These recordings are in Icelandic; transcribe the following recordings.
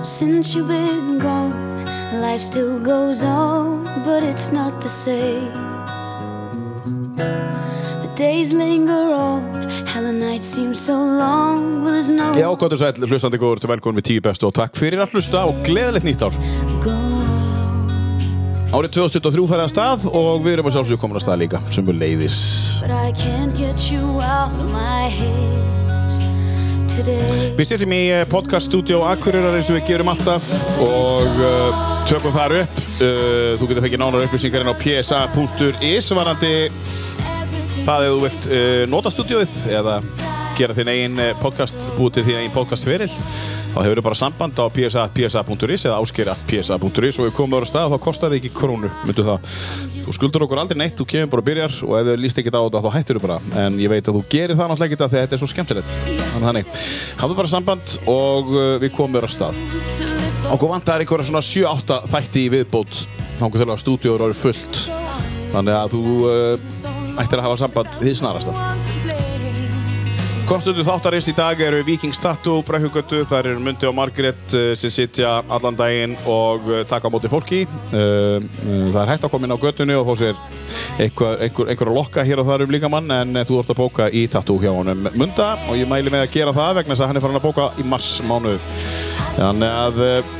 Since you've been gone, life still goes on, but it's not the same. The days linger on, how the nights seem so long, well, there's no Já, gott og sæl, hlustandi góður til velkomin við tíu bestu og takk fyrir að hlusta og gleðilegt nýtt ár. gone. Árið 2023 færði að stað og við erum að sjálfsögum komin að stað líka, sem við leiðis. But I can't get you out of my head today. Við setjum í podcaststudió Akureyrar eins og við gerum alltaf og uh, tökum þar upp. Uh, þú getur fengið nánar upplýsingar inn á psa.is varandi það ef þú vilt uh, nota stúdióið eða gera þinn eigin eh, podcast, búið til þín eigin podcastferil þá hefur bara samband á psa.psa.is eða áskera.psa.is og ef komum ára stað þá kostar þið ekki krónu myndu það. Þú skuldur okkur aldrei neitt, þú kemur bara og byrjar og ef þau líst ekki á þetta þá hættir þau bara en ég veit að þú gerir það náttúrulega ekki þetta þegar þetta er svo skemmtilegt þannig þannig, hafðu bara samband og eh, við komum ára stað okkur vantar einhverja svona 7-8 þætti í viðbót þangur til að stúdíóður eru fullt þannig að þú uh, ættir að hafa samband því snarasta Konstundu þáttarist í dag eru Vikings Tattoo, Brekkugötu, þar eru Mundi og Margrét uh, sem sitja allan daginn og uh, taka á móti fólki. Uh, uh, Það er hægt að koma inn á götunni og fá sér einhver, einhver, einhver lokka hér og þar um líkamann en eh, þú ert að bóka í Tattoo hjá honum Munda og ég mæli með að gera það vegna þess að hann er farin að bóka í mars mánu. Þannig að uh,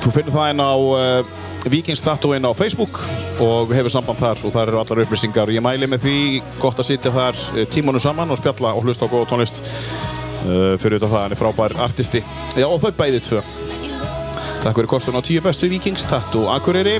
Þú finnur það inn á uh, Vikings Tattoo inn á Facebook og hefur samband þar og þar eru allar upplýsingar. Ég mæli með því gott að sitja þar eh, tímanum saman og spjalla og hlusta á góða tónlist uh, fyrir þetta það hann er frábær artisti. Já og þau bæði tvö. Takk fyrir kostun á tíu bestu Vikings Tattoo Akureyri.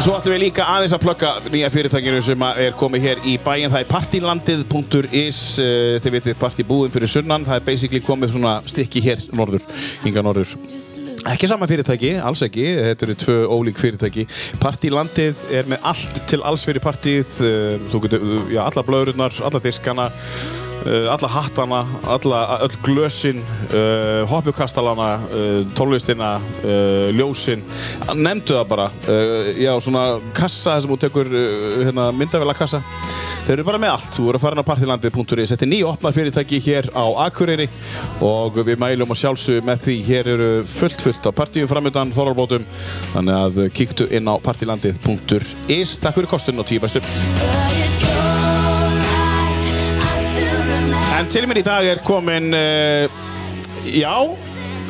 Svo ætlum við líka aðeins að plugga nýja fyrirtækinu sem að er komið hér í bæinn. Það er partilandið.is, eh, þið vitið partibúðin fyrir sunnan. Það er basically komið svona stykki hér norður, hinga norður. Ekki sama fyrirtæki, alls ekki, þetta eru tvö ólík fyrirtæki. Partilandið er með allt til alls fyrir partíð, eh, þú getur, já, alla blöðurnar, alla diskana, eh, alla hattana, alla, öll glösin, uh, hoppjúkastalana, uh, tónlistina, uh, ljósin, nefndu það bara, uh, já, svona kassa þar sem þú tekur uh, hérna, myndavela kassa, þeir eru bara með allt, þú eru að fara inn á partilandið.is, þetta er nýja opna fyrirtæki hér á Akureyri og við mælum að sjálfsögum með því hér eru fullt fullt á partíum framöndan, þorrarbótum, þannig að eh, kíktu inn á partilandið.is, takk fyrir kostun og tíu bestur. En til mér í dag er komin, uh, já,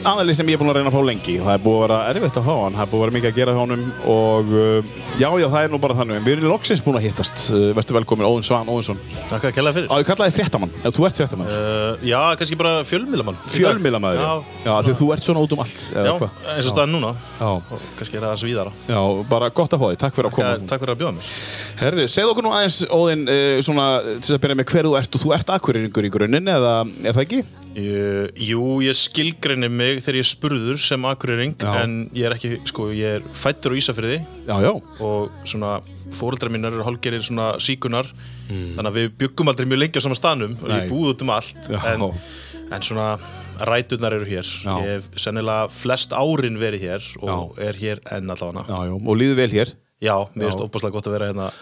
aðalinn sem ég er búinn að reyna að fá lengi. Það er búið að vera erfitt að fá hann, það er búið að vera mikið að gera hjá honum og uh, já, já, það er nú bara þannig. En við erum loksins búin að hittast. Uh, vertu velkomin, Óðinn Svan, Óðinsson. Takk að kella fyrir Á, ég kallaði fréttamann, ef þú ert fréttamann. uh, Já, kannski bara fjölmiðlamann Fjölmiðlamaður. Já, já því þú ert svona út um allt. eða já hvað? eins og staðan núna Já. og kannski er það aðeins víðara já, bara gott að fá þig, takk fyrir að koma. Takk fyrir að bjóða mér Herðu, segð okkur nú aðeins, Óðinn, uh, svona, til þess að byrja með hver þú ert og þú ert akkurýringur í grunninn, eða er það ekki? Ég- Eh, Jú, ég skilgreini mig þegar ég er spurður sem akureyring Já. en ég er ekki, sko, ég er fættur á Ísafyrði Já, já. og svona fóreldrar mínar eru hálgerir svona síkunar þannig að við byggum aldrei mjög lengi á sama stanum og Hmm. Nei. ég búið út um allt Já. en, en svona ræturnar eru hér Já. Ég hef sennilega flest árin verið hér og er hér enn allavega Já, já, og líður vel hér. Já, mér finnst Já. óbáslega gott að vera hérna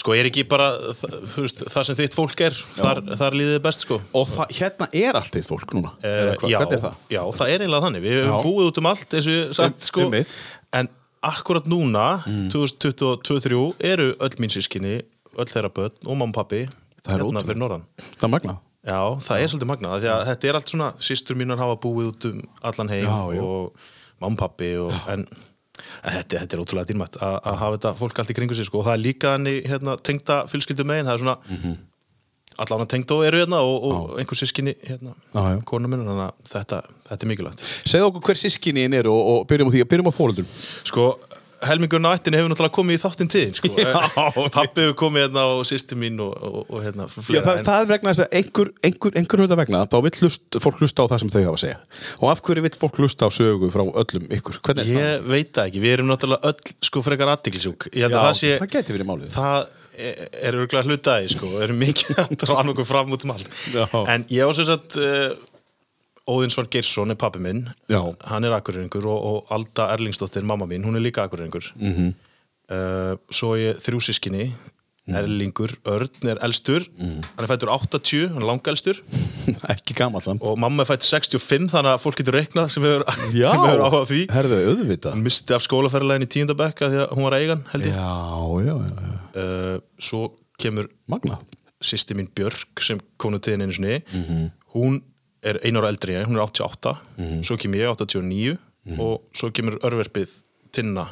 Sko, er ekki bara þ- þú veist, það sem þitt fólk er, þar, þar líðið þér best sko Og það, hérna er allt þitt fólk núna? Eða Eh, hvað, já, hvernig er það? Já, það er eiginlega þannig, við höfum Já. búið út um allt eins og ég sagt, Um- Mm. sko einmitt. En akkurat núna, 2023 eru öll mín sískinni, öll þeirra börn og mamma og pappi Það er ótrúlegt. fyrir norðan Það er magnað. Já, það er svolítið magnað, af því að þetta er allt svona Sýstur mínar hafa búið út um allan heim Já, já. og mamma, pappi og, en, en þetta, þetta er ótrúlega dýrmætt að að hafa þetta fólk allt í kringu sig sko. og það er líka henni hérna, tengda fjölskyldu megin það er svona mm Mhm. -hmm. allan að tengda og eru hérna og, og einhver sískinni hérna, Já, já. konu minn, þannig að þetta, þetta er mikilvægt Segð okkur hver sískinin eru og, og byrjum á því, byrjum á fóröldum. Sko, helmingurinn á ættinni hefur náttúrulega komið í þáttinn tíðin sko. Já. pappi hefur komið hérna og sýstir mín og, og, og hérna Já, fleira, það, en- það er vegna þess að einhver, einhver, einhver hluta vegna, þá vill hlust, fólk hlusta á það sem þau hafa að segja. Og af hverju vill fólk hlusta á sögu frá öllum ykkur? Hvernig er það? Ég veit það ekki, við erum náttúrulega öll sko frekar aðtiklisjúk Ég held Já, að það sé, það gæti verið málið. Það er- er örgulega hlutaði sko, við erum mikið að draða okkur fram út um allt Já. En ég á sem sagt, uh, Óðinsson Geirsson er pappi minn Já. Hann er akureyringur og, og Alda Mhm. Eh, Erlingsdóttir, mamma mín, hún er líka akureyringur mm -hmm. Svo á ég þrjú sískinni Mhm. Erlingur Örn er elstur hann er fættur 80, hann er langalstur ekki gamall samt og mamma er fætt 65 þannig að fólk getur reiknað sem hefur, sem Já, hefur áhuga á því herðu, auðvitað hann misti af skólaferðarlegin í tíundabekka því að hún var eigan held ég Já, já, já, uh, svo kemur magna sýsti mín Björk sem konu tíðin einu sinni hún er ein ára eldri, en hún er 88 svo kemur ég 89 og svo kemur örverpið Tinna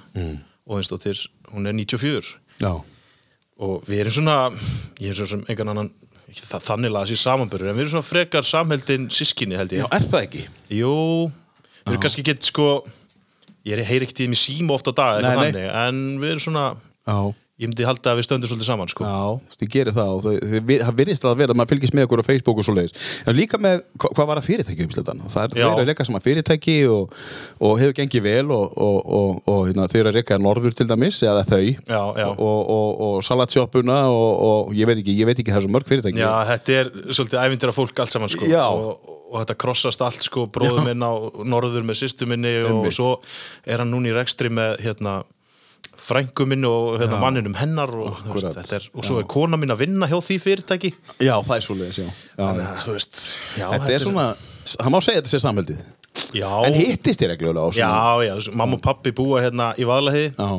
og eins og þér, hún er 94 já. og við erum svona ég er svona sem engan annan ekki það, þannig laðið sér samanbörður en við erum svona frekar samheldin sískinni held já, ég er það ekki? Jú, við erum kannski gett sko ég er heyri ekki tíðum í síma ofta á dag Nei, nei, nei. nei. en við erum svona já ég myndi halda að við stöndum svolítið saman sko. Já, þið gerir það og þau- þið- við- það virðist að vera að maður fylgist með okkur á Facebook og svo leiðis. En líka með, hva- hvað var að fyrirtæki umslutan? Það er, Já. þeir eru að reyka saman fyrirtæki og, og hefur gengið vel og, og, og, og hérna, þeir eru að reyka norður til dæmis, eða þau Já, já. og, og, og, og salatsjóppuna og, og ég veit ekki, ég veit ekki það er svo mörg fyrirtæki. Já, þetta er svolítið ævindir af fólk allt saman sko. Já. og, og þetta krossast allt sko, bróður minn á norður með sýstu minni og Einmitt. svo er hann núna í rekstri með hérna frængu minni og hérna, manninum hennar og, þú veist, Akkurat. þetta er, og svo er kona mín að vinna hjá því fyrirtæki já það er svo leiðis, já. já. Þannig að, þú veist, já, þetta er svona, það má segja þetta sé samhældið. já, En hittist þér reglulega á svona? já, já, þú veist, mamma og pappi búa hérna í vaðlahiði Já.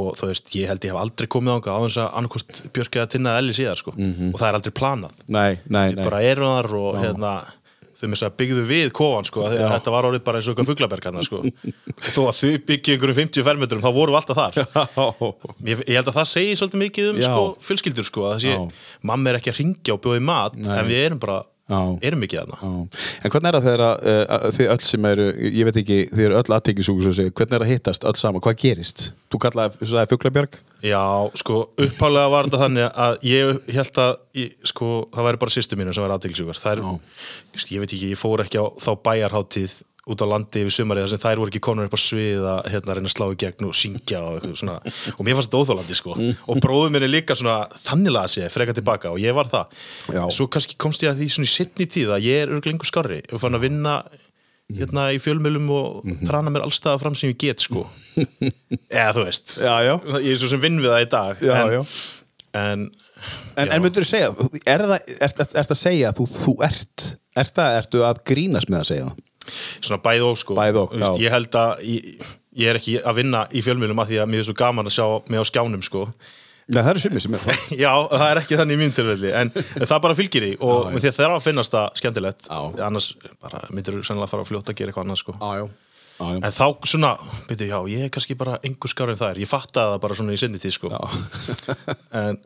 og þú veist, ég held ég hef aldrei komið ánga á þess að annarkvort Björk eða Tinna eða Elli síðar sko. Mhm. og það er aldrei planað Nei, nei, nei. bara eru þar og hérna þau með þess að byggðu við kofan sko, þegar þetta var orðið bara eins og eitthvað fuglabergarna sko. og þó að þau byggju einhverjum 50 fermetrum þá voru alltaf þar Já. ég, ég held að það segi svolítið mikið um Já. sko, fjölskyldur sko, að þessi, Já. mamma er ekki að ringja og bjóða í mat en við erum bara, Já. erum ekki þarna Já. En hvernig er það þegar að, uh, að þið öll sem eru, ég veit ekki, þið eru öll aðteglisúkur sem segir, hvernig er að hittast öll saman, hvað gerist? Þú kallaði, þú sagði Fuglabjörg? Já, sko, upphálega var þetta þannig að ég held að, ég, sko, það væri bara sýstu mínu sem væri aðdeglisjúkar. Það er, sko, ég veit ekki, ég fór ekki á þá bæjarháttíð út á landi yfir sumarið þar sem þær voru ekki konur upp á svið að hérna, reyna að slá í gegn og syngja og eitthvað svona og mér fannst þetta óþólandi sko og bróðum minni líka svona þanniglega að sé freka tilbaka og ég var það Já. svo kannski komst ég að því svona í sittni tíð að ég er örglengur skarri og fann að vinna hérna í fjölmjölum og Mhm. trana mér allstaða fram sem ég get sko eða þú veist Já, já. ég er svo sem vinn við það í dag Já, en, já. en En, en myndur þú segja, er það, er, er, er það að segja að þú, þú ert, er það, ertu að grínast með að segja það? svona bæð og sko Bæði og, Þú veist, já. ég held að ég, ég er ekki að vinna í fjölmjölum að því að mér er svo gaman að sjá mig á skjánum sko Nei, það eru sumir sem er það. já, það er ekki þannig í mín tilfelli en það bara fylgir því og Já, já. því að það finnast það skemmtilegt Já. annars bara myndir þú sennilega fara að fljóta að gera eitthvað annað sko Já, já. já. En þá svona, byrju, já, ég er kannski bara einhver skar en það er, ég fattaði það bara svona í sinni tíð, sko. En,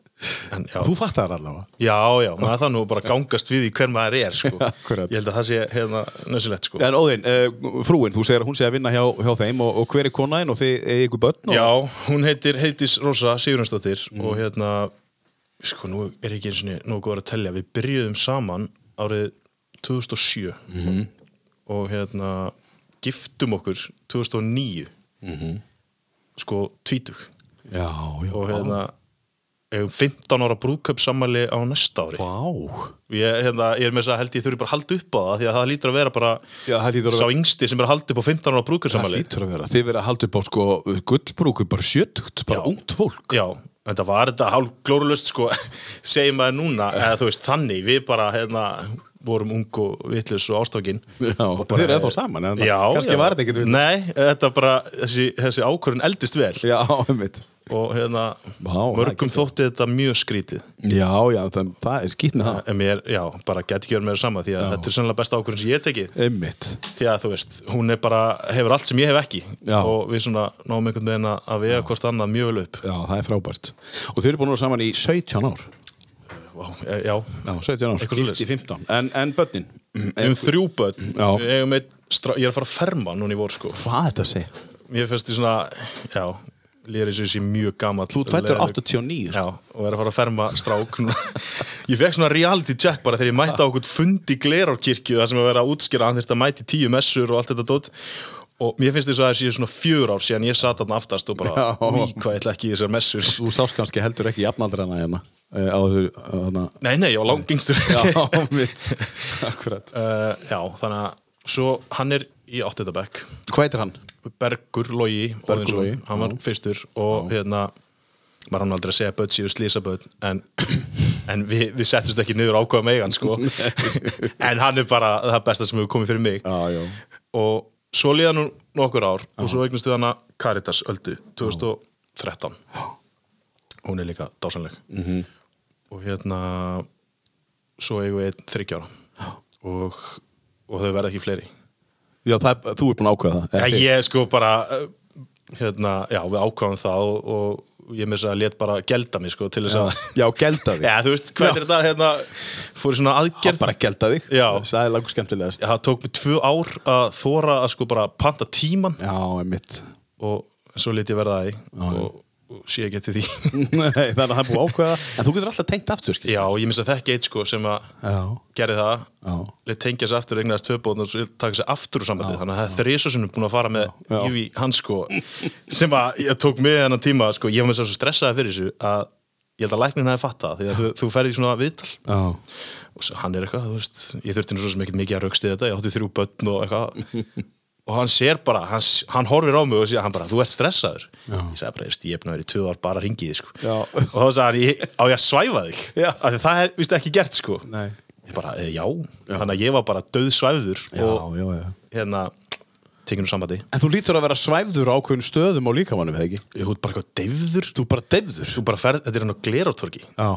en já. Þú fattar allavega Já, já, maður það nú bara að gangast við í hver maður er, sko. Akkúrat. Ég held að það sé hérna nöðsilegt, sko. En Óðinn, uh, frúin, þú segir að hún sé að vinna hjá, hjá þeim og, og hver er konaðin og þið eigið ykkur börn og... Já, hún heitir Heitis Rósa Sigurjónsdóttir Mhm. og hérna, sko, nú er ekki eins og nú góður að tellja. Við byrjuðum saman árið 2007 Mhm. og hérna giftum okkur 2009, Mhm. sko, tvítug já, já. og hérna eigum 15 ára brúköp sammæli á næsta ári. Vá. Ég, hérna, ég er með þess að held ég þurfi bara að halda upp á það því að það lítur að vera bara Já, það lítur að sá vera- yngsti sem er að halda upp á 15 ára Það brúkursamali lítur að vera. Þið verið að halda upp á sko gullbrúku, bara sjötugt, bara Já. ungt fólk. Já, þetta var þetta hálf glórulust sko, segjum maður núna eða þú veist þannig, við bara hérna, vorum ung og vitlis og ástokkin Já, þið eru eða þá saman, en Já, kannski já. var þetta ekkert við. Nei, þetta bara, þessi, þessi ákvörðin eldist vel Já, einmitt. og hérna, Vá, það mörgum þótti þetta mjög skrítið Já, já, það, það er skýt með það. en mér, já, bara gæti ekki verið meira sama því að þetta er sannlega besta ákvörðin sem ég hef tekið Einmitt. því að þú veist, hún er bara, hefur allt sem ég hef ekki Já. og við svona náum einhvern veginn að að vega hvort annað mjög vel upp Já, það er frábært. Og þið eru búin að vera saman í 17 ár. Vá, e- já, Já, 17 ár. Eitthvað svoleiðis. Gift í 15. En, en börnin? um þrjú börn Já. Við eigum einn stra- ég er að fara að ferma núna í vor sko Hvað er þetta að segja? mér finnst því svona, já lýri þessu sé mjög gammal Þú ert fæddur 89, sko. já, og er að fara að ferma strák núna. ég fekk svona reality check bara þegar ég mætti á okkur fundi glerárkirkju þar sem að vera að útskýra hann þurfti að mæti tíu messur og allt þetta dót og mér finnst því að það sé svona fjör ár síðan ég sat þarna aftast og bara, Já. úi, hvað ég ætla ekki í þessar messur Þú sást kannski heldur ekki jafnaldrana hérna eh, á þessu, hérna. Nei, nei, ég var langingstur Já, mitt. Akkurat. uh, já, þannig að svo hann er í áttundabæk Hvað heitir hann? Bergur Logi Bergur Logi, Óðinsson, hann var fyrstur og hérna maður hann aldrei að segja börn síðu slísabörn en, en við, við settumst ekki niður ákvaða megan sko. en hann er bara það besta sem hefur komið fyrir mig Já, já. og svo liða nú nokkur ár og svo eignast við hana Caritas Öldu 2013 hún er líka dásanleg Mhm. -hmm. og hérna svo eigum við einn þryggjára og, og þau verða ekki fleiri Já, það, er- þú ert búin að ákveða það. Já, eða þið? ég sko bara uh, hérna, já, við ákvaðum það og, og ég með þess að lét bara gelda mig sko til þess að Já, gelda þig. Já, þú veist, hvað er þetta hérna, fór í svona aðgerð Gerð bara gelda þig. Já. Það er langur skemmtilegast. það tók mig tvö ár að þóra að sko bara panta tíman Já, einmitt. og svo lít ég verða það í og, og sé ekki eftir því Nei, það er að það er búið að ákveða. En þú getur alltaf tengt aftur, skil. Já, og ég minnst að þekki eitt sko sem að Já. gerði það, Já. leitt tengja sér aftur eignaðist tvö bóðn og svo taka sér aftur úr sambandi þannig að það er þrísosunum búin að fara með Já. yfir í hans sko sem að ég tók mig hennan tíma sko, ég var með þess að svo stressaði fyrir þessu að ég held að læknin hafi fattað því að þú, þú ferði í svona viðtal Já. og svo, hann er eitthvað, þú veist, ég þurfti nú svo sem ekkert mikið að rauksti þetta, ég átti þrjú börn og eitthvað og hann sér bara, hann, s- hann horfir á mig og sér, hann bara, þú ert stressaður Já. ég sagði bara, veist, ég er búin að vera í tvö ár bara að ringi þig sko. Já. og þá sagði hann, ég, á ég að svæfa þig Já. af því það er, víst, ekki gert sko Nei. ég bara, e, já. þannig að ég var bara döðsvæfður Já, og já, já. hérna, tekinu sambandi En þú lítur að vera svæfður á ákveðin stöðum á líkamannum, eða ekki? ég hútt bara eitthvað deyfður Þú bara deyfður. þú bara ferð, þetta er hann á glerartorki Já.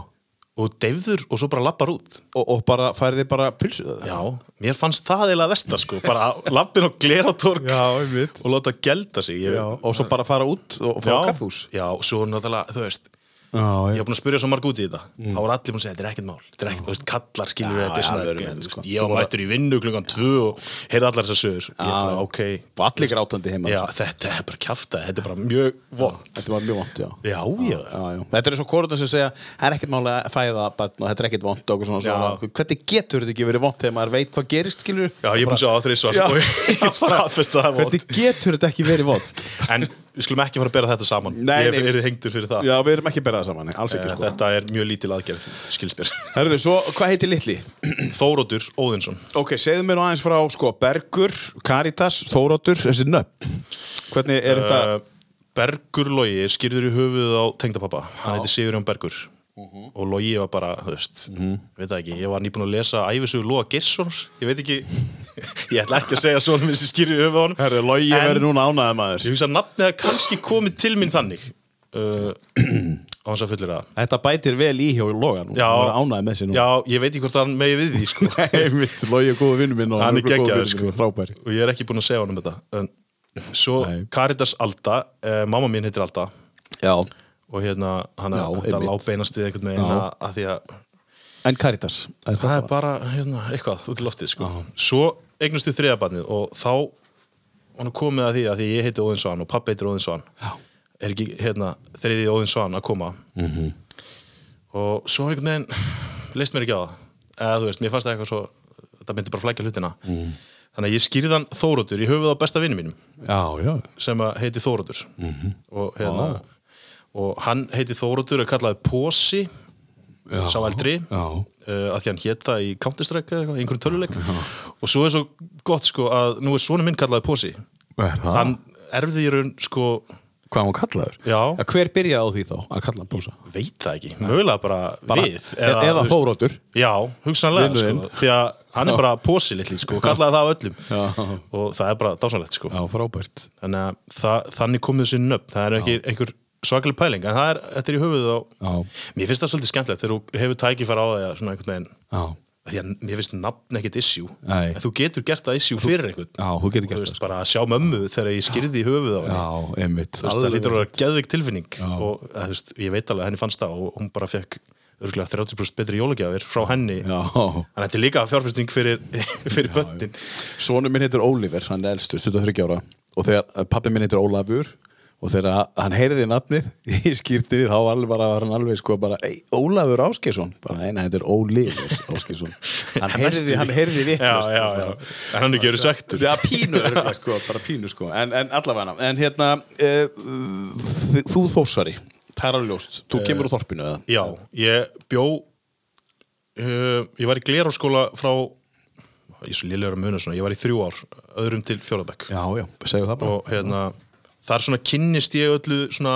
og þú deyfður og svo bara lappar út Og, og bara færði bara pilsuð það. já, mér fannst það eiginlega vestar sko, bara lappin á glerartork einmitt. og láta gelda sig ég, Já, og svo bara fara út og og fá kaffús. já, og svo náttúrulega, þú veist Já, ég hef búin að spurja svo marg út í þetta þá var allir búin að segja, þetta er ekkert mál þetta er ekkert, þú veist, kallar skilur þetta er já, svona, alvöru menn, þú sko. veist, ég var mættur í vinnu klukkan tvö og heyrði allar þessar sögur ég er bara, ok, Og allir grátandi heima. sko. já, þetta er bara kjafta þetta er bara mjög vond Þetta var mjög vant, já. já, já, Já, já. Þetta er eins og korðan sem segja það er ekkert máli að fæða barn og þetta er ekkert vond og svona, svona. Hvernig getur þetta ekki verið vond þegar maður veit hvað gerist, skilur? já, ég er búin að segja það þrísvar Já. sko, og ég get staðfest að það er vond Hvernig getur þetta ekki verið vond? en við skulum ekki fara að bera þetta saman Nei, ég nei. er hengdur fyrir það já, við erum ekki að bera það saman, nei, alls Eh, ekki, sko. þetta er mjög lítil aðgerð, skilsbér Herðu, svo, hvað heitir litli? Þórótur Óðinsson Ok, segðu mér nú aðeins frá, sko, Bergur, Caritas, Þórótur, þessi nöpp. Hvernig er þetta? Uh, Bergur Logi skýrður í höfuð á tengdapappa hann heiti Sigurjón Bergur Mhm. og Logi var bara, þú veist veit það ekki, ég var nýbúin að lesa æfisugur Lóa Gerssons, ég veit ekki ég ætla ekki að segja svona minn sem skýrður í höfuð á hann Herðu, logi En- verður núna ánæðið maður. ég hugsa að nafnið hafi kannski komið til mín þannig uh, á hans að fullir það Þetta bætir vel í hjá Loga nú. Já. Hann var ánæðið með sér nú. já, ég veit ekki hvort hann megi við því sko. Nei, mitt, Logi er góðu vinnu minn og Hann er mjög góður geggjaður, vinur sko. minn, Frábær. og ég er ekki búin að segja honum þetta en, svo Nei. Caritas Alda, uh, mamma mín heitir Alda Já. og hérna hann Já, að einmitt. lábeinast við einhvern veginn að, að því að En Caritas? Er það er bara hérna, eitthvað út í loftið sko. svo eignast við þriðabarnið og þá hann komið að því að því ég heiti Óðinsson og pappi heitir Óðinsson Já. er ekki hérna, þriðið Óðinsson að koma -hmm. Mhm. og svo einhvern veginn leist mér ekki á það eða þú veist, mér fannst það eitthvað svo þetta myndi bara flækja hlutina Mhm. mm. þannig að ég skýrði hann Þórótur í höfuð á besta vinnu mínum Já, já. sem að heiti Þórótur Mhm. og, hérna, og hann heiti Þórótur er kallaði Pósi sá eldri Já. uh, að því hann hét það í Counter-Strike eða eitthvað, í einhverjum töluleik og svo er svo gott sko að nú er svona minn kallaði Pósi Hann, hann erfði í raun sko hvað hann var kallaður? Já. Ja, Hver byrjaði á því þá að kalla hann Bósa? veit það ekki, mögulega bara, Bara- e- við eða þú veist- Þóroddur. já, hugsanlega Vinurinn. sko, því að hann er bara Pósi litli sko, og kallaði það á öllum Já. og það er bara dásanlegt sko Já, frábært. þannig að það, þannig komið þessi nöfn það er ekki einhver svakaleg pæling en það er, þetta er í höfuð á Já. mér finnst það svolítið skemmtilegt þegar þú hefur tækifæra á því að svona einhvern veginn Já. af því að mér finnst nafn ekkert issue Nei. en þú getur gert það issue fyrir einhvern Já, þú getur þú gert það. sko. veist bara að sjá mömmu þegar ég skyrði í höfuð á henni Já, einmitt. Þú veist, það Alveg. lítur að vera geðveik tilfinning Já. og að, þú veist, ég veit alveg að henni fannst það og hún bara fekk örgulega 30% betri jólagjafir frá henni Já. en þetta er líka fjárfesting fyrir, fyrir böttin Sónu minn heitir Oliver, hann er elstur, 23 ára og þegar pappi minn heitir Ólafur og þegar hann heyrði nafnið í skýrtinni þá var, alveg bara, var hann alveg sko bara "Ey, Ólafur Áskesson, bara neina, þetta er Ólífur Áskesson, hann heyrði, hann heyrði sko, vitlust já, já, já. en hann er ekki verið sektur Já, pínu, örugglega, sko, bara pínu sko en, en allavega, en hérna uh, þú þósari það er alveg ljóst, þú kemur úr þorpinu eða? já, ég bjó uh, ég var í gleraskóla frá ég er svo lélegur að muna svona, ég var í þrjú ár öðrum til fjólabæk Já, já, segðu það bara og hérna þar svona kynnist ég öllu svona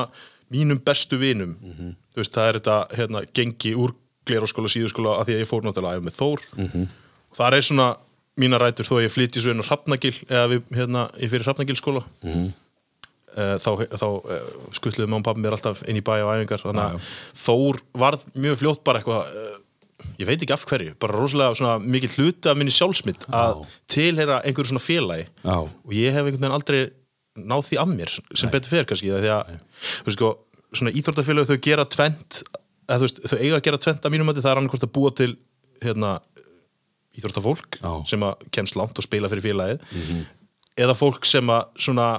mínum bestu vinum þú veist, það er þetta hérna, gengi úr gleraskóla, síðuskóla að því að ég fór náttúrulega að æfa með Þór og það er svona mína rætur þó að ég flytti svo inn á Hrafnagil eða við, hérna, ég fyrir Hrafnagilskóla Eh, þá, þá eh, skutluðu mamma og pappi mér alltaf inn í bæ og æfingar þannig að Þór varð mjög fljótt bara eitthvað eh, ég veit ekki af hverju, bara rosalega svona mikið hluti af minni sjálfsmynd að tilheyra einhverju svona félagi Já. og ég hef einhvern veginn aldrei náð því að mér sem betur fer kannski af því að, þú veist sko, svona íþróttafélagi þau gera tvent eða, þú veist, þau eiga að gera tvent að mínum mati það er annarkvort að búa til hérna, íþróttafólk Já. sem að kemst langt og spila fyrir félagið eða fólk sem að svona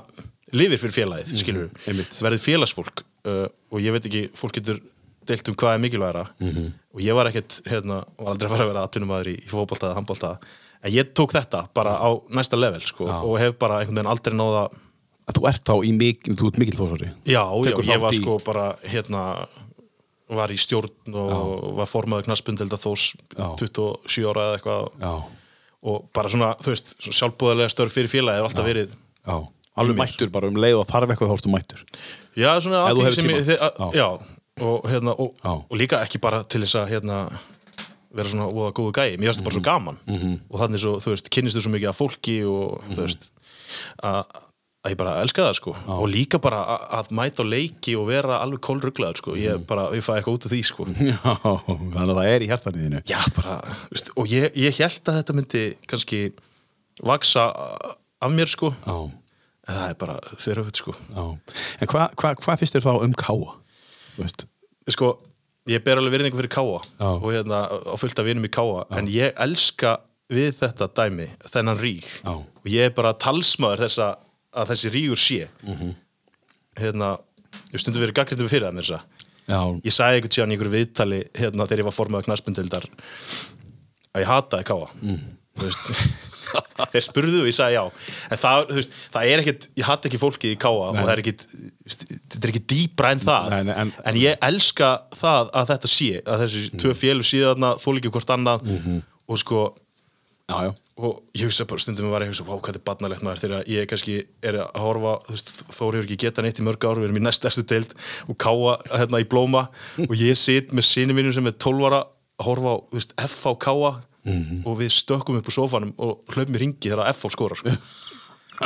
lifir fyrir félagið, skilur einmitt. verðið félagsfólk uh, og ég veit ekki, fólk getur deilt um hvað er mikilværa og ég var ekkert, hérna, var aldrei að fara að vera atvinnumæður í, í fótbolta eða handbolta en ég tók þetta bara á næsta level sko, og hef bara einhvern veginn aldrei náða Að Þú ert þá í mikil, þú ert mikil þósari já, já, Tekur ég þátt var í- sko bara hérna var í stjórn og var formaður knassbundelda þós Já. 27 ára eða eitthvað og- Já, og bara svona, þú veist, svona sjálfbúðarlega störf fyrir félagið hefur alltaf verið já Alveg mættur bara um leið og þarf eitthvað þá ertu mættur já, svona Ef að þú því hefur sem ég tíma. þið- að- já, og, hérna, og, Já. og líka ekki bara til þess að hérna, vera svona óða góðu gæi mér finnst það bara Mhm. svo gaman og þannig svo, þú veist, kynnist þú svo mikið af fólki og Mhm. þú veist að að ég bara elska það sko og líka bara að, að mæta á leiki og vera alveg kólruglaður sko, Mhm. ég bara, ég fæ eitthvað út af því sko Já, þannig að það er í hjartaníðinu já bara, veist, og ég, ég held að þetta myndi kannski vaksa uh, af mér sko Já, en það er bara þurröfut sko já En hvað hva, hva finnst þér þá um káa? Þú veist sko, ég ber alveg virðingu fyrir káa Já. og hérna á fullt af vinum í káa en ég elska við þetta dæmi þennan rík Já. og ég er bara talsmaður þess að, að þessi rígur sé Mhm. hérna ég hef stundum verið gaggrindum fyrir það mér þess að Já, ég sagði einhvern tíðan í einhverju viðtali hérna þegar ég var formaður knarsbundildar að ég hataði káa mm. veist, þeir spurðu og ég sagði já en það, þú veist, það er ekkit, ég hata ekki fólkið í káa og það er ekkit, þetta er ekki dýpra en það Nei, nei, en- ég elska það að þetta sé að þessi Mm. tvö félug síðan þó líki hvort annað Mhm. og sko já, já og ég hugsa bara stundum var ég hugsa, vá, hvað þetta er barnalegt maður þegar ég kannski er að horfa þú veist, Þór hefur ekki getað neitt í mörg ár við erum í næst erstu deild og káa hérna í blóma og ég sit með sinni mínum sem er 12 ára að horfa á þú veist, F á káa Mhm. og við stökkum upp úr sofanum og hlaupum í ringi þegar F á skorar sko.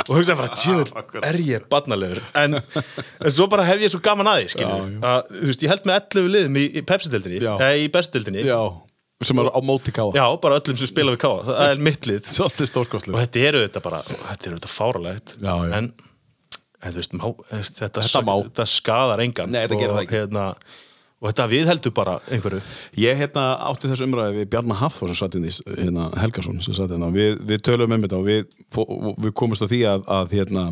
og hugsa bara, tjóður, er ég barnalegur en, en svo bara hef ég svo gaman aði skilur, Já, að, þú veist, ég held með 11 liðum í, í Pepsi-deildinni, Já. eða í bestildinni Já, sem er á móti káa Já, bara öllum sem spila við káa, það er mitt lið Svolítið stórkostlið og þetta eru þetta bara þetta eru þetta fáralegt Já, já. en, en þú veist, má, þú veist þetta, Þetta má. þetta skadar engan Nei, þetta gerir það og, ekki. hérna, og þetta viðheldur bara einhverju Ég hérna átti þessu umræði við Bjarnar Hafþór sem satt inn í hérna, Helgason sem satt inn á, við, við töluðum um þetta og við, fó- við komumst að því að, að hérna,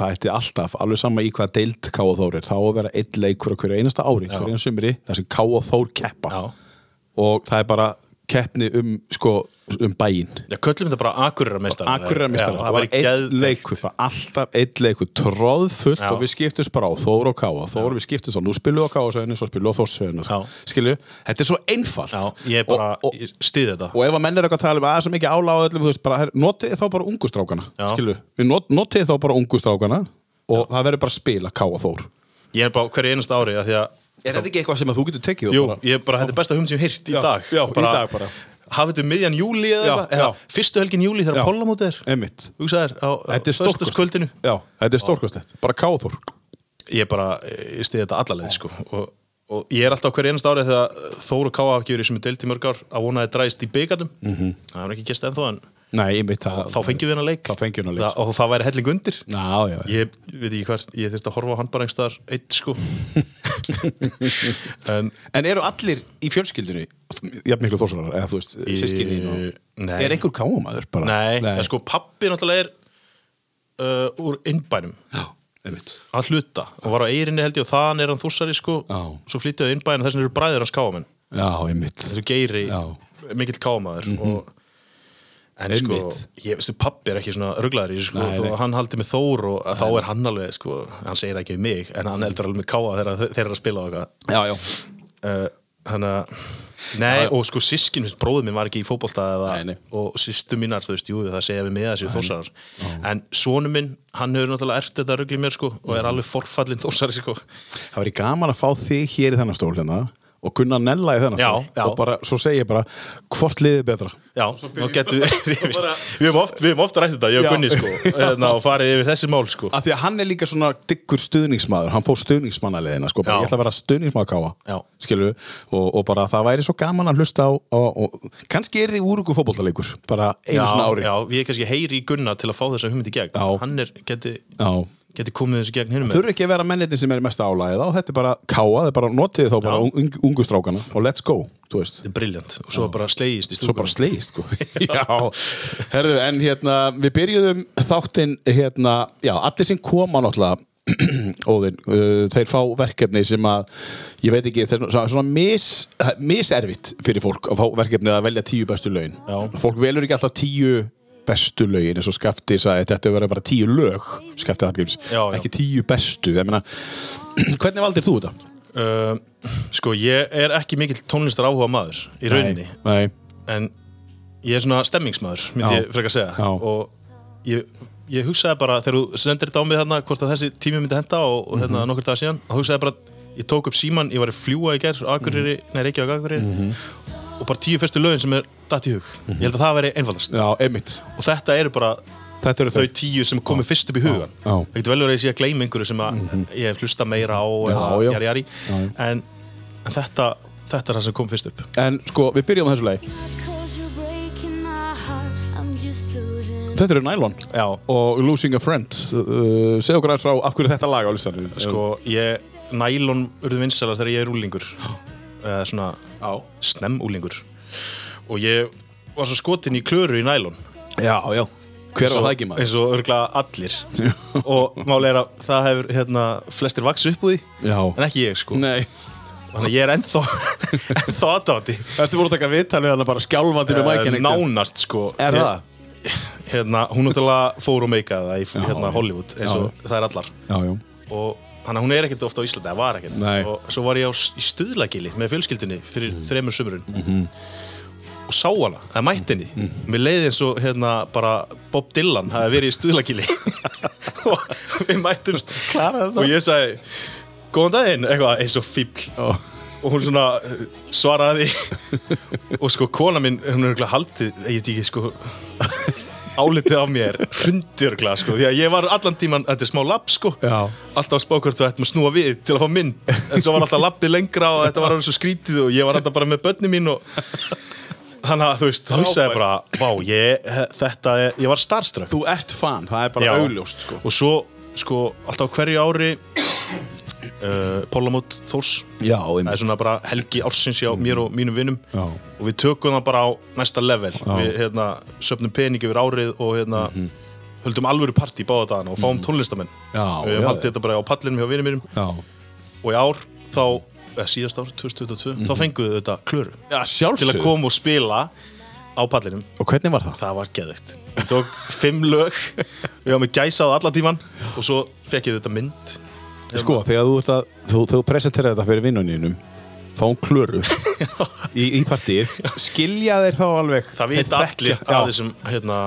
það ætti alltaf, alveg sama í hvað deild K og Þór er, þá á að vera einn leikur á hverju einasta ári, hverju einasta sumri þar sem K og Þór keppa Já. og það er bara keppni um, sko, um bæinn Já, köllum þetta bara akurrarmeistar Akureyrar meistara, það það var væri geð einn leikur það var alltaf einn leikur, tróðfullt Já. og við skiptumst bara á Þór og Káa Þór við skiptumst á, nú spilum við á Káasöðinu svo spilum við á Já. Þórsöðinu, skilju þetta er svo einfalt Já, ég er bara, og, og, ég stið þetta og ef að menn er eitthvað að tala um aðeins mikið ála á öllum, þú veist, bara, her, notið þá bara ungustrákana, Já. skilju við not, notið þá bara ungustrákana og það verður bara spil að Káa Þór ég er bara á hverju einasta ári af því að Er þetta ekki eitthvað sem að þú getur tekið og Jú, bara- ég er bara, þetta er besta hugmynd sem ég hef hýrt í Já, dag já, Og í dag bara. hafa þetta um miðjan júli eða Já, eitthvað eða já. fyrstu helgin júli Já. þegar Pólamótið er Einmitt. hugsaðir á Þetta er föstudagskvöldinu. stórkostlegt Já, þetta er stórkostið, bara Káa Þór ég bara, ég stiði þetta allalegð sko. og, og ég er alltaf á hverju einast árið þegar Þóru Káa hafa gefur í sem er deilt í mörg ár að vona að þið dræst í byggatum Mhm. það er nú ekki gæst ennþá en Nei, einmitt, það, þá fengjum við hennar leik, Þá fengjum við þennan leik, sko. það, og það væri helling undir Ná, já, já. ég veit ekki hvert, ég þurfti að horfa á hann bara einhverstaðar eitt sko en En eru allir í fjölskyldunni jafn miklu þórsarar, eða þú veist, Í- sískinni og... nei. Er einhver káamæður bara? nei, nei. En, sko pappi náttúrulega er uh, úr innbænum Já, einmitt að hluta og var á eirinni held ég og þaðan er hann þúsari sko Já. svo flytjaði innbæðin þess vegna eru bræðir hans káamenn Já, einmitt þessu geiri Já. Mhm. mikill kámaður og en Einmitt. sko, ég veistu pappi er ekki svona rugglaður í þessu, sko, Nei, þó nei. að hann haldi með Þór og þá er hann alveg, sko, hann segir ekki við mig en hann heldur alveg með káa þegar þeir eru að spila og eitthvað Já, já uh, Þannig að, nei, og sko sískinu, bróðum minn var ekki í fótbolta eða, Nei, nei. og sýstu mínar, þú veist, jú, það segja við með þessi þósarar, en sonu minn hann hefur náttúrulega erft þetta rugli mér, sko og er alveg forfallin þósari, sko Það væri gaman að fá þig hér í þennan stól hérna og kunna nella í þennan Já, stól já. og bara, svo segi ég bara, hvort liðið betra Já, þá getum við, við, við höfum oft, við höfum oft rætt þetta, ég Já. og Gunni, sko hérna, og farið yfir þessi mál, sko Af því að hann er líka svona diggur stuðningsmaður hann fór stuðningsmannaleðina, sko, bara Já. ég ætla að vera stuðningsmaður káa, Já. skilur og, og bara það væri svo gaman að hlusta á, á og, kannski er þið úrugu fótboltaleikur bara einu já, svona ári já, ég kannski heyri í Gunna til að fá þessa hugmynd í gegn Já. hann er, geti, Já. geti komið þessu gegn hinum Þurfi ekki að vera mennitin sem er mest álægið á, þetta er bara káa, það er bara notið þá bara Já. ung, ungu strákana og let's go, þú veist er briljant og svo bara slegist í Svo stúkunum bara slegist, sko Já, herðu, en hérna, við byrjuðum þáttinn, hérna, já, allir sem koma náttúrulega Óðinn, uh, þeir fá verkefni sem að ég veit ekki, þeir svona, svona mis, miserfitt fyrir fólk að fá verkefni að velja tíu bestu lögin Já. fólk velur ekki alltaf tíu bestu lögin eins og skafti sagði, þetta verður bara tíu lög skafti allir, Já, já. ekki tíu bestu ég meina, hvernig valdir þú þetta? Uh, sko, ég er ekki mikill tónlistar áhuga maður í rauninni, Nei, en ég er svona stemmingsmaður, myndi Já. ég frekar segja Já. og ég, ég hugsaði bara þegar þú sendir þetta á mig hérna, hvort að þessi tími myndi henda og, og Mhm. hérna nokkur dagar síðan þá hugsaði ég bara, ég tók upp síman, ég var í fljúa í gerð, Akureyri, Mhm. nei Reykjavík Akureyri og bara tíu fyrstu lögin sem er datt í hug, ég held að það væri einfaldast Mhm. já, einmitt og þetta eru bara Þetta eru þau tíu sem komið fyrst upp í hugan Já. Mhm. það getur vel verið að ég sé að gleyma einhverju sem að ég hef hlusta meira á eða já. jari, jari. en, en þetta, þetta er það sem kom fyrst upp En sko, við byrjum á þessu leið Cause you're breaking my heart, I'm just losing. Þetta eru nælon já, og Losing a Friend uh, segja okkur aðeins á af hverju þetta lag á listanum sko, ég nælon urðu vinsælar þegar ég er úlingur eða svona já, snem úlingur og ég var svo skotin í klöru í nælon já, já. hver var það ekki maður? eins og örgla allir og máli er að það hefur hérna, flestir vaks upp úr því Já. en ekki ég sko Nei, þannig að ég er ennþá ennþá aðdátti þetta voru að taka viðtal við hann bara skjálfandi með mækinn einhvern. nánast sko Eh, Er Ég- það? hérna, hún náttúrulega fór og meikaði það í hérna, Hollywood eins og það er allar Já, já, og hann, hún er ekkert ofta á Íslandi, það var ekkert Nei. Mhm. og svo var ég á, s- í stuðlagili með fjölskyldinni fyrir þremur sumrun og sá hana, það mætti henni Mhm. mér leiði eins og hérna bara Bob Dylan hafi verið í stuðlagili og við mættumst Klaraði þetta. og ég sagði góðan daginn, eitthvað eins og fíbl já. og hún svona uh, svaraði og sko kona minn hún er örgulega haldið, ég veit ekki sko álitið af mér hrundi örgulega sko, því að ég var allan tíman þetta er smá lapp sko, Já. alltaf að spá hvort þú ættum að snúa við til að fá mynd en svo var alltaf lappið lengra og þetta var alveg svo skrítið og ég var alltaf bara með börni mín og þannig að þú veist, þá hugsaði ég bara vá, ég, þetta, er- ég var starstruck Þú ert fan, það er bara Já. augljóst sko. og svo, sko, alltaf á hverju ári uh, Pólamót Þórs Já, það er svona bara helgi ársins hjá mér og mínum vinnum Já. og við tökum það bara á næsta level við hérna, söpnum pening yfir árið og hérna, Mhm. höldum alvöru partí báða dagana og fáum tónlistamenn Já, við höfum já, haldið já. þetta bara á pallinum hjá vinnum mínum já. og í ár þá, eða síðast ár 2022, Mhm. þá fengum við þetta klöru já til að sjálfsög koma og spila á pallinum Og hvernig var það? það var geðvikt við tók fimm lög við höfum gæsað alla tíman og svo fekk ég þetta mynd Sko, þegar þú, ert að, þú, þú presenterar þetta fyrir vinnuninum fá hún klöru í, í partíð skilja þeir þá alveg það Þeir veit allir þekkja- að já, þessum hérna,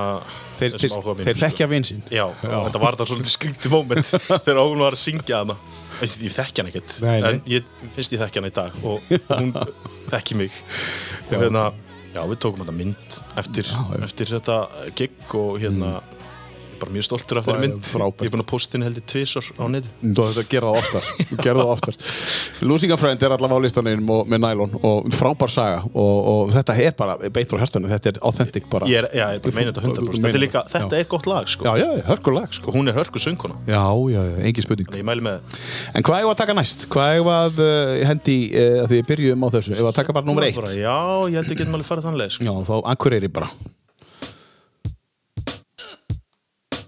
þeir, þessum áhuga þeir, mínum, þeir sko. þekkja vinn sinn Já, þetta var það svolítið skrítið moment þegar hún var að syngja hana Ég, ég þekki hana ekkert, Nei, nei. en ég finnst ég þekki hana í dag og hún þekki mig og hérna, já, við tókum þetta mynd eftir, já. Mm. eftir þetta gig og hérna, ég er bara mjög stoltur af Það þeirri er mynd frábært. Ég er búin að posta henni held ég tvisar á neti Þú ætti að gera það oftar, gera það oftar. Losing a Friend er allavega á listanum og, með nælon og frábær saga og, og þetta er bara beitt frá hérstanu, þetta er authentic bara. Ég er, já, ég er bara að meina þetta 100% Þú Þetta meinar er líka, það, þetta er gott lag, sko Já, já, hörkulag sko. og hún er hörku sönguna Já, já, já, engin spurning. Ég mæli með En hvað eigum við að taka næst? Hvað eigum við að uh, hendi, uh, því við byrjum á þessu, eigum við að taka bara nummer Bara, eitt? Já, ég held ég getum alveg farið þannlega, sko Já, þá Akureyri bara.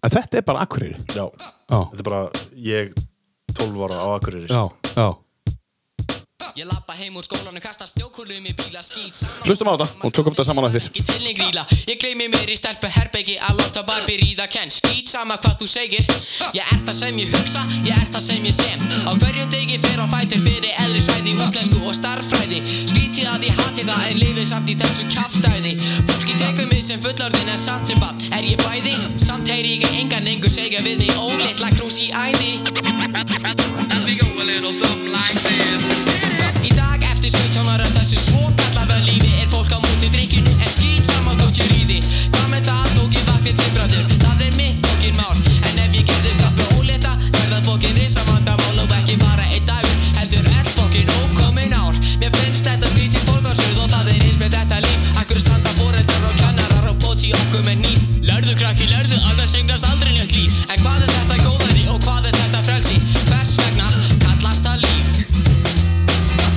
En þetta er bara Akureyri. Já, Já. þetta er bara, ég 12 ára á Akureyri sko. Já, já. Ég lappa heim úr skólanum, kasta snjókulum í bíla, skýt saman Hlustum á þetta og tökum þetta saman á þér. Ekki til neinn gríla, ég gleymi mér í stelpu herbegi að láta barbi ríða kenn Skýt sama hvað þú segir, ég er það sem ég hugsa, ég er það sem ég sem Á hverjum degi fer á fætur fyrir eðlisfræði, útlensku og starffræði Skýt ég hati það en lifi samt í þessu kjaftæði Fólki tekur mig sem fullorðin en samt sem bann Er ég bæði? Samt heyri ég engan engu segja við mig Ólitla krús í æði We go a little something like this. Í dag eftir 17 ára þessu svokallaða lífi er fólk á móti drikkinu en skýt saman þótt ég ríði Hvað með það fókin vaknir timbratur, það er mitt fókin mál En ef ég gerði strappu óleta, er það fókin risamandamál og ekki bara einn dagur, heldur er fókin ókomin ár Mér finnst þetta skrítið fólkarsöð og það er eins með þetta líf Akkur standa fóreldrar og kennarar og bóti okkur með nýf Lærðu krakki, lærðu, annars eignast aldrei njögt líf En hvað er þetta góðari og hvað er þetta frelsi? Hvers vegna kallast það líf?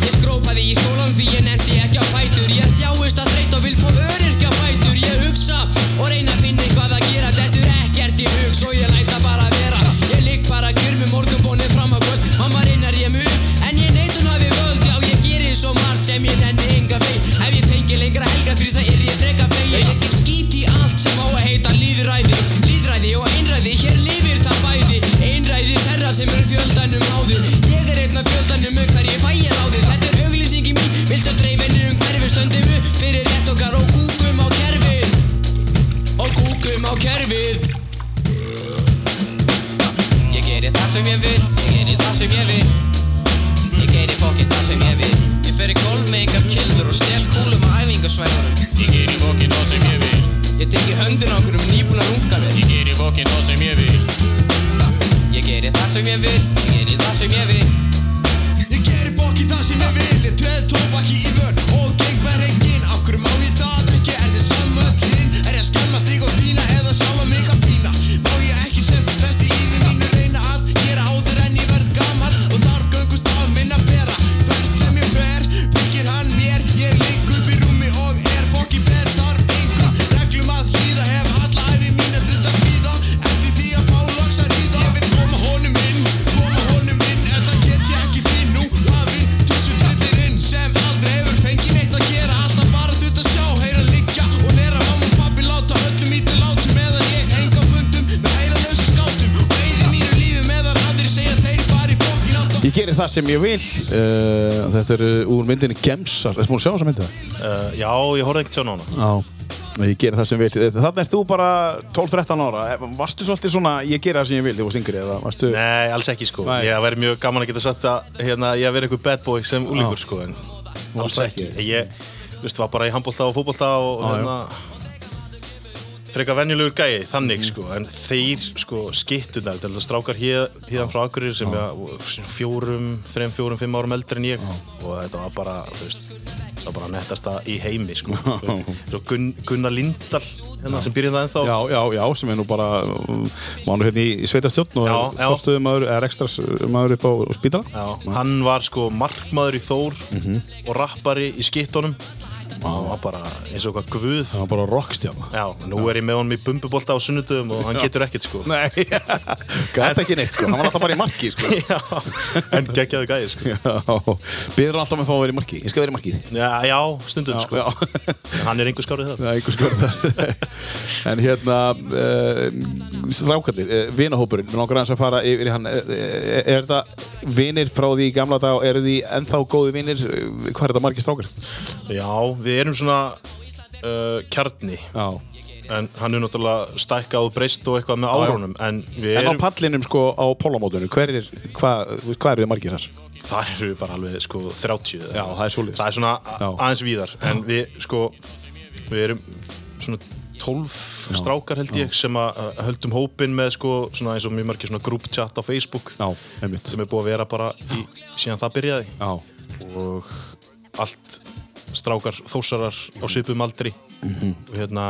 Ég skrópaði í skólan því ég nefndi ekki á fætur Ég þjáist að þreyt og vil fá öryrkja fætur Ég hugsa og reyna að finna eitthvað að gera Dettur ekkert í hug svo ég læta bara vera Ég ligg bara kjur með morgunbónið fram á kvöld Mamma reynar ég mjög en ég neitun hafi völd Já ég geri svo margt sem ég nefndi enga vei Ef ég fengi lengra helga fyrir það er ég freka fegin Ég legg skít í allt sem á að heita líðræði Líðræði og einræði, hér lifir það bæði Einræði serra sem eru fjöldanum háðir Ég er einn af fjöldanum um hverju fæ ég ráðið Þetta er auglýsingi mín, vilt að dreifinu um hverfi Stöndum upp fyrir rétt okkar og kúkum á kerfið Og kúkum á kerfið Ég geri það sem ég vil, ég geri það sem ég vil Ég geri fokkin það sem ég vil Ég fer í golf, make-up, kilfur og stel kúlum á æfingasvæðunum Ég geri fokkin það sem ég vil. Ég teki höndin á okkur um nýbúna runga mér Ég geri fokkin það sem ég vil. Ég geri það sem ég vil, ég geri það sem ég vil Ég geri bóki það sem ég vil, ég treð tóbaki í vörn og geng með reyngin Af hverju má ég það ekki, er þið samöllin? Er ég að skemma þig og þína eða sjálfa mig að pína? Má ég ekki sem best í lífi mínu reyna að gera áður en ég verð gammal Og þar göngust af minna bera Hvert sem ég fer, fylgir hann mér Ég leik upp í rúmi og er bóki ber þarf enga Reglum að hlýða, hef alla æfi mína þurft að hlýða Eftir því að fá loks að ríða Ég vil koma honum inn, koma honum inn En það get ég ekki því nú hafi Tussu trillirinn sem aldrei hefur fengið neitt að gera Alltaf bara þurft að sjá, heyra liggja Og nera mamma og pappi láta öllum í til látum Meðan ég enga fundum með heilalösa skátum Og eyði mínu lífi meðan aðrir segja þeir fari bókin átt Ég gerir það sem ég vil uh, Þetta eru úr myndinni Gemsar Þetta múin að sjá þessa myndið Uh, já, ég horfði ekkert sjá hana Já Ég gerir það sem ég vil Þannig ert þú bara 12-13 ára Eh, Varstu svolítið svona Ég gerir það sem ég vil Þegar þú varst yngri eða varstu Nei, alls ekki sko Nei. Ég væri mjög gaman að geta sagt að hérna, ég verið einhver bad boy sem úlingur sko en alls ekki Ég, veist, var bara í handbólta og fótbólta og hérna frekar venjulegur gæi, þannig sko en þeir sko skittunar þetta er strákar hér, hérðan frá Akureyri sem ég fjórum, þreim, fjórum, fimm árum eldri en ég og þetta var bara þú veist, það var bara nettasta í heimi sko Þú veist, svo Gun, Gunnar Lindahl hérna, sem byrjaði það ennþá Já, já, já, sem er nú bara Mánu hérna í, í sveitastjórn og Já, já. fórstuðum maður, er ekstra maður upp á spítala Já, hann var sko markmaður í Þór Mhm. og rappari í skittunum og var bara eins og hvað guð Það var bara rockstjána Já, nú er ég með honum í bumbubólta á sunnudum og hann getur ekkert sko Nei, gæti ekki neitt sko Hann var alltaf bara í marki sko Já, en geggjaðu gæði sko Já, býður alltaf með að fá að vera í marki Ég skal vera í marki Já, já stundum sko Já, En Hann er einhver skárið það það er einhvers konar En hérna uh, Rákallir, uh, vinahópurinn Mér langar aðeins að fara yfir í hann Eh, eh, Er þetta vinir frá því í gamla dag Eru því ennþá góði vinir Hvað er þetta margir strákar? Já, við erum svona uh, kjarni Já en hann er náttúrulega stækkað og breyst og eitthvað með já. árunum en við En á erum, pallinum sko á pólamótunum Hver er, hvað hva eru þið margir þar? það eru bara alveg sko 30 eða Já, það er svoleiðis. það er svona a- Já. aðeins víðar en við sko við erum svona 12 strákar held ég sem að að höldum hópin með sko svona eins og mjög margir svona group chat á Facebook Já, einmitt sem er búið að vera bara í, síðan það byrjaði Já, og allt strákar þósarar á svipum aldri Mhm. og hérna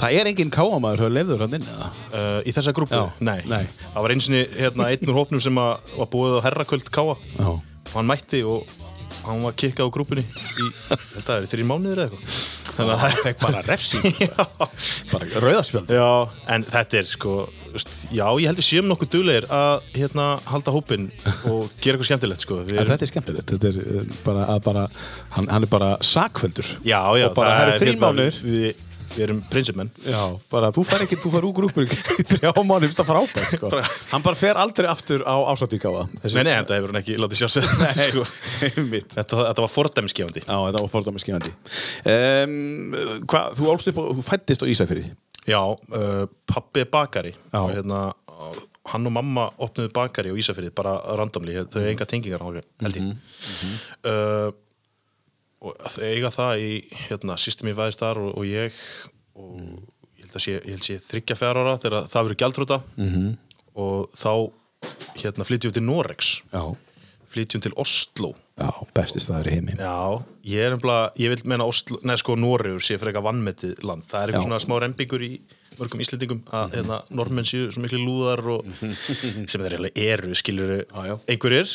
það er engin káamæður höfðu leiður hann inn eða? uh, í þessa grúpu, Já. nei. Nei. það var eins og hérna, einn úr hópnum sem að, var búið á herrakvöld káa Já og hann mætti og hann var kikkað á grúpunni í, þetta er í þrjir mánuðir eða eitthvað þannig að það fekk bara refsing Bara rauðaspjöld já, en þetta er sko veist, já, ég heldur séum nokkuð duglegir að hérna, halda hópinn og gera eitthvað skemmtilegt sko. Við En erum, þetta er skemmtilegt, þetta er eh, bara, að bara hann, hann er bara sakföldur já, já, og bara, það það eru þrín hérna, mánuður við, við erum prinsipenn Já, bara þú fær ekki, þú fær úr grúpur í þrjá mánu, finnst það frábært sko. Hann bara fer aldrei aftur á ásatíkáða Nei, nei, þetta hefur hann ekki látið sjá sér Nei, sko. þetta, þetta var fordæmisgefandi Já, þetta var fordómi skýrandi um, Hvað, þú álst upp og þú fættist á Ísafyrði Já, uh, pappi er bakari Já. og hérna, hann og mamma opnuðu bakari á Ísafyrði, bara randomli þau eiga enga tengingar þangað, held ég uh, og þau eiga það í, hérna, system í væðist þar og, og ég og ég held að sé, ég held sé þryggja fjár ára þegar það verið gjaldrúta -hmm. og þá, hérna, flytjum við til Norex Já, flytjum til Oslo já, bestist það er í heiminn Já, ég er umlað, ég vil meina Oslo, nei sko Noregur sé frekar vannmetið land það er eitthvað Já. Mhm. svona smá rembingur í mörgum íslendingum að hérna, normenn séu svo miklu lúðar og sem þeir eiginlega eru, skilur já. einhverjir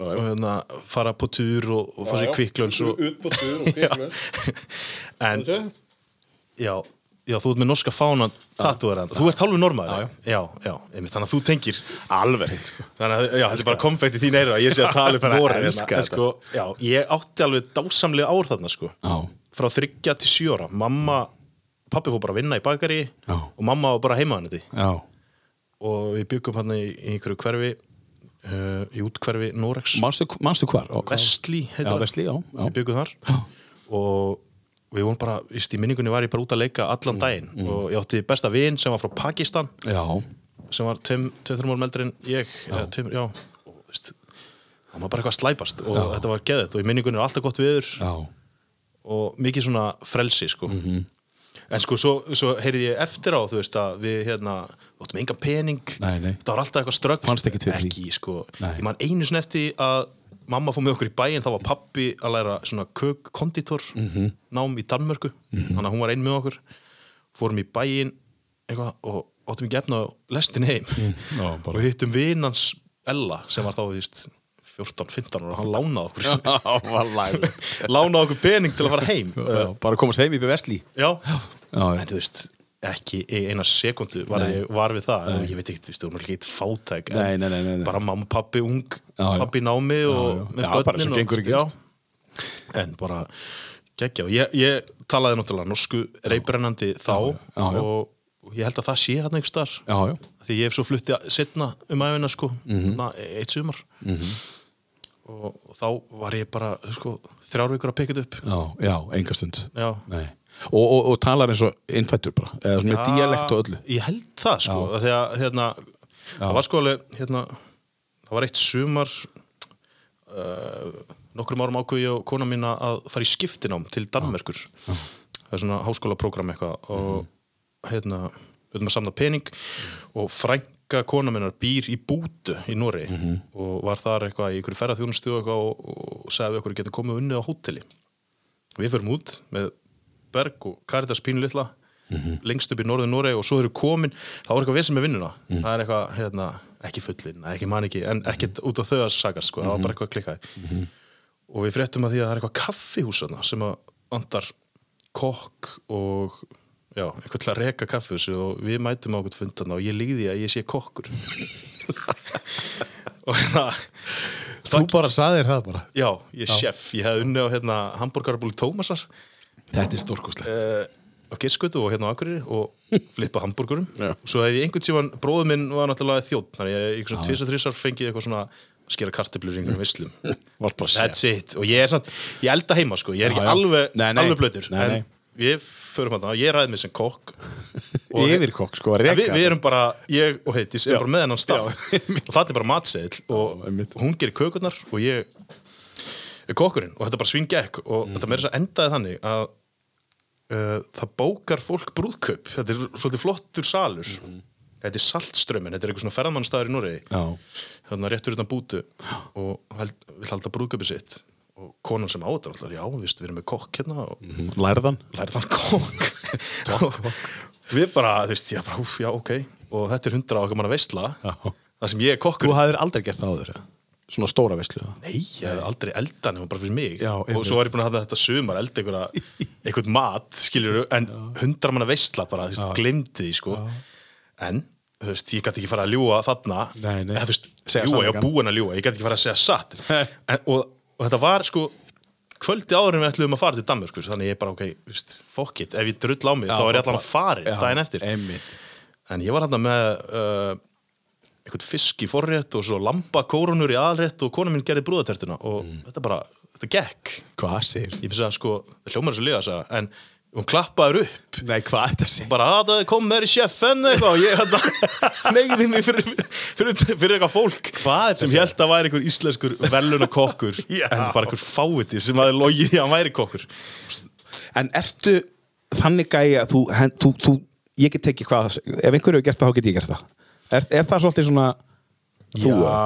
og hérna fara på túr og, og fá sér kvikklöns og, Út på tur og kviklöns en, já, já, þú ert með norska fánan tatúverðan, þú ert hálfu normaður já, já, já einmitt, þannig að þú tengir Alveg hreint sko Þannig að, já, þetta er bara konfekt í þín eira að ég sé að tala upp Bara voru elska þetta. sko, Já, ég átti alveg dásamlega ár þarna, sko Já. Frá þryggja til sjóra Mamma, pappi fór bara að vinna í bakari Já. Og mamma var bara heima hann þetta Já, Og við byggum hann í, í einhverju hverfi uh, Í útkverfi Norex manstu, manstu hvar? Ó, hvað- Vestli, heitir Já, það. Vestli, já, já. Við byggum þar Og við vorum bara, víst, í minningunni var ég bara út að leika allan Mm, daginn Og ég átti besta vin sem var frá Pakistan Já, sem var tveim, tveim, þrjum árum eldri en ég eða tveim, já og, þú veist, hann var bara eitthvað að slæpast og þetta var geðið og í minningunni er alltaf gott viður já, og mikið svona frelsi sko Mhm. en sko, svo, svo heyrði ég eftir á þú veist að við hérna áttum enga pening, Nei, nei. þetta var alltaf eitthvað strögg Fannst ekkert fyrir því. ekki, sko, Nei. ég man einu sinni eftir að mamma fór með okkur í bæinn, þá var pappi að læra svona kökkonditor Mhm. nám í Danmörku, þannig að hún var ein með okkur fórum í bæinn eitthvað, og áttum ekki efna á lestin heim Mhm. já, bara- og hittum vinans Ella sem var þá, þú veist 14-15 og hann lánaði okkur lánaði okkur pening til að fara heim Eh, já Bara komast heim í Vestli já, Já, já. en þú veist ekki í eina sekundu var, Nei. ég, var við það og ég veit ekki, þú veist, þú erum ekki eitt fátæk en Nei, nei, nei, nei, nei. bara mamma, pappi, ung Já, já. pappi í námi og já. með Já, bara börnin sem og- gengur ekki, já. en bara geggja og ég, ég talaði náttúrulega norsku reybrennandi þá já, já. og ég held að það sé hann einhvers þar Já, já, því ég hef svo flutti setna um æfina sko, Mhm. na, eitt sumar og, og þá var ég bara sko, þrjár vikur að pikka þetta upp já, já, enga stund Já. Nei Og, og, og talar eins og innfættur bara Eða svona með dialekt og öllu ég held það sko já. þegar hérna það var sko alveg hérna, það var eitt sumar uh, nokkrum árum ákveð ég og kona mín að fara í skiptinám til Danmerkur það er svona háskólaprogram eitthvað og hérna við erum að samna pening og frænka kona minnar býr í bútu í Nóri og var þar eitthvað í ykkur ferðarþjónustu og, eitthvað og, og sagði við okkur getum komið unni á hóteli við förum út með Berg og Karitas Pínlitla lengst upp í norður Noregi og svo eru komin þá er eitthvað vesen með vinnuna það er eitthvað, hérna, ekki fullin, ekki man ekki en ekkert út á þau að sagast sko, það var bara eitthvað klikkaði og við fréttum að því að það er eitthvað kaffihús þarna sem að andar kokk og já, eitthvað til að reka kaffihúsi og við mætum á okkur fund þarna og ég líði að ég sé kokkur og hérna Þú bara saðir það bara já, ég er chef, ég hefði unni á hérna, hamburgarabúli Tómasar Þetta er stórkoslegt Eh, uh, á Giskutu og hérna á Akureyri og flippa hambúrgurum og svo hefði ég einhvern tíman, bróður minn var náttúrulega þjótt þannig að ég svona tvis og þrísar fengið eitthvað svona að skera kartiblur í einhverjum vislum Var bara sér that's it, og ég er samt, ég elda heima sko, ég er ekki Já, já. alveg, Nei, nei. alveg blöður Nei, nei. en við förum hann ég ræði mig sem kokk Yfirkokk sko, að En reka Við, við erum bara, ég og Heitis erum bara með hennan stað og það er bara matseðil og hún gerir kökurnar og ég er kokkurinn og þetta er bara svingekk og þetta meira þess að endaði þannig að uh, það bókar fólk brúðkaup þetta er svolítið flottur salur þetta er saltströmmin, þetta er eitthvað svona ferðamannstæður í Noregi Mhm. Já. hérna rétt fyrir utan bútu og held, vil halda brúðkaupi sitt og konan sem á þetta er alltaf, já, víst, við erum með kokk hérna og Mhm. mhm, Lærðan lærið hann kók og við bara, þú veist, já, bara, úf, já, ok og þetta er hundra okkar manna veistla Já. það sem ég er kokkur Þú hafðir aldrei gert það áður eða? Svona stóra veistlu eða? nei, ég hef aldrei elda nema bara fyrir mig Já, og einmitt. svo var ég búin að hafa þetta sumar elda einhverja, einhvern mat, skiljur en hundra manna veistla bara, þú veist, glemdi því sko, en þú veist, ég gæti ekki fara að ljúa þarna Nei, nei. Eða, þú veist, Segja ljúa, ég sannleikann. var búin að ljúa, ég gæti ekki fara að segja satt en, og, og þetta var sko kvöldi áður en við ætlum að fara til Danmörkur þannig ég bara, ok, just, fuck it, ef ég drull á mig þá er ég allan að fara daginn eftir einmitt en ég var hann með uh, einhvern fisk í forrétt og svo lambakórunur í aðalrétt og kona mín gerði brúðatertuna og þetta bara, þetta gekk hvað segir? ég finnst að sko, það hljómar þessu liða sagði, en hún klappaður upp nei hvað þetta segir? bara að það kom meður í sjeffenn eitthvað og ég hérna neyði mig fyrir, fyrir, fyrir eitthvað fólk Hvað er sem þessi? held að væri einhver íslenskur veluna kokkur en bara einhver fáviti sem hafði logið því að hann væri kokkur En ertu þannig gæja að þú, hen, þú, þú ég get tekið hvað, ef einhver hefur gert það þá get ég gert það. Er, er það svolítið svona þú? Já. eða?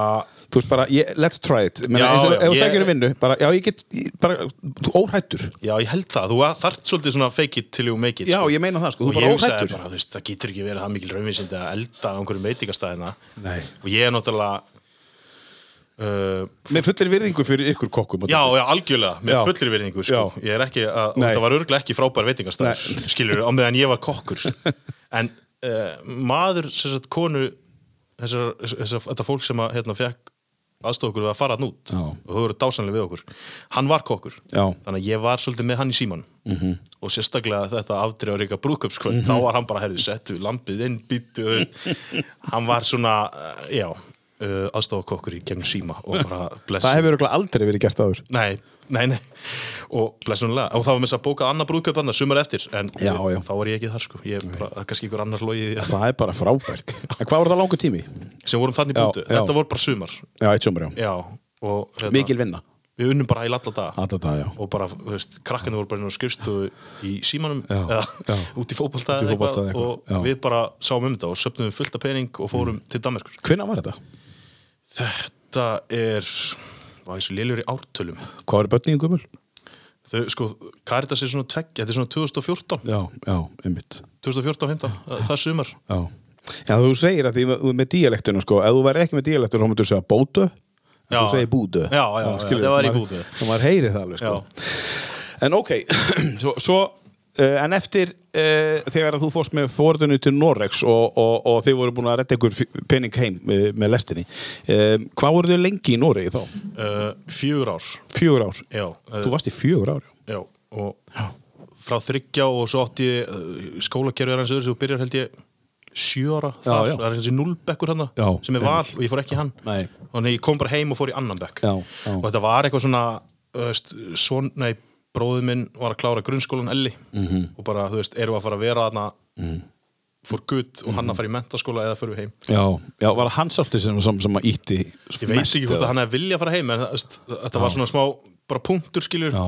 Þú veist bara, ég, let's try it. Menna, Já, eins og, já, ef þú ég- sækir um vinnu, bara, já, ég get, ég, bara, þú óhættur. já ég held það, þú þart svolítið svona fake it til you make it Já, sko. ég meina það, sko, þú og bara ég hugsaði óhræddur. bara, þú veist, það getur ekki verið það mikil raunvísind að elda á einhverjum veitingastæðina Nei. og ég er náttúrulega uh, Með fullir virðingu fyrir ykkur kokkum. og Já, dæmi. já, algjörlega, með Já. fullir virðingu sko. Já. Ég er ekki, að, og Nei. það var örglega ekki frábær veitingastæður Skilur, á meðan ég var kokkur En uh, maður, sem sagt, konu þessar, þessar, Þetta fólk sem að, hérna, fekk aðstoð okkur við að fara hann út Já. og þau voru dásanlega við okkur Hann var kokkur, Já. Mhm. þannig að ég var svolítið með hann í síman -hmm. og sérstaklega þetta afdreifaríka brúðköpskvöld, þá var hann bara herrið settu, lampið inn, býttu þú veist. hann var svona, eh, já uh, aðstofa kokkur í gegnum síma og bara blessa Það hefur örugglega aldrei verið gert áður. Nei, nei, nei og blessunlega, og það var með þess að bóka annað brúðkaup annað sumar eftir, en Já, já. þá var ég ekki þar sko, ég bara, það er kannski ykkur annars logið í- Það er bara frábært. En hvað voru það langur tími? sem vorum þannig Já, bútu, já. þetta voru bara sumar Já, eitt sumar, já. já, og hérna, Mikil vinna. við unnum bara í alla daga Alla dag, já. og bara, þú veist, krakkanu voru bara inn á skrifstu í símanum, Já, já. út í fótbolta, Út í eða fótbolta eða eitthvað, og já. Mm. við bara sáum um þetta og söpnum fullt af pening og fórum til Danmarkur Hvenær var þetta? þetta er, var þessu lélur í ártölum Hvað var bötningin gummul? þau, sko, Caritas er svona tveggja, þetta er svona 2014 Já, já, einmitt. 2014-15, það er sumar Já. Já, þú segir að því þú- með díalektinu, sko, ef þú væri ekki með díalektinu, þá myndir þú segja bótu, en Já. þú segir bútu. Já, já, já, skilurðu, þetta var í maður- bútu. Og maður heyri það alveg, sko. Já. En ok, svo, svo uh, en eftir uh, þegar að þú fórst með fórðinu til Norex og, og, og þið voru búin að redda ykkur f- pening heim uh, með lestinni, um, hvað voru þau lengi í Noregi þá? uh, fjögur ár Fjögur ár. já, uh, Þú varst í fjögur ár, já. já, og frá þryggja og svo átti ég uh, skólakerfi er hans öðru sem þú byrjar held ég sjö ára þar, já. það er þessi nullbekkur hann Já, sem er val og ég fór ekki í hann Nei. og ég kom bara heim og fór í annan bekk Já, já. og þetta var eitthvað svona þú veist, svon, nei, bróðið minn var að klára grunnskólan Elli -hmm. Mhm. og bara, þú veist, erum við að fara að vera þarna mm. fór gutt og Mhm. hann að fara í mentaskóla eða fyrir við heim Já, já, var það hans alltaf sem, sem, sem að ítti ég veit ekki hvort að hann hefði vilja að fara heim en það- þú veist, þetta var svona smá bara punktur skilur Já.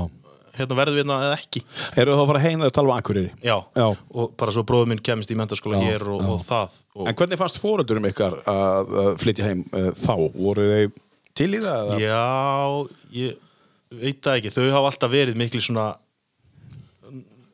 hérna verðum við hérna eða ekki Eru þá að fara heim þegar þú tala um Akureyri? já. Já. og bara svo bróður minn kemist í mentaskóla Já, hér og, já. og það og En hvernig fannst fóröldurum ykkar að, að flytja heim uh, þá? Voru þau til í það? eða? já, ég veit það ekki þau hafa alltaf verið miklu svona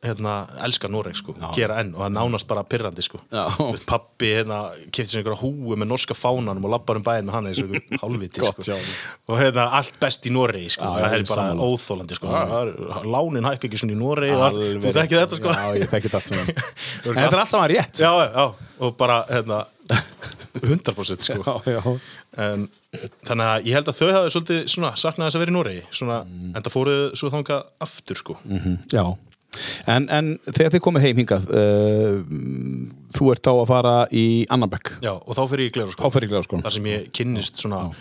hérna, elska Noreg sko, gera enn og það er nánast bara pyrrandi sko, Já. veist, pappi hérna kefti sér einhverja húu með norska fánanum og labbar um bæinn með hann eins og einhver hálfviti Gott hjá sko. honum. og hérna allt best í Noregi sko, Já, það ég er er bara sammála. óþólandi sko, Það er- lánin hækka ekki svona í Noregi og allt, Alveg þú þekkið rétt. þetta sko Já, ég þekki þetta allt saman. Örugglega en þetta er allt saman rétt. sko. já, já, já, og bara hérna 100% sko já. en, þannig að ég held að þau hafi svolítið svona, saknaði þess að vera í Noregi svona, en það fóruð svo þangað aftur sko. Mhm, já. En, en þegar þið komið heim hingað, uh, þú ert þá að fara í Annabekk, já, og þá fyrir ég glera sko. áferðinglega sko. þar sem ég kynnist svona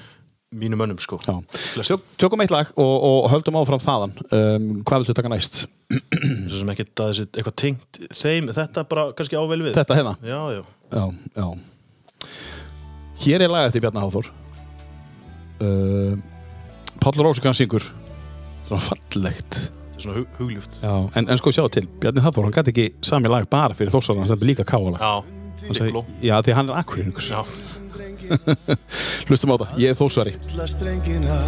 mínum mönnum sko. Já. Flestum. Tök, tökum eitt lag og, og höldum áfram þaðan. Um, hvað viltu taka næst? svo sem ekki að þessi eitthvað tengt þeim, þetta bara kannski ável við Þetta hérna. já, já, Já, já. Hér er laga eftir Bjarni Háþór. Uh, Pállur Rósukan syngur. Svona fallegt. þetta er svona hug, hugljúft já, En, en sko sjá til, Bjarni Háþór, hann gæti ekki sami lag bara fyrir Þórsson, hann sem líka káala. já. Digló Já, því hann er akkuringur. já, Hlustum á það, ég er Þórsari. alla strengina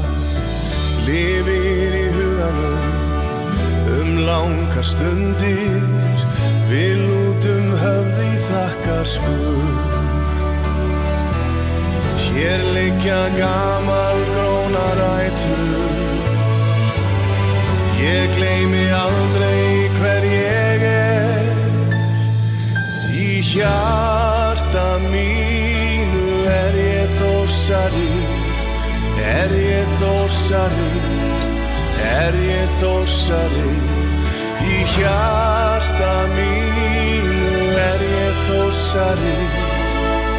lifir í huganum um langar stundir við lútum höfði þakkar skuld hér liggja gamal grónar ætur ég gleymi aldrei hver ég er í hjarta mínu er ég þórsarinn Er ég þórsari, er ég þórsari í hjarta mínu er ég þórsari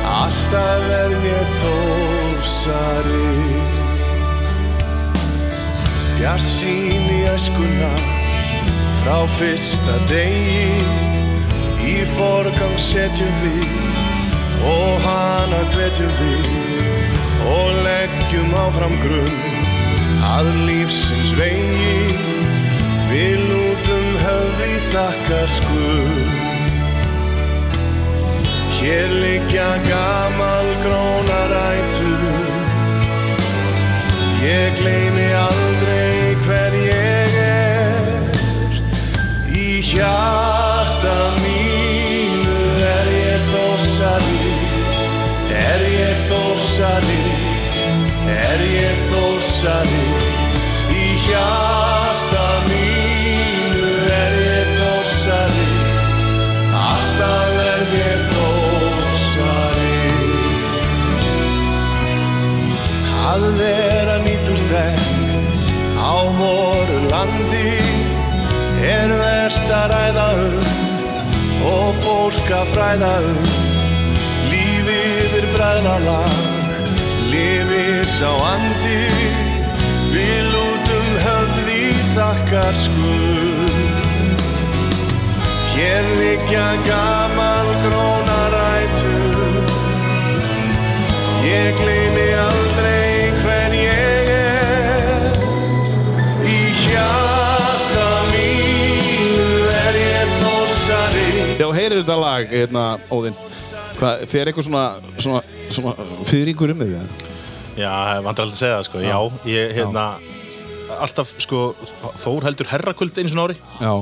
alltaf er ég þórsari Bjarsýn í æskuna frá fyrsta degi í forgang setjum við og hana hvetjum við og leggjum áfram grunn að lífsins vegi við lútum höfði þakkar skuld Hér liggja gamal grónarætur Ég gleymi aldrei hver ég er Í hjarta mínu er ég þósari Er ég þósari Er ég þósari Í hjarta mínu er ég þósari Alltaf er ég þósari Að vera nýtur þegn á voru landi er verðt að ræða um og fólk að fræða um Lífið er bræðralag, lifið sá andi Við lútum höfði þakkar skuld Hér liggja gamal grónarætur Ég gleymi aldrei hver ég er Í hjarta mínu er ég þórsari Já, heyrir þetta lag, hérna, Óðinn Hvað, fer eitthvað svona, svona, svona fyrringur um þig, eða? Já, vantar alltaf að segja það, sko. Já, ég, hérna, alltaf, sko, Þór heldur herrakvöld eins og ári. Já,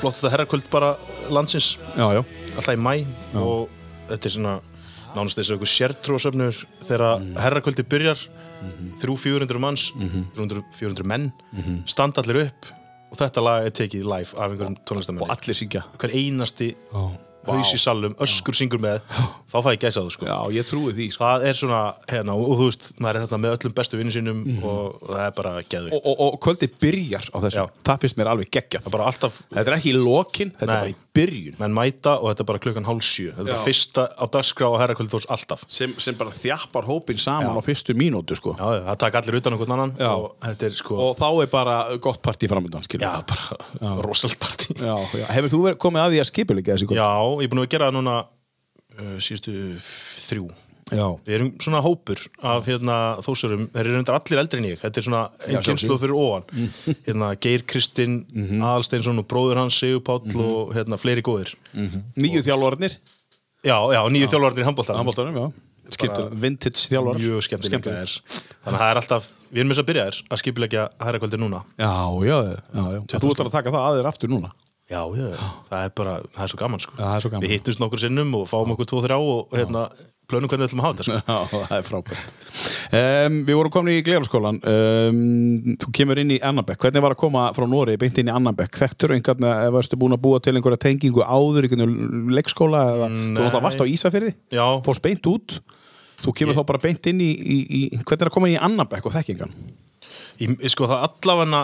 Flottsta herrakvöld bara landsins, já, já alltaf í mæ. Og þetta er svona, nánast þessu eitthvað sértrúasöfnur þegar Mhm. mm. herrakvöldi byrjar. Þrjú, 400 manns, 300, 400 menn, standa allir upp. Og þetta lag er tekið live af einhverjum tónlistamenni. Mhm. Og allir syngja Hver einasti haus í salum, öskur syngur með, þá fæ ég gæsa sko. Já, ég trúi því, sko það er svona, hérna, og, og þú veist maður er hérna með öllum bestu vinnu sínum og, og það er bara geðvikt, Mhm. og, og, og kvöldi byrjar á þessu Já. Það finnst mér alveg geggjað það er bara alltaf Þetta er ekki í lokin, þetta Nei. er bara í byrjun menn mæta og þetta er bara klukkan hálf sjö þetta er Já. bara fyrsta á dagskrá og herrakvöldi þórs alltaf sem, sem bara þjappar hópin saman á fyrstu mínútu, sko já, já, það taka allir utan okkur annan Já. og þetta er sko, Og þá er bara gott partí framöndan, skilur já, bara rosalt partí já. já, já. Hefur þú verið, komið að því að skipuleika þessi kvöld? ég er búin að gera það núna uh, síðustu f- þrjú Já, við erum svona hópur af hérna, þósurum, þeir eru reyndar allir eldri en ég þetta er svona Já, einn kynslu fyrir ofan hérna, Geir Kristinn, Aðalsteinsson og bróður hans Sigur Páll og hérna, fleiri góðir nýju þjálfarnir Já, já, nýju þjálfarnir í handbóltanum Handbóltanum, já Skemmtilega, vintage þjálfar Mjög skemmtilega er Þannig að það er alltaf, við erum þess að byrja þér að skipilegja herrakvöldi núna Já, já, já, já. Þú ætlar að taka það að þér aftur núna Já, já, það er bara, það er svo gaman sko Já, það er svo gaman. Við hittumst nokkur sinnum og fáum okkur tvo þrjá og hérna, plönum hvernig við ætlum að hafa þetta sko Já, það er frábært um, Við vorum komin í Gleirarskólan um, Þú kemur inn í Annabekk Hvernig var að koma frá Nóri beint inn í Annabekk? Þekktur einhvern að varstu búin að búa til einhverja tengingu áður í einhvern leikskóla eða þú náttúrulega varst á Ísafirði Já. Fórst beint út Þú kemur þá bara beint inn í, í, í Hvernig er að koma í Annabekk og þekkingan? Ég, ég- sko, það allafanna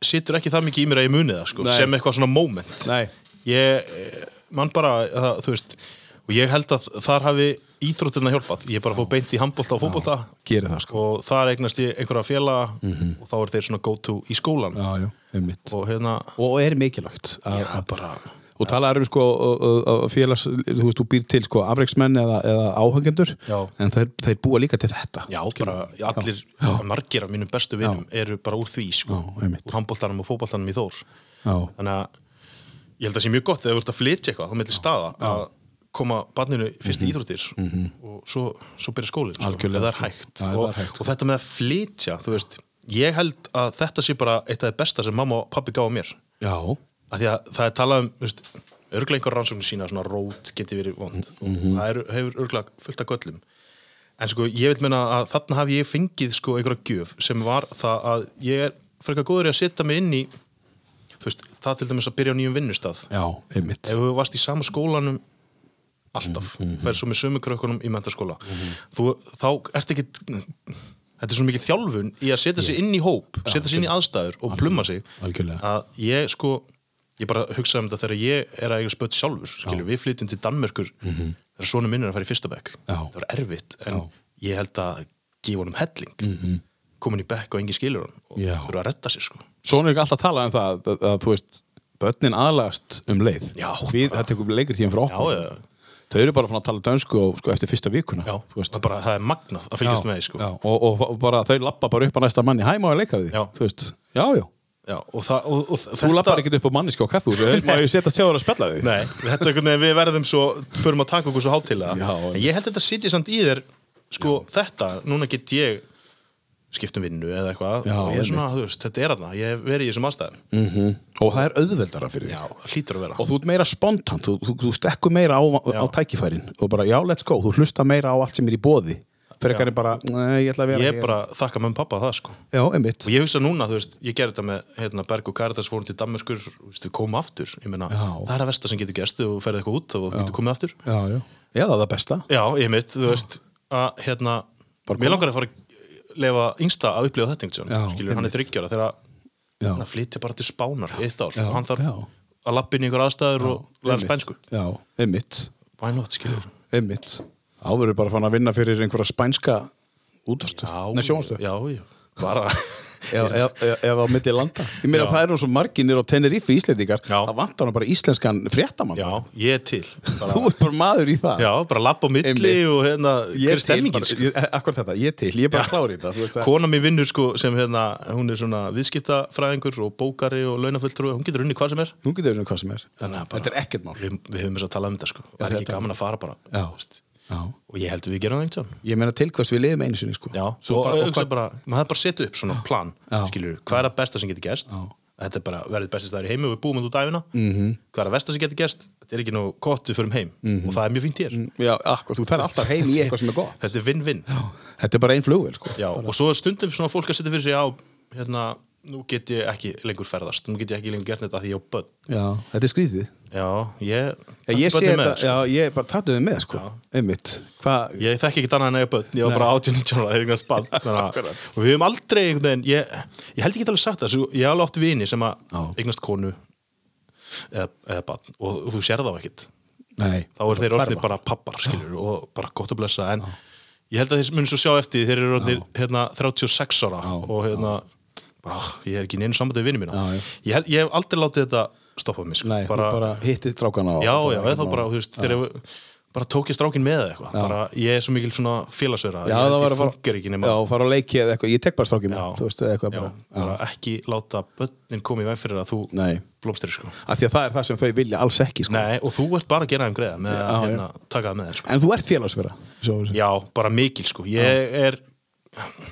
situr ekki það mikið í mér að ég muni það sko Nei. sem eitthvað svona moment Nei. Ég, eh, mann bara, það, þú veist og ég held að þar hafi íþróttina hjálpað Ég er bara að fá beint í handbólta og fótbolta Gerir það sko Mhm. og þar eignast ég einhverja félaga og þá er þeir svona go to í skólan Já, já, einmitt og hérna Og er mikilvægt að, já, bara, og talaður um sko ö- ö- ö- félags, þú veist, þú býr til sko afreiksmenn eða, eða áhengendur Já. en þeir, þeir búa líka til þetta já, skilur. bara allir, já, margir af mínum bestu vinum eru bara úr því sko, Já, einmitt. úr handbóltanum og fótbóltanum í Þór já, þannig að ég held að það sé mjög gott ef þú ert að flytja eitthvað, þá mellir staða að koma barninu fyrst í íþróttir og svo, svo byrja skólinn sko, ef Mhm. Algjörlega, það er sko. hægt, Já, ef það og, er hægt, og þetta með að flytja, þú veist ég held að þetta sé bara eitt af það besta sem mamma og pappi gáða mér já, að því að það er talað um þú veist, örglega einhver rannsóknir sína að svona rót geti verið vond og það er, hefur örglega fullt af göllum en sko ég vil menna að þarna haf ég fengið sko einhverja gjöf sem var það að ég er frekar góður í að setja mig inn í þú veist, það til dæmis að byrja á nýjum vinnustað já, einmitt ef þú varst í sama skólanum Mhm, alltaf, ferð svo með sömu krökkunum í mentaskóla þú, þá ert ekki þetta er svona mikið þjálfun í að setja sig inn í hóp setja sig inn í aðstæður og plumma sig algjörlega. að ég sko ég bara hugsaði um þetta þegar ég er að eiga spött sjálfur skilur, við flytjum til Danmerkur þegar svona minn er að fara í fyrsta bekk Mhm. Já. það var erfitt en ég held að gefa honum helling komin í bekk og engin skilur hann og Mhm. Já. þurfa að redda sér sko Svona er ekki alltaf að tala um það að, að þú veist, börnin aðlagast um leið Já. Við, það tekur lengri tíðan frá já, okkur já, Þau eru bara fann að tala dönsku og, sko, eftir fyrsta vikuna já, þú veist. það, er bara, það er magnað að fylgjast með því sko já, og, og, og bara þau lappa bara upp að næsta manni Hæ, má ég leika við því? Já. Þú veist, já, já Já, og það, og, og Þú lappar ekkert upp á manniski á kaffu Má ég setja þjóður að spjalla við því? Nei, þetta er hvernig við verðum svo förum að taka okkur svo hátilega Já, já. en ég held að þetta sitja samt í þér sko þetta, núna get ég skiptum vinnu eða eitthvað Já, og ég er svona, þú veist, þetta er aðna ég hef verið í þessum aðstæðum mm. Og það er auðveldara fyrir Já, því það hlýtur að vera Og þú ert meira spontant, þú, þú, þú stekkur meira á, á tækifærin og bara já, let's go, þú hlusta meira á allt sem er í bóði fyrir ekki bara, nei, ég ætla að vera Ég er bara að þakka mömmu pappa það sko Já, einmitt og ég hugsa núna, þú veist, ég gerði þetta með hérna, Berg og Karitas fórum til Damerskur við komum aftur, ég meina, Já. það er að versta sem getur gerst ef þú ferð eitthvað út og getur komið aftur Já, já, já, það er það besta Já, ég mitt, þú veist að hérna, Bara mér koma. langar að fara að lefa yngsta að upplifa þetta einhvern Já, veginn, skilur, hann er einmitt. þryggjára þegar Já. hann flytja bara til Spánar eitt ár, Já, hann þarf já. að lappa inn í einhver aðstæður og læra Einmitt. spænsku Já, einmitt, Why not, skilur einmitt Áverður bara fann að vinna fyrir einhverja spænska útastu, nei sjónstu Já, já, bara Eða á milli landa Ég meina Já. það eru svo marginir á Tenerife íslendingar Já. Það vantar hann bara íslenskan fréttamann Já, ég er til bara, Þú ert bara maður í það Já, bara lappa á milli Einmitt. og hérna, Ég hver er er til, stemmingin bara, sko? ég, akkur þetta, ég er til, ég er bara Já. klárið þetta þú veist það- Kona mér vinnur sko sem hérna, hún er svona viðskiptafræðingur og bókari og launafulltrú hún getur unni hvað sem er Nú getur við um hvað sem er Þannig að bara- Þetta er ekkert mál við, við höfum þess að tala um þetta sko það er ekki þetta- gaman að fara bara Já. þú veist. og ég held að við gerum það einhvern Ég meina til hvers við liðum einu sinni sko Já, Svo og, bara, og, og og hvað, bara, maður hefði bara setið upp svona plan Já. skilur, hvað er að besta sem getur gerst þetta er bara verðið bestist það er í heimi og við búum þetta út æfina Mhm. -hmm. hvað er að besta sem getur gerst þetta er ekki nú gott við förum heim og það er mjög fínt hér já, akkur, þú ferð alltaf heim í eitthvað sem er gott þetta er vinn-vinn Þetta er bara einn flugvel sko Já, og svo er stundum svona fólk að setja fyrir sig á hérna, nú get ég ekki lengur ferðast nú get ég ekki lengur gert þetta að því ég á börn Já, þetta er skrýðið já, ég, Já, ég sé börnin þetta, sko. já, ég bara tattu þið með sko Einmitt, hvað ég þekki ekkert annað en eiga börn ég var bara 18-19 ára, þegar spann og við höfum aldrei einhvern veginn ég, ég held ekki alveg sagt það, svo ég hef alveg átt vini sem að Já. eignast konu eða, eða barn og þú sér þá ekkit Nei, þá eru þeir orðnir bara pappar skilur, og bara gott að blessa en ég held að þeir mun svo sjá eftir því þeir eru orðnir hérna, 36 ára og hérna bara, "Ah, ég er ekki í neinu sambandi við vini mína Já, já. ég, held, ég hef aldrei látið þetta stoppa mig sko. Nei, bara, bara hittið strákana og- Já, og já, eða þá bara, þú veist, þegar ég bara tók ég strákin með eða eitthvað, bara ég er svo mikil svona félagsverða, Já, ég það var held að ég fara funkar ekki Já, nema fara á leiki eða eitthvað Ég tek bara strákið Já. með, þú veist, eða eitthvað já, bara bara ekki láta börnin koma í veg fyrir að þú Nei. blómstrir sko. Af því að það er það sem þau vilja alls ekki sko Nei, og þú ert bara að gera þeim greiða með að Já, já. hérna, taka það með þér sko. En þú ert félagsverða svo- Já, bara mikil sko, ég er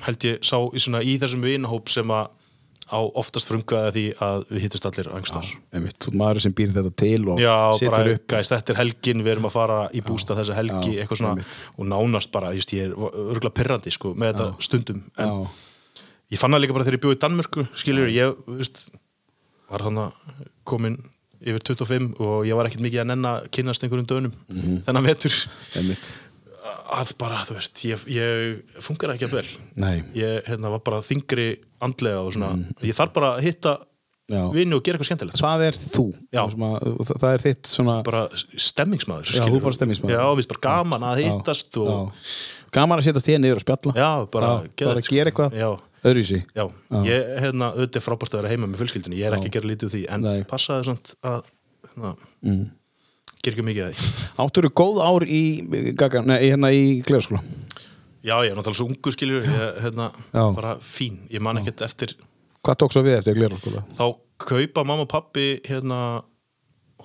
held ég sá í, svona, í þessum vinahóp sem að á oftast frumkvæða því að við hittust allir angstar. Einmitt, þú ert maður sem býr þetta til og Já, bara, setur upp gæst, þetta er helgin, við erum að fara í bústa þessa helgi, já, eitthvað svona einmitt. og nánast bara, just, ég er örgulega perrandi sko, með þetta stundum en Já. ég fann það líka bara þegar ég bjóði í Danmörku skilur, ég veist, var hann komin yfir 25 og ég var ekkert mikið að nenn að kynnast einhverjum dönum Mhm. þennan vetur Einmitt. að bara, þú veist, ég, ég fungar ekki að vel Nei. Mhm. ég hérna, var bara þingri andlega og svona, ég þarf bara að hitta Já. vinnu og gera eitthvað skemmtilegt sko. Það er þú Já. Það sem að- og það- það er þitt svona bara stemmingsmaður Já, skilur. þú er bara stemmingsmaður. Já, við bara gaman að hittast já, og já. Gaman að setjast hér niður og spjalla Já, bara geðveikt, bara sko. gera eitthvað Já. öðruvísi Já, ég, hérna, auðvitað er frábært að vera heima með fjölskyldinni, ég er ekki að gera lítið úr því en Nei. Mm. passaði samt að hérna, gera ekki mikið að því Áttur eru góð ár í, gaga, nei, hérna í gleðaskóla Já, ég er náttúrulega svo ungu skiljur ég, hérna, Já. bara fín, ég man ekkert eftir Hvað tók svo við eftir gleðaskóla? þá kaupa mamma og pappi hérna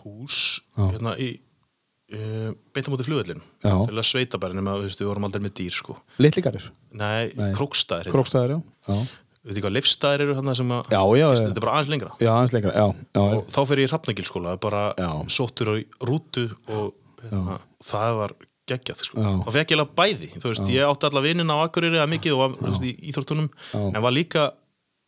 hús Já. hérna í uh, beintamóti flugvöllin Já. til að sveita bara nema, þú veist, við vorum aldrei með dýr sko. Littlingarir, Nei, Nei. krókstæðir hérna. krókstæðar, já Já, við veitum hvað leifstæðir eru hann sem að Já, já, já. þetta er bara aðeins lengra já aðeins lengra, já, já, og þá fer ég í Hrafnagilskóla bara Já. sóttur á rútu og hérna, það var geggjað sko. Já. þá fekk ég alveg bæði þú veist, ég átti alla vinina á Akureyri að mikið og var, þú veist, í íþórtunum en var líka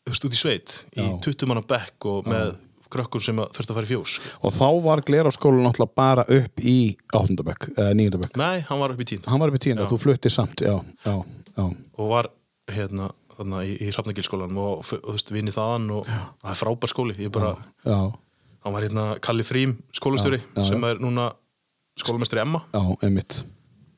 þú veist, út í sveit í 20 manna bekk og með krökkur sem að þurfti að fara í fjós Og þá var gleðaskóla náttúrulega bara upp í áttundabökk, eða níundabökk nei, hann var upp í tínd Hann var upp í tíunda, þú fluttir samt, já, já, já og var hérna, þarna í, í Hrafnagilskólanum og f- og, þú veist, vinni þaðan og það er frábær skóli ég bara, já, hann var hérna Kalli Frím skólastjóri Já, já, sem er núna skólamestri Emma já, einmitt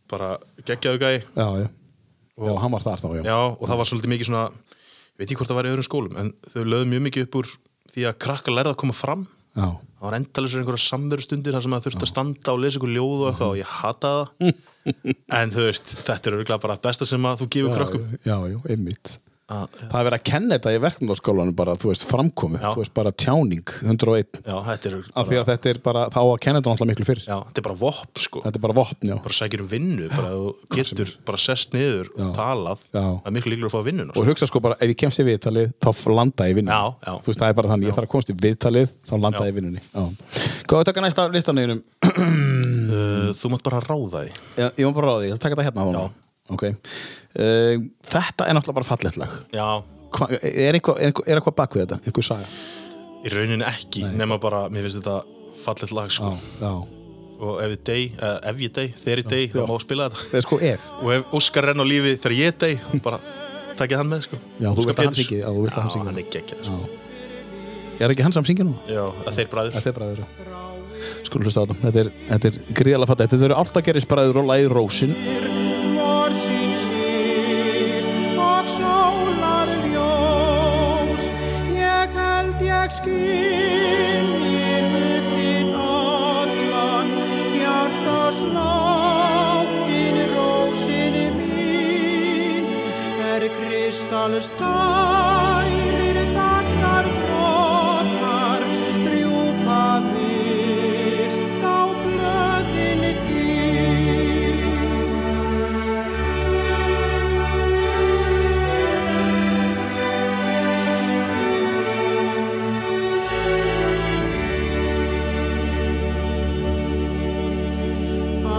bara geggjaðu gæi já, já, já, hann var þar þá, já, Já, og það var svolítið mikið svona ég veit ekki hvort það var í öðrum skólum en þau lögðu mjög mikið upp úr því að krakka lærða að koma fram já. það var endalisur einhverja samverðstundir þar sem það þurfti að standa og lesa ykkur ljóð og eitthvað og ég hata það en þú veist, þetta er örgulega bara besta sem að þú gefur krakkum já, já, einmitt að, Það er verið að kenna þetta í verkefnarskólanum bara, þú veist, framkomi, Já. þú veist, bara tjáning 101, Já, þetta er af því bara, að þetta er bara þá á að kenna þetta náttúrulega miklu fyrr já, þetta er bara vopn sko, Þetta er bara vopn, já, bara sækir um vinnu bara þú getur, bara sest niður og talað, Já. það er miklu líklega að fá vinnu og hugsa sko bara, ef ég kemst í viðtalið þá f- landa ég í vinnunni, Já, já. þú veist, það er bara þannig ég þarf að komast í viðtalið, þá landa Já. ég í vinnunni já. Hvað er taka næsta listaneginum? uh, þú mátt bara ráða því Já, ég var bara ráði, ég ætla að taka þetta hérna Já. ána Ok uh, Þetta er náttúrulega bara fallegt lag Já, Hva, Er eitthvað eitthva, eitthva bak við þetta? Einhver saga? í rauninni ekki nema bara, mér finnst þetta fallet lag sko. já og ef ég dey, eða ef ég dey, þegar ég dey þá má spila þetta Það er sko ef og ef Óskar renn á lífi þegar ég dey bara takja hann með sko Já, þú Óskar vilt að hann Péturs. syngi, já, þú vilt að hann syngi. Já, hann er geggjað sko. Er ekki hans að syngja nú? Já, að þeir bræður Þetta er bræður já. Skulum hlusta á þetta Þetta er, þetta er gríðalega fallegt Þetta eru alltaf gerist bræður og lagið Rósin Kristallur stælir daggar grotnar drjúpa vilt á blöðinni þín.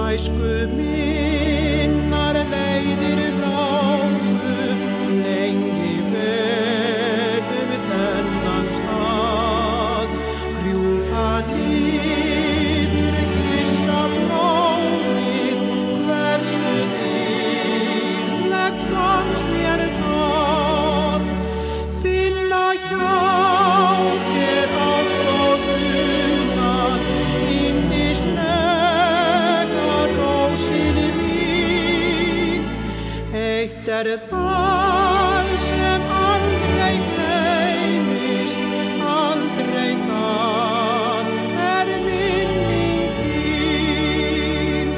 Æsku minnar leiðir lágu, lengi vegum þennan stað. Krjúpa niður, kissa blómið, hversu dýrlegt fannst mér það. Finna hjá þér ást og unað, yndislega rósinni mín. Eitt er það sem aldrei gleymist, aldrei það er minning þín.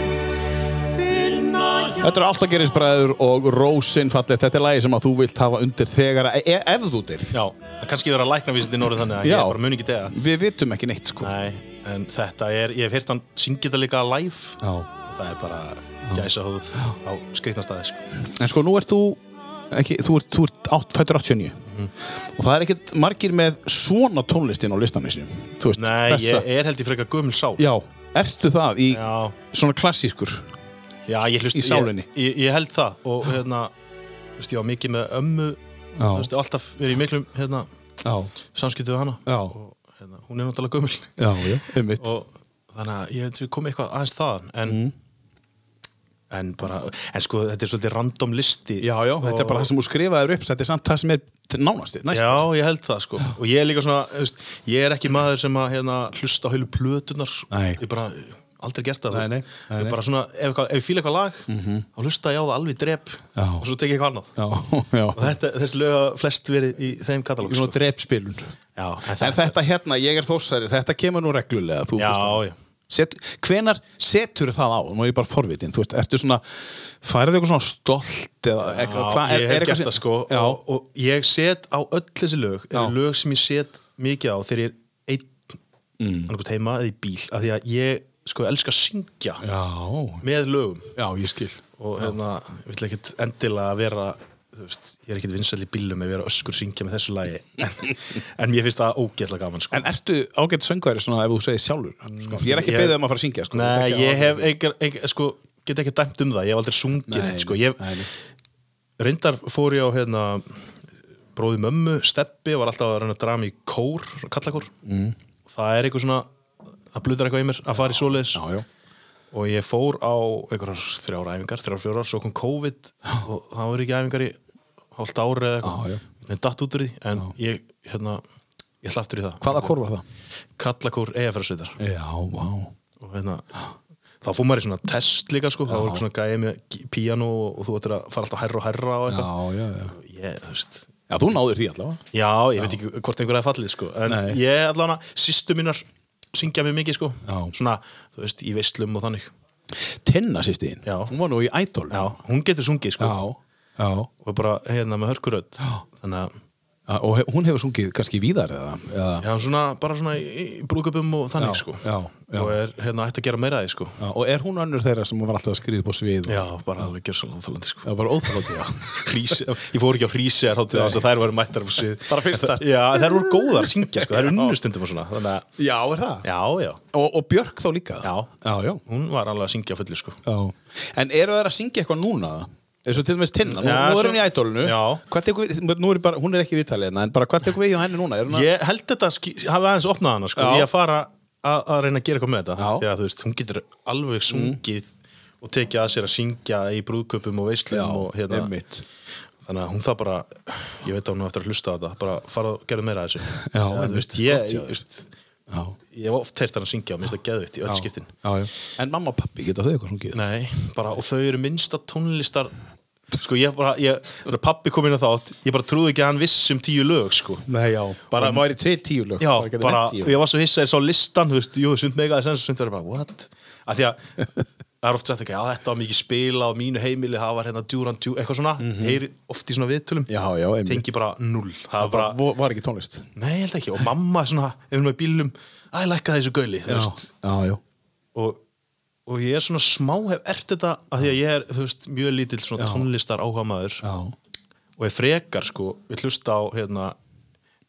Finna hjá Þetta eru alltaf gerist bræður og Rósin fallegt Þetta er lagið sem að þú vilt hafa undir þegar e Ef þú dyrð Já, kannski vera læknavísindin orðið þannig að Já. ég bara mun ekki dega Við vitum ekki neitt sko Nei, en þetta er, ég hef heyrt hann syngið þetta líka live Já og það er bara gæsa hóð á skrifnastæði sko. En sko nú ert þú ekki, þú ert, þú ert átt, fættur 89 Mhm. og það er ekkert margir með svona tónlistin á listanum sínum Þú veist, Nei, þessa ég er held ég frekar gömul sál Já, ertu það í Já. svona klassískur Já, ég hlust Í sálinni. ég, ég, ég held það og hérna, þú veist, ég var mikið með ömmu Já. þú veist, alltaf verið í miklum hérna, Já, samskiptu við hana Já. og hérna, hún er náttúrulega gömul já, já, einmitt og þannig að ég held við komið eitthvað aðeins þaðan en, Mm. en bara, en sko þetta er svolítið random listi Já, já, þetta er bara það sem þú skrifaður upp þetta er samt það sem er nánast næst Já, ég held það sko og ég er líka svona, þú veist, ég er ekki maður sem að hérna, hlusta á heilu plötunar Nei. ég bara aldrei gert það Nei, nei, nei, Ég nei. Mhm. bara svona, ef, eitthvað- ef ég fíla eitthvað lag þá hlusta ég á það alveg drep Já. og svo tek ég eitthvað annað Já, já og þetta, þessi lög hafa flest verið í þeim katalóg sko. Svona drepspilun Já, en En þetta hérna, ég er þósari, þetta kemur nú reglulega þú Já, veist. já Set, hvenar setur það á? Nú er ég bara forvitin, þú veist, ertu svona færðu eitthvað svona stolt eða Já, eitthvað, hvað- er- ég er hef eitthvað gert sem- það sko Já, og, og ég set á öll þessi lög Já. eru lög sem ég set mikið á þegar ég er einn mm. heima eða í bíl af því að ég sko elska að syngja já, með lögum já, ég skil og hérna, ég vil ekkert endilega vera þú veist, ég er ekkert vinsæll í bílum með vera öskur syngja með þessu lagi en, en mér finnst það ógeðslega gaman sko. En ertu ágætt söngværi svona ef þú segir sjálfur? Sko? Ég er ekki ég- beðið um að fara að syngja sko. Nei, Þetta er ég ekki- hef einhver, einhver, sko, get ekki dæmt um það, ég hef aldrei sungið neitt, sko. ég, nei, nei. reyndar fór ég á hérna, bróði mömmu, steppi var alltaf að reyna að draga mig í kór, kallakór mm. það er eitthvað svona það blutar eitthvað í mér að fara í svoleiðis Já, já, og ég fór á einhverjar þrjár æfingar, þrjár fjórar, svo kom COVID og það voru ekki æfingar í hálft ári eða Já, já. eitthvað, minn datt út úr því en ég, hérna, ég ætla aftur í það Hvaða kór var það? Kallakór EFR-sveitar Já, vá og hérna þá fór maður í svona test líka sko, þá var eitthvað svona gæði með gí- píanó og, og þú ættir að fara alltaf hærra og hærra og Já, eitthvað já, já ég, þú veist, Já, þú náður því allavega já, ég veit ekki hvort einhverja fallið sko, en Nei. ég allan að sýstu mínar syngja mjög mikið sko, Já. svona, þú veist, í veislum og þannig Tinna sýstiðin Já. Hún var nú í Idol já, hún getur sungið sko Já, já og bara hérna með hörkurödd Já. þannig að, A- Og he- hún hefur sungið kannski víðar eða, eða já, svona, bara svona í í brúðkaupum og þannig Já, sko já, já. og er hérna ætti að gera meira af því sko Já, Og er hún önnur þeirra sem var alltaf að skriða upp á svið og- já, bara alveg gjörsalega óþálandi sko Það var bara óþátt Já, Hrísi, ég fór ekki á hrísiðar hátíð þannig að þær voru mættar á svið Bara fyrstar. já, þær voru góðar að syngja sko, þær eru unnustundum og svona þannig að, já er það? já, já, Og, og Björk þá líka? Já. Já, já, hún var alveg að syngja fullu sko já. En eru þær að syngja eitthvað núna? eins og til dæmis Tinna, nú, Já, nú er sem- hún í ædólinu Já. hvað tekur við, nú er bara, hún er ekki í Ítalið en bara hvað tekur við hjá henni núna? Er hún að- ég held þetta, ski- hafi aðeins opnað hana sko, Já. ég að fara að að reyna að gera eitthvað með þetta Já. Mm. þú veist, hún getur alveg sungið og tekið að sér að syngja í brúðköpum og veislum Já, og hérna einmitt. þannig að hún það bara, ég veit að hún á eftir að hlusta á þetta bara fara og gera meira af þessu Já, þú veist, einmitt, ég, gott ég, hjá þér. veist, Já. ég hef oft heyrt hann að syngja og minnst það geðvitt í öll skiptin já, já. En mamma og pappi geta þau eitthvað sungið? Nei, bara, og þau eru minnsta tónlistar Sko, ég bara, ég, þegar pappi kom inn á þátt Ég bara trúði ekki að hann viss um tíu lög, sko Nei, já Bara maður er í tveir tíu lög Já, gæti bara, nefnt tíu. ég var svo hissa þér sá listan, þú veist Jú, sund mega þess enn, sund verður bara, what? Af því að, það er oft sagt ekki Já, þetta var mikið spila á mínu heimili Það var hérna Duran Dú, eitthvað svona Heyri oft í svona viðtölum Mhm. Já, já, einmitt. Tengi bara null Það var bara, Vo- Var ekki tónlist? nei, ég held ekki Og mamma, svona, ef hún var í bílum Æ, lækka þessu gauli, þú veist já, já og, og ég er svona smá hef ert þetta af því að ég er þú veist, mjög lítill svona tónlistar áhamaður Já, og ég frekar sko, við hlusta á hérna,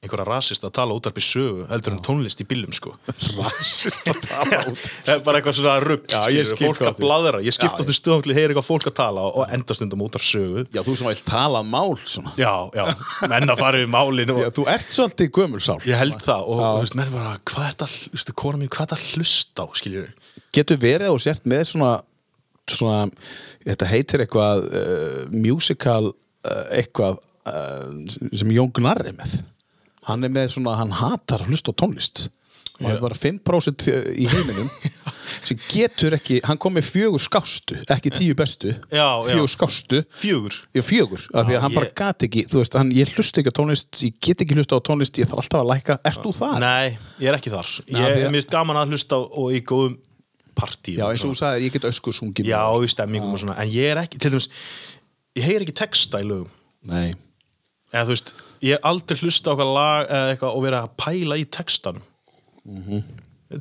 einhverja rasist að tala útarpi sögu heldur en tónlist í bílum sko rasist að tala útarpi það er bara eitthvað svona rugg Já, skilurðu, ég skil fólk hvað að þú- bladra, ég Já, skipt ofta stöðum til að heyra eitthvað fólk að tala og- og endast undum útarpi sögu já þú sem vilt tala mál svona já, já, menn að fara við málin og, Já, þú ert svolítið gömulsál ég held það og þú veist, menn bara, hvað er þetta þú veist, kona mín, hvað er þetta að hlusta á skiljur Getur verið og sért með svona svona, þetta heitir eitthvað uh, musical uh, eitthvað uh, sem Jón Gnarr er með Hann er með svona, hann hatar að hlusta á tónlist og hann er bara 5% í heiminum sem getur ekki, hann kom með fjögur skástu ekki tíu bestu, Já, já. fjögur skástu fjögur Ég fjögur, af því að Já, hann bara ég- gat ekki þú veist, hann, ég hlusta ekki á tónlist, ég get ekki hlusta á tónlist ég þarf alltaf að lækka, ert þú það? Nei, ég er ekki þar Nei, Ég því er að- mist gaman að hlusta á- og í góðum partí Já, eins og þú sagðir, ég get öskur sungið Já, í stemmingum og svona En ég er ekki, til dæmis Ég heyr ekki texta í lögum Nei, Eða þú veist, ég er aldrei hlusta á eitthvað lag eða eitthvað og vera að pæla í textanum Mhm.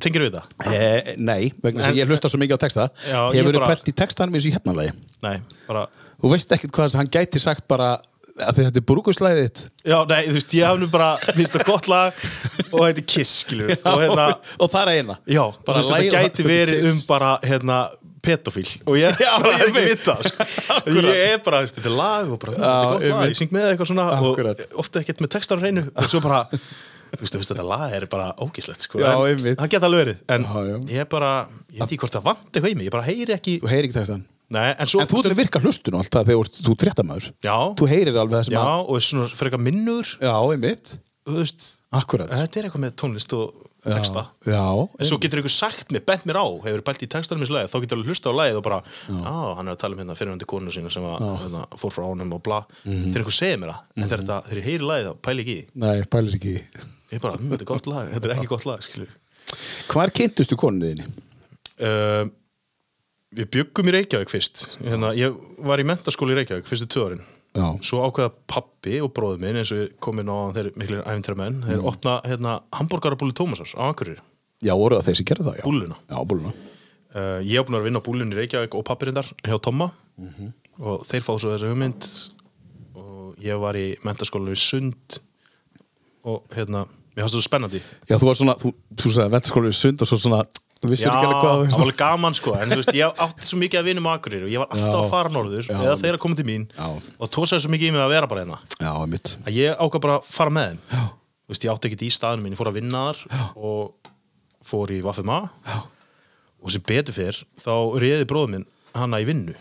Tengir við það? eh, nei vegna þess En- að ég hlusta svo mikið á texta Já, ég Ég verið bara- bara... pælt í textanum eins og í hérna lagi Nei, bara Þú veist ekkert hvað hann gæti sagt bara að því þetta er brúkuslæðið þitt Já, nei, þú veist, ég hef nú bara Mist það gott lag og þetta er kiss, skilur Og hérna, og það er eina já, bara Bara þú veist, lagið- þetta gæti verið um bara, hérna pedofíl og ég Já, bara ég er ekki einmitt. vita sko. ég er bara, veist, þetta er lag og bara, þetta er gott lag, einmitt. ég syng með eitthvað svona Akkurat. og ofta ekkert með textar reynu og svo bara, þú veist, þú veist, þetta lag er bara ógíslegt, sko, Já, en einmitt. það geta alveg verið, en Já, já. ég er bara ég veit ekki hvort það vant eitthvað í mig, ég bara heyri ekki Þú heyrir ekki textan nei, en svo, En þú ert með virka hlustun og allt það þegar þú ert- þú ert fréttamaður já, Þú heyrir alveg það sem já, að og svona fyrir eitthvað minnur, Já, einmitt þú veist Akkurat þetta er eitthvað með tónlist og texta Já, En svo getur einhver sagt mér, bent mér á, hefur bælt í textanum í slagið, þá getur alveg hlusta á lagið og bara, á, hann er að tala um hérna fyrirvændi konu sína sem að, hérna, fór frá honum og bla, þegar einhver segir mér það, en þegar, þetta, þegar ég heyri lagið þá pæli ekki í, því. Nei, pælir ekki í. ég er bara, "Mm, þetta er gott lag, þetta er ekki gott lag, skilur. Hvar kynntustu konuðinni? Uh, við byggum í Reykjavík fyrst, hérna, ég var í mentaskóli í Reykjavík fyrstu tvö árin, Já. svo ákveða pappi og bróður minn, eins og ég kom inn á þeir miklir æfintramenn, þeir opna, hérna, hamburgarabúli Tómasar á Akureyri, Já, voru það þeir sem gerði það? Já. búluna. Já, búluna. Uh, ég er búin að vinna á búlunni í Reykjavík og pappirindar hjá Tomma Mhm. og þeir fá svo þessu hugmynd og ég var í mentaskólanum í Sund og hérna, mér fannst þetta svo spennandi Já, þú var svona, þú, þú sagði ventaskólinu sund og svo svona, þú vissir ekki alveg hvað það var þú alveg gaman sko en þú veist, ég átti svo mikið að vinna með Akureyri og ég var alltaf Já. að fara norður Já, eða þeir að koma til mín Já. og tósaði svo mikið í mig að vera bara hérna Já, mitt. að ég ákvað bara að fara með þeim Já. þú veist, ég átti ekkert í staðinu mín, ég fór að vinna þar Já. og fór í Vaffema og sem betur fyrr þá reyði bróðum minn hana í vinnu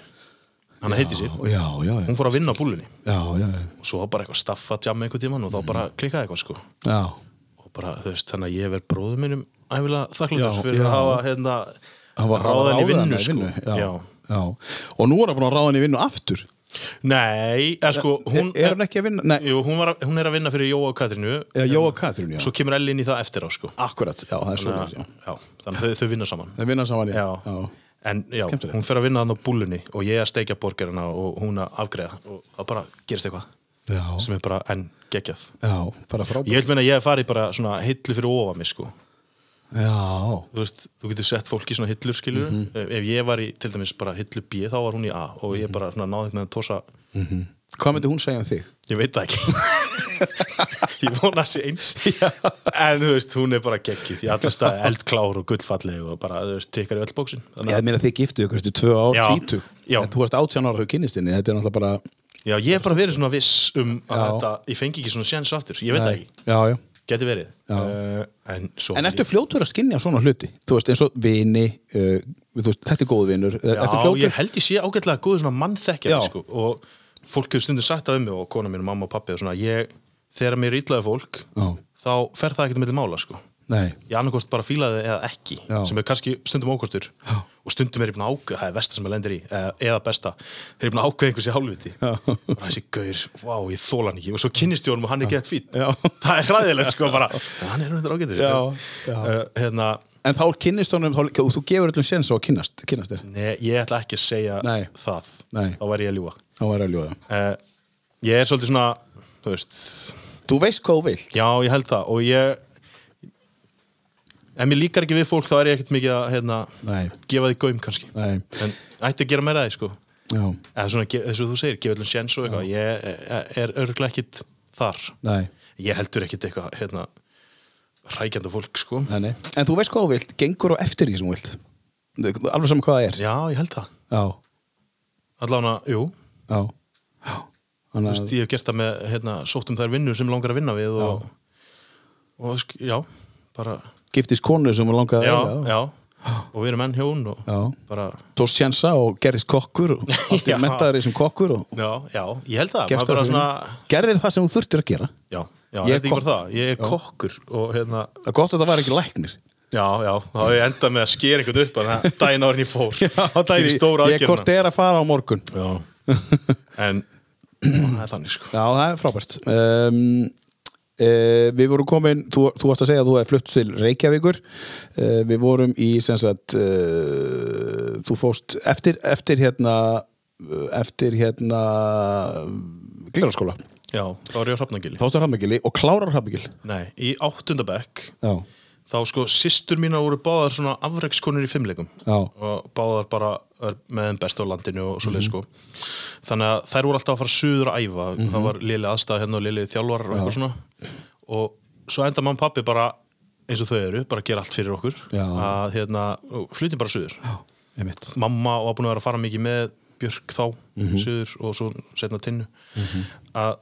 hann heiti sér, já, já, já, hún fór að vinna á búlunni já, já, og svo var bara eitthvað staffa tjamma einhvern tíman og þá bara Mm. klikkaði eitthvað sko já. og bara, þú veist, þannig að ég verð bróðum mínum æfilega Já, þakkláttur fyrir já. að hafa hérna, Hann var- hann var ráðan í ráðinn vinnu sko já, já. og nú er hann búin að ráða hann í vinnu aftur Nei, eða sko hún Er- er hún ekki að vinna? Nei. Jú, hún, var, að- hún er að vinna fyrir Jóa og Katrínu eða Jóa Katrín, já, Svo kemur Ellin í það eftir á sko akkurat já, það er svo já. Já, þannig að þau, þau vinna saman það vinna saman í Já. En já, Skemmtilegt. hún fer að vinna hann á búlunni og ég að steikja borgarina og hún að afgreða og það bara gerist eitthvað Já. sem er bara enn geggjað já, bara frábært Ég vil meina að ég hef farið bara svona hillu fyrir ofa mig sko já, þú veist, þú getur sett fólk í svona hillur skilur, Mhm. ef ef ég var í til dæmis bara hillu B þá var hún í A og Mhm. ég bara svona náði einhvern veginn að tósa, hvað myndi hún segja um þig? ég veit það ekki ég vona sér eins en þú veist, hún er bara geggið í alla staði eldklár og gullfalleg og bara, þú veist, tekkar í öll bóksin Já, ég meina þið giftu ykkur eftir tvö ár, Já. tvítug Já. En þú varst 18 ára þau kynnist inni, þetta er náttúrulega bara já, ég hef bara verið svona viss um að Já. þetta, ég fengi ekki svona séns aftur ég veit það ekki, Já, já geti verið Já. uh, en, svo En ertu fljótur að skinja svona hluti? Þú veist, eins og vini, uh, þú veist, þetta er góð vinur Já, Ertu Já, ég fljótur? held ég sé ágætlega góð svona mannþekkjari Já. sko, og fólk hefur stundum sagt það um mig og kona mín og mamma og pappi og svona ég, þegar mér ítlaði fólk Já. þá fer það ekkert með mála sko Nei, ég annarkvort bara fílaði eða ekki Já. sem er kannski stundum ókostur Já. og stundum er ég búin að ákveða, það er versta sem ég lendir í eða, eða besta, þegar ég búin að ákveða einhversi hálfviti og þessi gaur, vá, ég þóla hann ekki og svo kynnist ég honum og hann er gett fít Já. það er ræðilegt sko bara hann er hundur ágættur Já. Já. Uh, hérna, en þá kynnist honum þá, og þú gefur öllum séns á að kynnast, kynnast þér Nei, ég ætla ekki að segja Nei. það Nei. þá væri ég að ljúga Þá er að ljóða uh, Ég er svolítið svona þú veist, Þú veist hvað þú vilt já ég held það og ég ef mér líkar ekki við fólk þá er ég ekkert mikið að hérna, Nei. gefa því gaum kannski Nei. en ætti að gera meira af því sko Já, eða svona, ge- eins og þú segir, gefa allir sjens og eitthvað ég eh, er örglega ekkit þar nei, ég heldur ekkit eitthvað hérna, rækjandi fólk sko nei, nei En þú veist hvað þú vilt, gengur og eftir því sem þú vilt Alveg saman hvað það er já ég held það, Já, allána, jú já, já. Þú Þannig veist, að, ég hef gert það með, hérna, sótt um þær vinnur sem langar að vinna við og, og, sk- já, bara giftist konu sem þú langaði að já, eiga. já, og við erum enn hjón og Já. bara, tókst sjensa og gerðist kokkur og Já. allir mentaður í sem kokkur og já, já, ég held það gefst maður bara á því. svona, gerðir það sem þú þurftir að gera já, já, Ég ég er er kokkur kokkur. það, ég er kokkur og hérna, það er gott að það var ekki læknir já, já, þá hef ég endað með að skera einhvern upp þannig að daginn árin ég fór til stóra ég aðgerðina. hvort er að fara á morgun já, en það er þannig sko það er frábært um, uh, við vorum komin þú, þú varst að segja að þú hefði flutt til Reykjavíkur uh, við vorum í sem sagt uh, þú fóst eftir, eftir hérna eftir hérna gleraskóla, já, þá er ég á hrafnangili fórstu að Hrafnagili og klárar Hrafnagili nei, í áttundabekk já, þá sko sýstur mínar voru báðar svona afrekskonur í fimmleikum Já. og báðar bara er með þeim bestu á landinu og svoleið Mhm. sko þannig að þær voru alltaf að fara suður að æfa Mhm. það var lili aðstæða hérna og lili þjálfar og eitthvað svona og svo enda mann pappi bara eins og þau eru, bara gera allt fyrir okkur Já. að hérna, og flytjum bara suður einmitt mamma var búin að vera að fara mikið með Björk þá, suður og svo setna tinnu að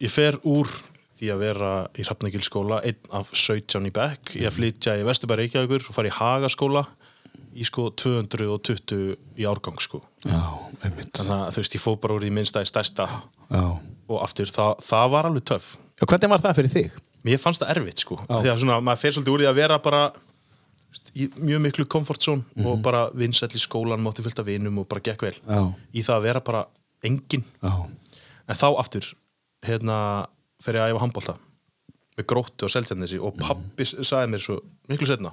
ég fer úr því að vera í Hrafnagilskóla, einn af 17 í Beck, ég flytja í Vesturbær Reykjavíkur og fara í Hagaskóla í sko 220 í árgang sko. já, einmitt þannig að þú veist, ég fór bara úr í minnsta í stærsta já og aftur, það, það var alveg töff Já, hvernig var það fyrir þig? mér fannst það erfitt sko, því að svona, maður fer svolítið úr því að vera bara þú veist, í mjög miklu komfortzón og bara vinsæll í skólan, mátti fylgta vinum og bara gekk vel Já. í það að vera bara engin Já, en þá aftur hérna fer ég að æfa handbólta með gróttu og seltjarnesi og pappi s- sagði mér svo miklu setna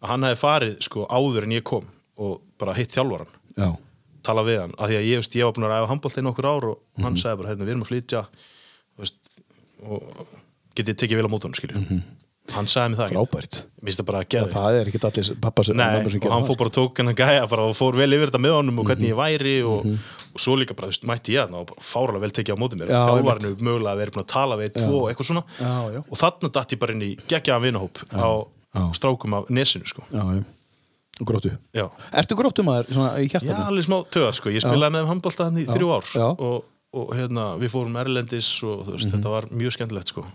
að hann hefði farið sko áður en ég kom og bara hitt þjálfaran já, tala við hann, af því að ég, veist, ég var búin að æfa handbólta í nokkur ár og Mhm. hann sagði bara, hérna, við erum að flytja þú veist, og getið tekið vel á mótunum, skilju hann sagði mér það ekki, Mhm. frábært mér finnst það bara að geða Það er ekki allir pappa sem Nei, mamma sem og gera hann það, sko. Mhm. fór bara og tók hennan gæja bara og fór vel yfir þetta með honum og hvernig ég væri og, og svo líka bara, þú veist, mætti ég hann og bara fáralega vel tekið á móti mér Já, þjálfarinu mögulega að vera búin að tala við tvo og eitthvað svona Já, já. og þarna datt ég bara inn í geggjaðan vinahóp á strákum af nesinu sko. sko. Já, já, og gróttu Já. Ertu gróttumaður svona í Já, hjartanum? alveg smá töðar sko, ég spilaði með þeim handbólta hann í þrjú ár já. og, og hérna, við fórum erlendis og þú veist, Mhm. þetta var mjög skemmtilegt sko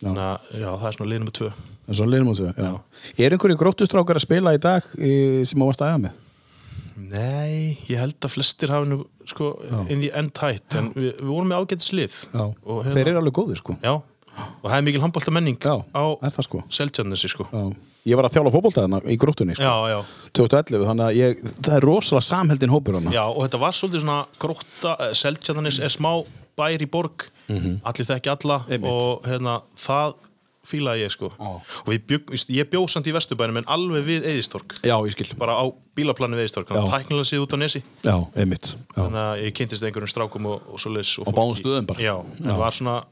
Þannig að, já, það er svona liðnum með tvö En svo liðum á því, já Er einhverju gróttustrákar að spila í dag í, sem á varst aðeins með? Nei, ég held að flestir hafi nú sko, in the end hætt en við, við vorum með ágætis lið og, hérna- Þeir eru alveg góðir sko já, og það er mikil handbólta menning Já, á er það sko Seltjarnesi sko. Já. Ég var að þjála fótboltaðina í gróttunni sko. já, já, 2011, þannig að ég, það er rosalega samheldin hópur hana já, og þetta var svolítið svona grótta, Seltjarnes er smá bær í borg, allir þekki alla Mhm. Einmitt. og hérna, það fílaði ég sko og við bjugg, ég bjó samt í Vesturbænum en alveg við Eðistorg, já ég skil bara á bílaplanu við Eðistorg, þannig Já. að tæknilega séð út á nesi Já, einmitt já. þannig að ég kynntist einhverjum strákum og, og svoleiðis Á fólki. báðum stöðum bara? já, það var svona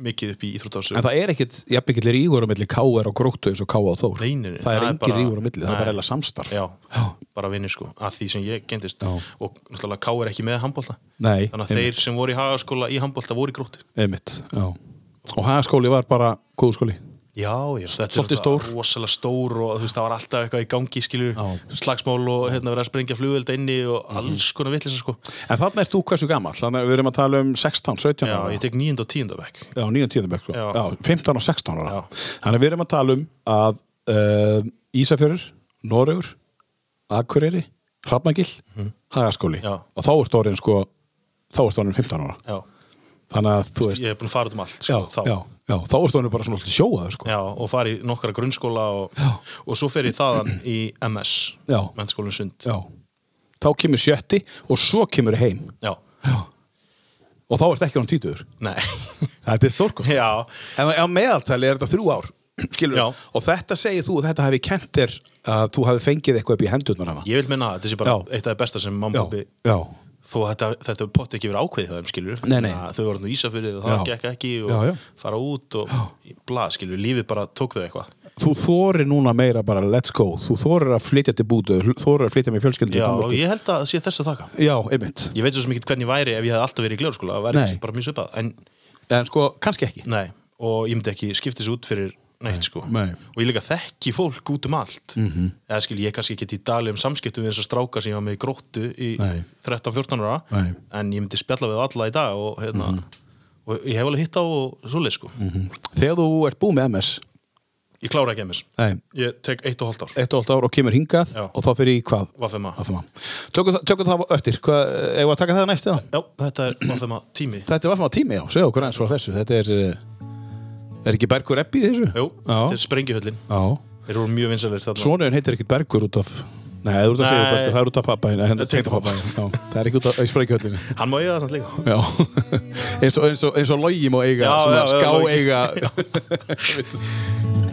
mikið upp í íþróttásu En það er ekkit, jafn mikið rígur á milli K.R. og gróttu eins og K.A. og Þór Nei, nei, nei, Það er það er engin bara- rígur á milli, það Nei. er bara eða samstarf já, Já. bara vinni sko, að því sem ég kynntist Já. og náttúrulega K er ekki með handbólta Nei, þannig að þeir sem voru í hagaskóla í handbólta voru í gróttu Einmitt, já Og hagaskóli var bara góðu skóli já, já, þetta Svolítið náttúrulega stór. rosalega stór og þú veist, það var alltaf eitthvað í gangi skilur, Já. Mhm. slagsmál og hérna verið að sprengja flugvelda inni og alls konar vitlisa sko En þarna ert þú hversu gamall, þannig að við erum að tala um 16, 17 já, ára ég tek 9. og 10. bekk Já, 9. Já. tíðabökk sko. Já, 15 og 16 ára Já. Þannig að við erum að tala um að uh, Ísafjörður, Noregur Akureyri, Hrafnagil Hagaskóli Mhm. Já. og þá ertu orðin sko þá ertu orðin 15 ára já, þannig að þú veist ég hef búin að fara út um allt sko, já, þá. já, já, þá ertu orðin bara svona svolítið sjóað sko. Já, og fari í nokkra grunnskóla og, Já. og svo fer ég þaðan í MS Já. Mennskólinn Sund Já. þá kemur sjötti og svo kemur heim Já. og þá ertu ekki orðin títuður Nei, þetta er stórkost já, en á meðaltali er þetta þrjú ár skilur, Já. og þetta segir þú og þetta hafi kent þér að þú hafi fengið eitthvað upp í hendurnar hana ég vil minna að þetta sé bara Já. eitt af það besta sem mamma pappi já, þó að þetta, þetta pott ekki verið ákveðið hjá þeim skilur Nei, nei. þau voru nú Ísafyrðið og það Já. gekk ekki og Já, já. fara út og blað skilur, lífið bara tók þau eitthvað þú þórir núna meira bara let's go, þú þórir að flytja til bútu þórir að flytja með fjölskyldu Já, í og Danmörku. ég held að það sé þess að þakka já, einmitt, Ég veit svo sem ekki hvernig væri ef ég hefði alltaf verið í gljóðskóla það væri Nei. kannski bara mjög svipað, en en sko, kannski ekki nei og ég myndi ekki skipta þessu út fyrir neitt sko nei. Mhm. og ég líka þekki fólk út um allt eða skil ég kannski ekki í dali um samskiptum við þess að stráka sem ég var með í gróttu í Nei. 13-14 ára Nei. Mhm. en ég myndi spjalla við alla í dag og, hérna, og ég hef alveg hitt á og svoleið sko þegar þú ert búið með MS ég klára ekki emis, nei, ég tek eitt og hálft ár eitt og allt ár og kemur hingað Já. og þá fyrir í hvað Vafema, Vafma. tökum, það- tökum það eftir, hvað, eigum við að taka það næst eða? já þetta er Vafema tími þetta er Vafma tími, já, segja okkur eins frá þessu þetta er, eh, er ekki Bergur Ebbi í þessu? Jú, þetta er já, sprengjuhöllin já. þeir eru mjög vinsalir þarna Svonuðin heitir ekki Bergur út af Nei, þú ert að segja Nei. Bergur, það er út af pappæðin Það er tengdapabba. Það er ekki út af auðspreykhjöldinu hann má eiga það samt líka Já, eins og, eins og, eins og logi má eiga, Já, svona já, já, ská Logi. eiga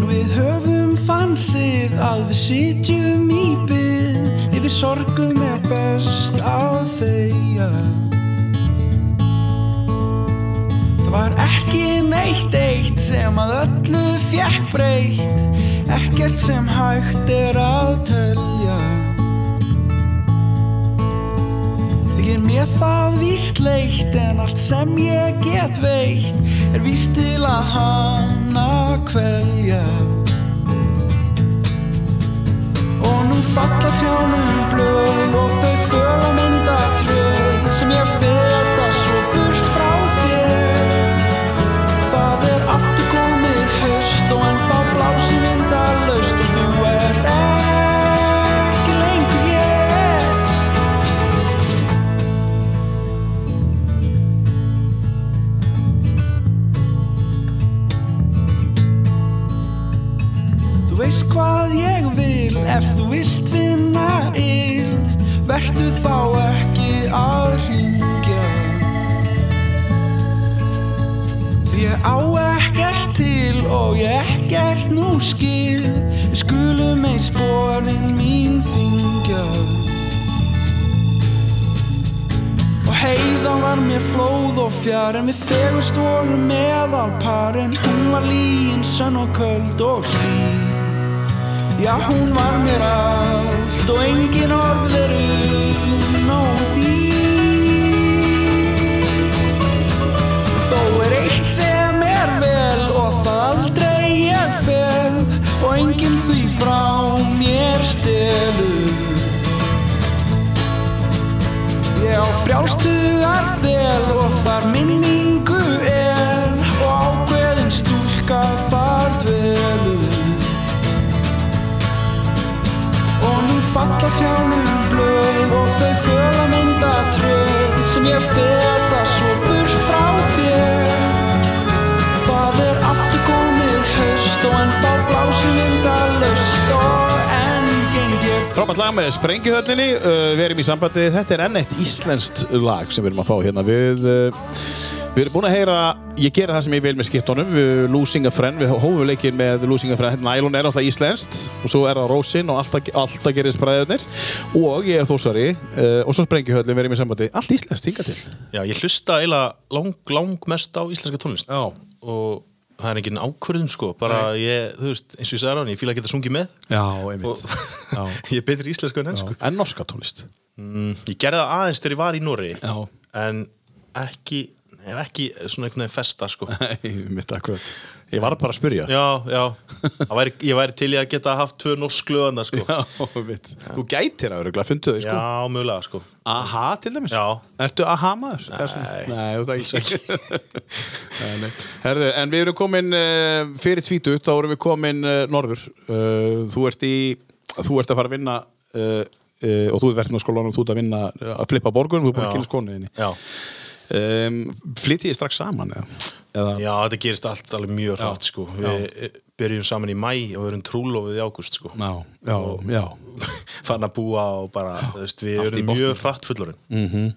Við höfum þansið að við sitjum í byrð Yfir sorgum er best að þeia Það var ekki neitt eitt sem að öllu fjekk breytt Ekkert sem hægt er að telja Þykir mér það víst leitt en allt sem ég get veitt Er víst til að hana kvelja Og nú falla trjánum blöð og þau föla mynda tröð sem ég feta svo burt frá þér Það er aftur komið haust og ennþá blási myndalaust og þú ert ekki lengur ég Þú veist hvað ég vil ef þú vilt vinna yld Vertu þá ekki að hringja Því ég á ekkert til og ég ekkert nú skil Við skulum eins spórin mín þingja Og heiðan var mér flóð og fjær En við fegust vorum meðalpar En hún var líin, sönn og köld og hlý Já, hún var mér allt Og engin orð veru nót í Þó er eitt sem er vel Og það aldrei ég fel Og enginn því frá mér stelur Ég á frjálstugar þel og þar minningu er og ákveðin stúlka þar dvelur Og nú falla trjánum blöð sem ég feta svo burt frá þér Það er aftur komið haust og en það blásir vindalaust og enn geng ég Frábært lag með Sprengjuhöllinni, uh, við erum í sambandi, þetta er enn eitt íslenskt lag sem við erum að fá hérna. Við, uh, við erum búin að heyra, ég gera það sem ég vil með skiptunum, við, Losing a Friend, við hófum leikinn með Losing a Friend, Nælon er náttúrulega íslenskt og svo er það Rósin og alltaf, alltaf gerist bræðurnir og ég er þósari uh, og svo Sprengjuhöllin, við erum í sambandi, allt íslenskt hinga til. Já, ég hlusta eiginlega lang, lang mest á íslenska tónlist Já. og það er engin ákvörðum sko bara ég, þú veist, eins og ég sagði ráðan, ég fíla að geta sungið með Já, og ég er betri í íslensku en ennsku En norska tónlist. mm, Ég gerði það aðeins þegar ég var í Nóri Já. en ekki, ef ekki svona einhvern veginn festa sko Mitt akkurat. Ég var bara að spyrja Já, já, Það væri, ég væri til í að geta haft tvö norsk löganda sko Já, Já, mitt. Þú gætir að öruglega fundið þau sko mögulega sko Aha, til dæmis. Já. Ertu aha maður? Nei. Nei, þú það ekki. Nei, nei. Herðu, en við erum komin uh, fyrir tvítu, þá erum við komin uh, norður. Uh, þú ert í, þú ert að fara að vinna uh, uh, og þú ert verðin á skólanum, þú ert að vinna uh, að flippa borgunum, þú ert búin að Já. kynna skonuðinni. Já, Um, flytið þið strax saman eða? eða já þetta gerist allt alveg mjög hratt sko Við eh, byrjum saman í mæ og við erum trúlofið í ágúst sko Já, já, já. fann að búa og bara, þú veist, við Allt í erum botni. Mm. mjög hratt fullorinn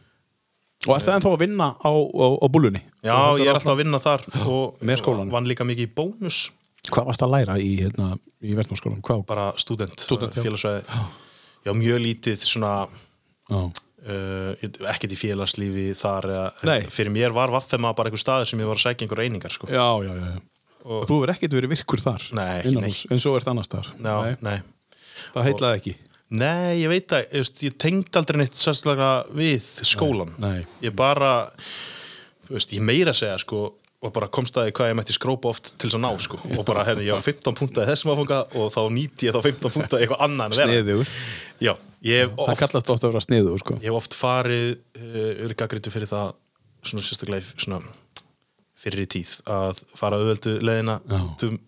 Og ert það ennþá að vinna á, á, á búlunni? Já, ég er alltaf að vinna þar og Með skólanum. vann líka mikið í bónus, Hvað varst að læra í, hérna, í verðnarskólanum? Hvað? bara student, Stúdent, já. félagsvæði Já, mjög lítið svona Já. uh, ekkert í félagslífi þar eða, Nei. fyrir mér var vaffema bara einhver staður sem ég var að sækja einhver einingar sko. já, já, já. Og þú hefur ekkert verið virkur þar Nei, ekki innanhúss, en svo ert annars þar Já, nei. nei það heitlaði ekki ég veit að, þú veist, ég tengd aldrei neitt sérstaklega við skólan Nei, nei. Ég bara, þú veist, ég meira að segja sko og bara komst að því hvað ég mætti skrópa oft til þess að ná sko og bara hérna ég á 15 punta í þessum áfanga og þá nýti ég þá 15 punta í eitthvað annað en vera Sniðugur. Já, ég hef það oft, kallast ofta að vera sniður sko. ég hef oft farið uh, örgagritu fyrir það svona sérstaklega í svona fyrir í tíð að fara auðveldu leiðina tum,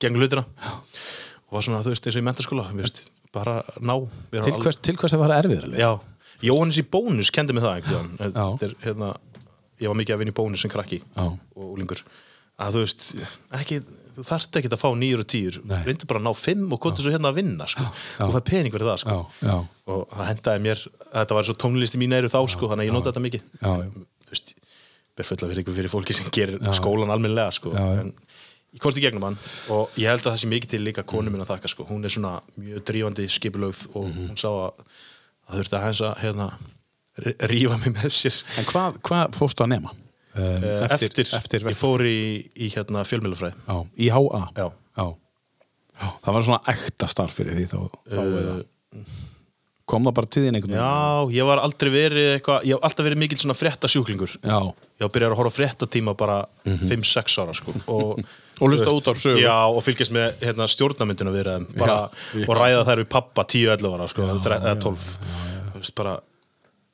gegn hlutina og var svona þú veist eins og í mentaskóla þú veist, bara ná vera til, alveg- hvers, til hvers að fara erfiðar leið? Já, Jóhannes í bónus kendi mig það einhvern veginn Já. Þetta er, hérna, Ég var mikið að vinna í bónus sem krakki Já. og úlingur að þú veist, ekki, þú þarft ekki að fá nýjur og tíur, Nei. reyndu bara að ná fimm og kontur svo hérna að vinna sko. og það er pening verið það sko. já, já, og það hendaði mér, þetta var svo tónlisti mín eru þá sko, þannig að ég nota þetta mikið Já, já. þú veist, ber fulla fyrir ykkur fyrir fólki sem gerir skólan almennilega sko. Já, já. en ég komst í gegnum hann og ég held að það sé mikið til líka konu minn að þakka sko. hún er svona mjög drífandi skipulögð og Mhm. hún sá að það þurfti að hans að hérna, r- rífa mig með sér en hvað hva fórstu að nema? Um, Eh, eftir, eftir, ég fór í, í hérna, fjölmjölufræð já, í HA Já. Já. Já, það var svona ekta starf fyrir því þá, þá eða kom það bara til þín einhvern Eh, já, ég var aldrei verið eitthvað, ég hef alltaf verið mikil svona frétta sjúklingur já, ég byrjar að horfa á fréttatíma bara 5-6 ára sko og, Mhm. Og hlusta þú út af sögu. já, og fylgjast með hérna, stjórnamyndinu við þeim bara, og ræða þær við pappa 10-11 ára sko, já, eða 12 Þú veist, bara,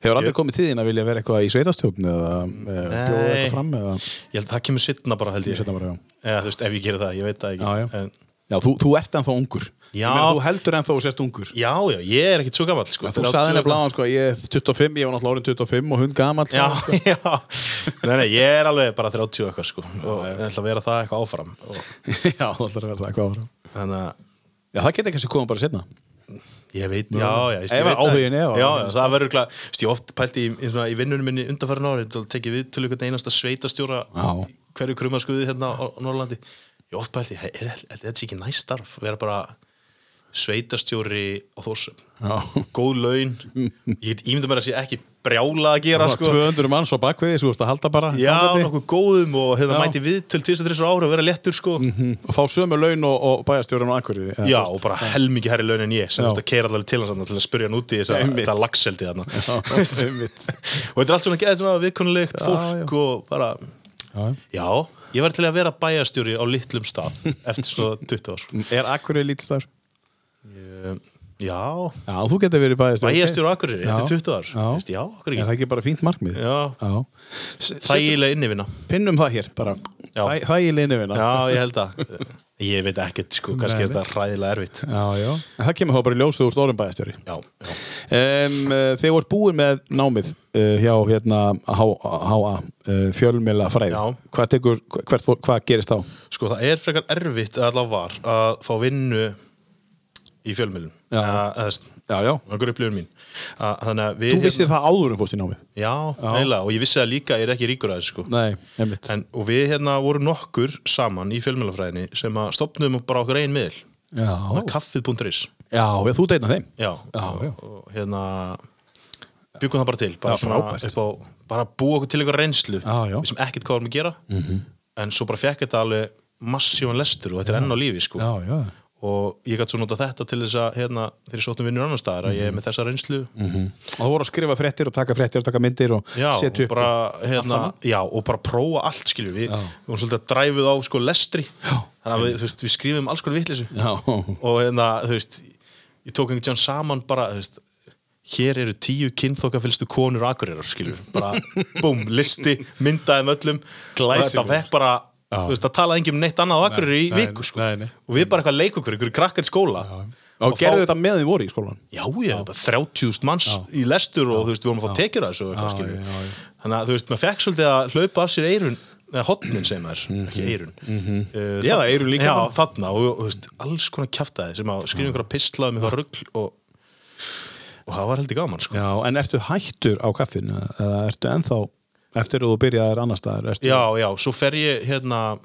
hefur aldrei Ég- komið til þín að vilja vera eitthvað í sveitastjókn eða eh, bjóða Nei. eitthvað fram eða ég held að það kemur sittna bara held ég Seinna bara, já. eða, þú veist, ef ég gerir það, ég veit það ekki Já, já. En, Já, þú, þú ert ennþá ungur Já. Ég meina, Þú heldur ennþá og sért ungur já, já, ég er ekkit svo gamall sko, Þú saði henni bláðan, sko, ég er 25, ég var náttúrulega orðin 25 og hund gamall sko. já, sagði hann, já, nei, nei, ég er alveg bara 30 og eitthvað sko og ég ætla að vera það eitthvað áfram og, sko. já, þú ætlar að vera það hvað ára þannig að Já, það geti kannski komið bara setna Ég veit, já, já, ég veist, ég Ef veit áhuginn er, það var- Já, já, það verður glæð, ég oft pælti í, í, svona, í vinnunum minni undanfærin ári til að tekja við til einhvern einasta sveitastjóra Já. í hverju krumaskuði hérna á á Norrlandi Ég oft pælti, er, er, er þetta sé ekki næst starf vera bara sveitastjóri á þossum, Já. góð laun ég get ímynda mér að sé ekki brjála að gera, Það var sko 200 manns á bakviði, þú vorst að halda bara Já, gangandi. nokkuð góðum og hérna Já. Mhm. mæti við til 23 ára og vera lettur, sko og fá sömu laun og, og bæjarstjórun og akkurri Já, og bara helmingi herri laun en ég sem Já. þetta keira allavega til hans þarna til að spurja hann út í þess Einmitt. þetta lagseldi þarna Já, Veistu? einmitt. og þetta er allt svona geðið svona viðkonulegt fólk og bara Já. já, ég var til að vera bæjarstjóri á litlum stað eftir svona 20 ár Er akkurri lítst þar? Ég- já, Já, þú getur verið bæjarstjórun bæjarstjóri á Akureyri eftir 20 ár Já, Veistu, já okkur Er það ekki ekki bara fínt markmið? já, Já. Þæg... þægilega innivina Pinnum það hér, bara Já. Þæg- Þægilegni vinna já, ég held að ég veit ekkert sko, kannski Nei, er þetta ræðilega erfitt já, já En það kemur þá bara í ljósið úr stórum bæjarstjóri já, já eh, um, Þegar þú ert búin með námið uh, hjá hérna HA fjölmjöla fræði Já. eh, hvað, tekur, hvert, fó- hvað gerist þá? sko það er frekar erfitt að allavega var að fá vinnu í fjölmjölum Já. Já, já einhver upplifur mín að, þannig að við Þú vissir það áður en fórst í námið já, já. og ég vissi það líka, ég er ekki ríkur að þessu sko. Nei, einmitt en, og við hérna vorum nokkur saman í fjölmjölafræðinni sem að stopnum bara okkur einn miðl Já, kaffið.is já, já þú deitna þeim já, já. og hérna byggum það bara til bara, Já, frábært. upp á, bara búa okkur til einhver reynslu Já, já. Mhm. við sem ekkert hvað vorum að gera -hmm. en svo bara fekk þetta alveg massívan lestur og þetta er enn á lífi sko. Já, já, og ég gæti svo nota þetta til þess að hérna, þegar ég sóttum vinnur annar staðar Mhm. að ég er með þessa reynslu og þú voru að skrifa fréttir og taka fréttir og taka myndir og já, setja og upp bara, hérna, saman? já, og bara prófa allt skilju, við, við vorum svolítið að dræfuð á sko, lestri, já. þannig að við, þú veist, við skrifum alls konar vitleysu Já, og hérna, þú veist, ég tók einhvern tján saman bara, þú veist hér eru tíu kynþokkafylstu konur akurirar, skilju, bara, búm, listi myndaðum öllum Glæsilegur. og þetta fekk bara, þú veist, það talaði enginn um neitt annað á akurirar í nei, viku, sko nei, nei. og við bara eitthvað leik okkur, einhverju krakkar í skóla og gerðu fá- þetta með því voru í skólan já, já, bara 30.000 manns í lestur og þú veist, við vorum að fá tekjur að þessu og eitthvað, Já, skilur. já, já. þannig að þú veist, maður fekk svolítið að hlaupa af sér eirun eða hotnin sem er, ekki eirun uh, Mhm. Já, þa- eyrun líka. já, þarna, og, og þú veist, alls konar kjaftaði sem að skrifa einhverja pistla um eitthvað rugl og, og það var heldur gaman sko. Já, en ertu hættur á kaffinu eða ertu ennþá eftir að þú byrjaðir annar staðar ertu- já, já, svo fer ég hérna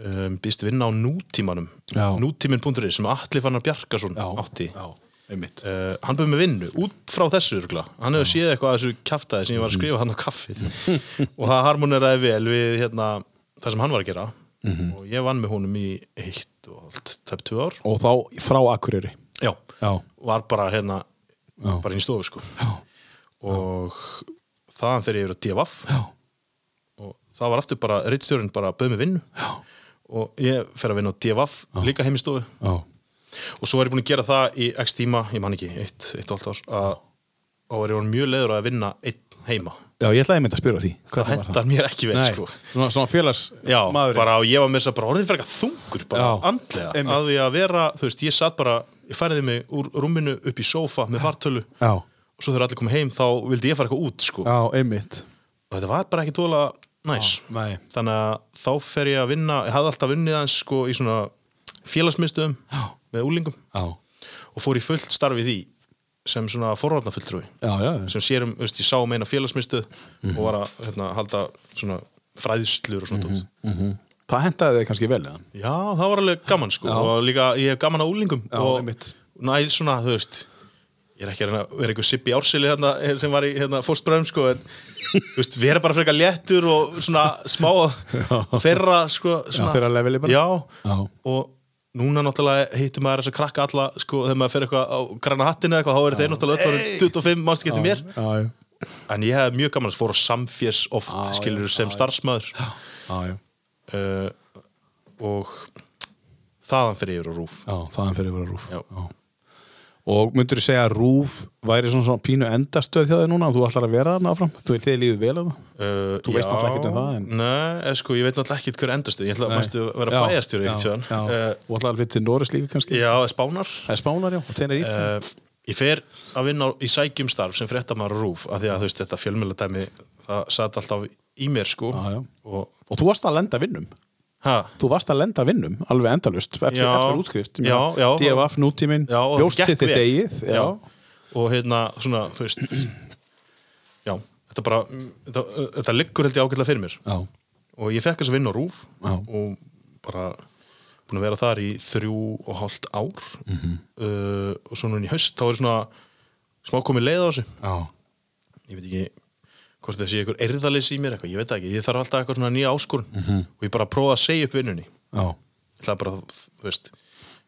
um, býst vinna á nútímanum Já. nútímin.ri sem Atli Fannar Bjarkason Já. átti Já, einmitt uh, hann bauð með vinnu út frá þessu örgla. hann hefur séð eitthvað að þessu kjaftaði sem ég var að skrifa hann á kaffið og það harmoneraði vel við hérna, það sem hann var að gera Mhm. og ég vann með honum í eitt og allt, tæp tvö ár Og þá frá Akureyri já, Já, var bara hérna Já. bara inn í stofu sko já, og þaðan fer ég yfir að DFF já, og það var aftur bara, rittstjórinn bara bauð með vinnu já. og ég fer að vinna á DFF líka heim í stofu já. og svo er ég búin að gera það í x tíma ég man ekki, eitt, eitt og allt ár að, og er ég orðinn mjög leiður á að vinna einn heima Já, ég ætlaði mynd að spyrja því það Hvernig var hendar mér ekki vel Nei, sko svona, svona félags Já, maðurinn. bara og ég var með þess að bara orðin fyrir eitthvað þungur bara, Já, andlega, einmitt. að því að vera þú veist, ég satt bara, ég færði mig úr rúminu upp í sófa með fartölu Já, og svo þegar allir komið heim þá vildi ég fara eitthvað út sko. já, einmitt og þetta var bara ekki tóla næs Nei, þannig að þá fer ég að vinna ég hafði alltaf vunnið aðeins sko, í svona félagsmyndstöðum Já. með úlingum já, og fór í fullt starfið því sem svona forvarnafulltrúi já, já, já. sem sérum, veist, ég sá um eina félagsmyndstöð Mhm. og var að hérna, halda svona fræðslur og svona mm Það hendaði þig kannski vel eða? Já, það var alveg gaman sko og líka ég hef gaman á úlingum Já, og einmitt. næ svona, þú veist ég er ekki að reyna að vera einhver sippi ársili hérna, sem var í hérna, fórstbröðum sko en þú veist, vera bara frekar léttur og svona smá að þeirra sko, Já, svona, þeirra leveli bara. Já, Já. og núna náttúrulega hittir maður þess að krakka alla sko, þegar maður fer eitthvað á græna hattinu eða eitthvað, þá eru þeir náttúrulega öll orðin 25 mannst getur mér Já, já, en ég hef mjög gaman að fóra samfjess oft Já, já, skilur sem starfsmaður já, já, uh, og þaðan fyrir yfir á rúf já þaðan fyrir að vera rúf Já. Og myndur þú segja að rúf væri svona, svona pínu endastöð hjá þig núna þú ætlar að vera þarna áfram, þú vil þið lífið vel að Uh, Þú veist já, náttúrulega ekkert um það, en- Nei, eða sko, ég veit náttúrulega ekkert hver endastu Ég ætla að mæstu að vera bæjastjóri ekkert Já, síðan já, uh, og ætlar að fyrir til Norris lífi kannski Já, eða spánar Það er spánar, já, og tenir í uh, Ég fer að vinna á- í sækjum starf sem frétta maður rúf af því að þú veist, þetta fjölmjöla dæmi það satt alltaf í mér sko Já, já. Og, Og þú varst að lenda vinnum ha, Þú varst að lenda vinnum, alveg endalust eftir, Já. eftir útskrift, ég meina, Já, já. DFF nútíminn já, og bjóst það til gekk þið vel. degið já. Og hérna, svona, þú veist Já, þetta bara mm, þetta, þetta liggur held ég ágætlega fyrir mér Já. og ég fekk þess að vinna á rúf Já. og bara búin að vera þar í þrjú og hálft ár Mhm. uh, og svo núna í haust þá er svona smá komið leið á þessu Já. ég veit ekki hvort það sé einhver erðalis í mér eitthvað, ég veit það ekki, ég þarf alltaf eitthvað svona nýja áskorun Mhm. og ég bara prófa að segja upp vinnunni Já. ég ætla bara, þú veist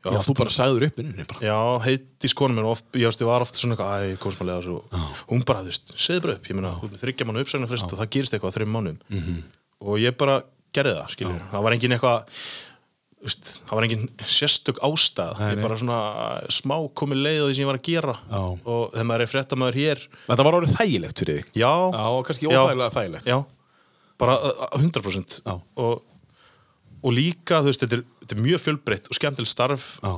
ég var já, oft þú bara sagður upp vinnunni bara. Já, heiti skonu mér og oft, ég, veist, ég var oft svona eitthvað, æ, ég kom smá leiðar og hún bara, þú veist, segðu bara upp, ég meina, þú ert með þryggja mánu uppsagnarfrist og það gerist eitthvað á þreim mánuðum Mhm. og ég bara gerði það, skiljur, það var engin eitthvað, þú veist, það var engin sérstök ástæð, ég bara svona smá komið leið á því sem ég var að gera Já. og þegar maður er fréttamaður hér, Þetta var orðið þægilegt fyrir þig já, Já, og kannski Já. óþægilega þægilegt já, bara uh, uh, 100% Já. og, og líka, þú veist, þetta er, þetta er mjög fjölbreytt og skemmtileg starf Já.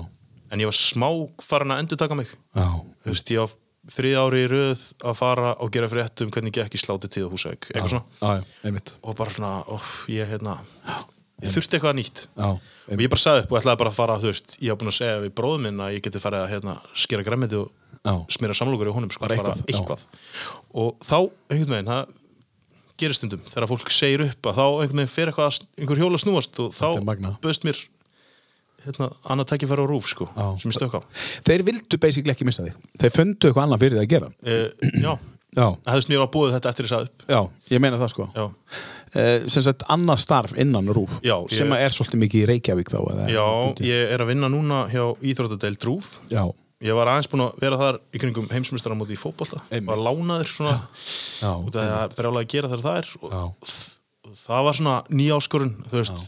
en ég var smá farin að endur taka mig Já. þú veist, ég var þrið ári í röð að fara og gera frétt um hvernig gekk í sláti tíð og húsæk eitthvað svona Já, já, einmitt og bara svona, óf, ég hérna ég þurfti eitthvað nýtt Já, og ég bara sagði upp og ætlaði bara að fara, þú veist ég haf búin að segja við bróðum minn að ég geti farið að hérna, skera græmiti og Já. smera samlokur í honum sko, Bara eitthvað, já. og þá, einhvern veginn, það gerir stundum þegar fólk segir upp að þá einhvern veginn fer eitthvað, að- einhver hjóla snúast og er magnað. þá böðst mér hérna, annað tækifæri á rúf sko, Já. sem ég stökk á Þeir vildu basically ekki missa þig Þeir fundu eitthvað annað fyrir þig að gera e, já, Já, það hefðist mér á búið þetta eftir ég sagði upp já ég meina það sko já, Eh, Sem sagt annað starf innan rúf Já, ég- Sem að er svolítið mikið í Reykjavík þá eða, já ég er að vinna núna hjá Íþróttadeild Rúf já, ég var aðeins búin að vera þar í kringum heimsmyndstaramóti í fótbolta Einmitt. var lánaður svona já, út af því að það er brjálega að gera þar það er og já, það var svona nýjáskorun þú veist,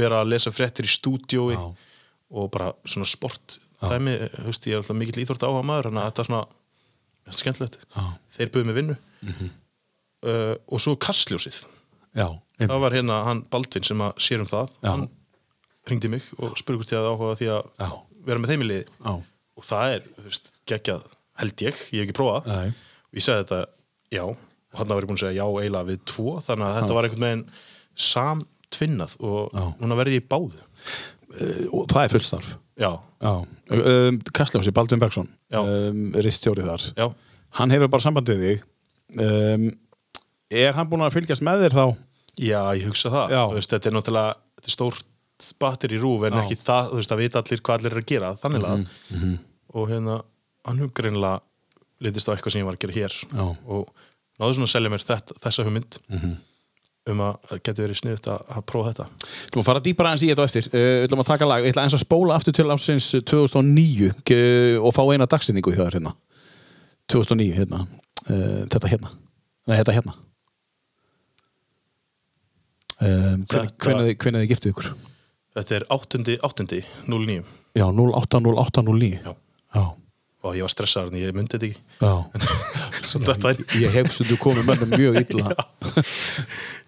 vera að lesa fréttir í stúdiói og bara svona sport dæmi, þú veist, ég er alltaf mikill íþort áhuga maður þannig að þetta er svona þetta er skemmtilegt, þeir buðu mig vinnu Mhm. uh, og svo kastljósið já, einmitt það var hérna hann Baldvin sem að sér um það hann ringdi mig og spurði hvort ég að áhuga á því að Já. vera með þeim í liði Já. og það er, þú veist, geggjað held ég, ég hef ekki prófað Nei. og ég sagði þetta, já og hann var ég búin að segja já eiginlega við tvo þannig að þetta var einhvern veginn samtvinnað og núna verði ég í báðu og það er fullt starf já, Já, um, Kastljósi, Baldvin Bergson Já. um, Ristjóri þar já, Hann hefur bara samband við þig um, Er hann búin að fylgjast með þér þá? já, ég hugsa það Já. Þú veist, þetta er náttúrulega þetta er stórt battir í rúf en ekki það, þú veist, að vita allir hvað allir er að gera þannig að Mhm, og hérna, hann hug greinlega litist á eitthvað sem ég var að gera hér já. og náðu svona að selja mér þetta, þessa hugmynd Mhm. um að það geti verið sniðut að, að prófa þetta Við ætlum að fara dýpra eins í þetta á eftir Eh, Við ætlum að taka lag, við ætlum eins að spóla aftur til uh, ásins 2009 ge- og fá eina dagsetningu hjá þér hérna 2009 hérna uh, Þetta hérna Nei, þetta hérna um, Þetta- Hvernig þið giftu ykkur? Þetta er 8.8.09 Já, 080809 Já. Já, og ég var stressaður en ég myndi þetta ekki já. Svo þetta er Ég hef stundu komið mönnum mjög illa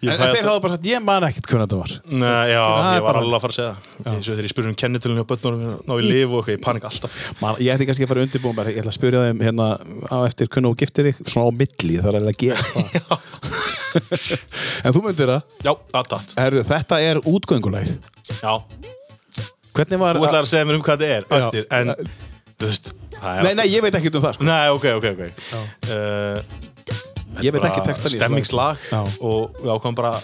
Ég En fæ þeir alltaf- hafa bara sagt, ég man ekkert hvernig þetta var Nei, já, það Mm. er ég var bara- alveg að fara að segja það Eins og þegar ég spurði um kennitölu hjá börnunum ná í lif og eitthvað, ég panik alltaf Man, ég ætti kannski að fara undirbúin bara, ég ætla að spyrja þeim hérna á eftir hvernig þú giftir þig svona á milli, það er alveg að gera það en þú myndir það Já, aðdátt Herru, þetta er útgöngulæð Já, hvernig var þú ætlar að segja mér um hvað þetta er Já. eftir, en, þú veist, það er nei, nei, ég veit ekki um það sko. Nei, ok, ok, ok uh, ég veit ekki textan í þessu Stemmingslag Já. og við ákvæmum bara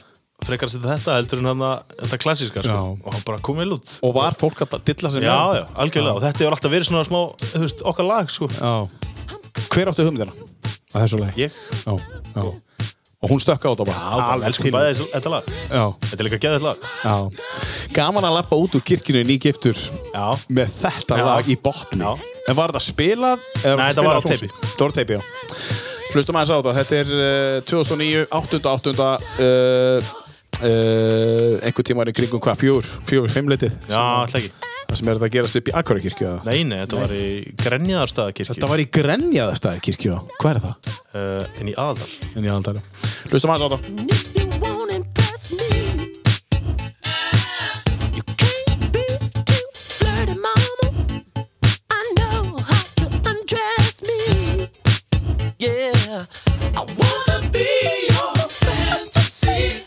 frekar að setja þetta heldur en hann að þetta klassíska sko. Já. og hann bara kom vel út og var fólk að dilla sem Já, já, algjörlega, og þetta hefur alltaf verið svona smá, þú veist, okkar lag, sko já. hver átti hugmyndina að þessu lagi Ég, já, já. og hún stökk á þetta bara já, bara elskum til. bæði þessu- þetta lag já, Þetta er líka geðið lag já. gaman að lappa út úr kirkjunni nýgiftur Já, með þetta Já. lag í botni Já. en var þetta spilað? eða Nei, þetta spilað var á tónlist? teipi. þetta var á teipi, já hlustum aðeins á þetta, þetta er uh, 2009 8.8. Uh, uh, einhver tíma er í kringum hvað, fjögur, fjögur, fimmleitið já, alltaf ekki það sem er þetta að gerast upp í Akvarakirkju eða? Nei, nei, þetta var í Grenjaðarstaðakirkju þetta var í Grenjaðastæði kirkju hvað er það? uh, En í aðal En ég aðaldælu hlustum aðeins á þetta If you won't impress me, you can't be too flirty, mama. I know how to undress me. Yeah, I wanna be your fantasy.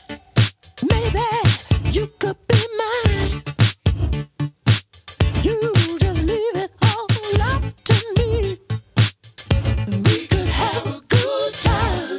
Maybe you could be mine. You just leave it all up to me. We could have a good time.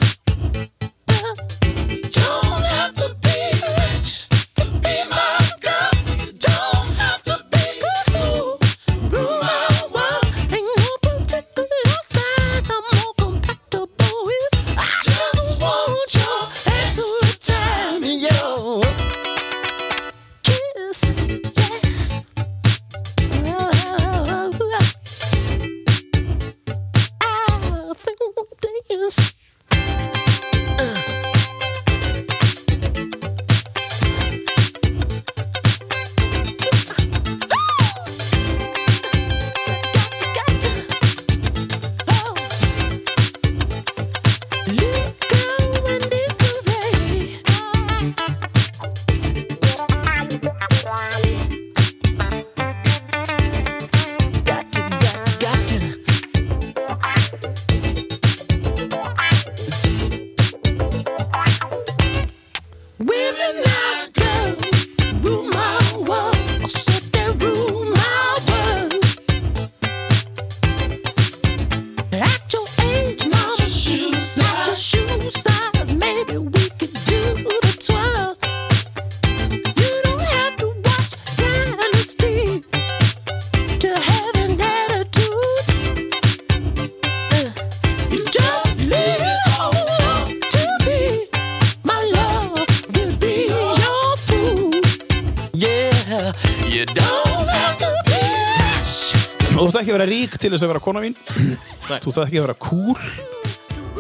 er þarft ekki að vera rík til þess að vera kona mín Þú þarft ekki að vera kúl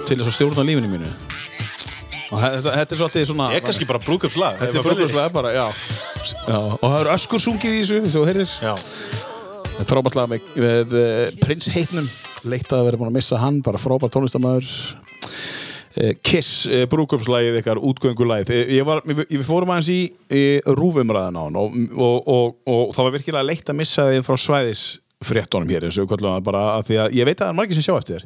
Til þess að stjórna lífinu mínu Og þetta, þetta er svolítið svona Ég er kannski bara brúkupslag Þetta er brúkupslag bara, já. já Og það eru öskur sungið í þessu, eins og þú heyrir Já, Þetta er Frábært lag með, með eh, prins heitnum Leitt að vera búin að missa hann Bara frábært tónlistamæður Kiss, eh, brúkupslægið ykkar, útgöngulægið Eh, Ég var, við, við fórum aðeins í, í rúfumræðan á hann og, og, og, og það var virkilega leitt að missa þeim frá svæðis fréttunum hér eins og við kallum það bara að því að ég veit að það er margir sem sjá eftir þér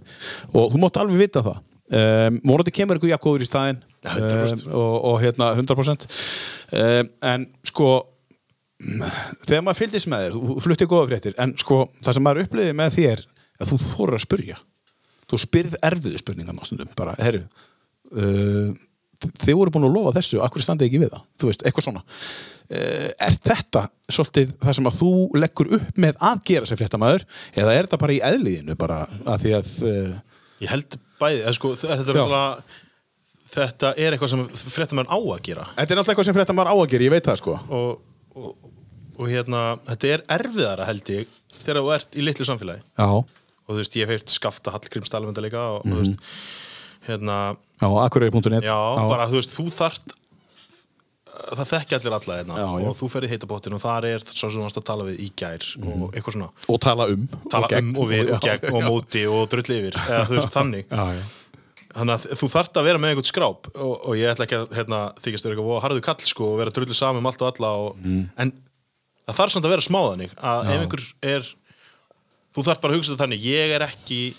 og þú mátt alveg vita það um, vonandi kemur ykkur jakkuður í staðinn um, 100%. og, og hérna 100% um, en sko mm, þegar maður fylgdist með þér þú flutti góða fréttir en sko það sem maður upplifið með þér að þú þorir að spyrja þú spyrð erfiðu spurningan ástundum bara, herru uh, þið voru búin að lofa þessu, akkur standið ekki við það þú veist, eitthvað svona uh, er þetta svolítið það sem að þú leggur upp með að gera sem fréttamaður eða er þetta bara í eðliðinu bara að því að uh, ég held bæði eða sko, þ- Þetta er Já. alltaf Þetta er eitthvað sem fréttamenn á að gera þetta er náttúrulega eitthvað sem fréttamaður á að gera, ég veit það sko og, og, og hérna Þetta er erfiðara held ég Þegar þú ert í litlu samfélagi já, Og þú veist, ég hef heyrt skafta Hallgríms talamönda líka og, og þú veist, Mhm. hérna já akkurari.net Já, bara þú veist, þú þart það þekki allir alla hérna Já, já. og þú ferði heita bóttin og þar er svo sem þú varst að tala við í gær og eitthvað svona Mhm. og tala um tala gegn. um og við og Já, gegn og móti og drulli yfir eða þú veist þannig já, já. þannig að þú þart að vera með einhvern skráp og, og ég ætla ekki að hérna, þykist vera eitthvað harðu kall sko og vera drulli saman um allt og alla og, Mm. en það þarf samt að vera smáðanig að ef einhver er þú þarf bara að hugsa þetta þannig ég er ekki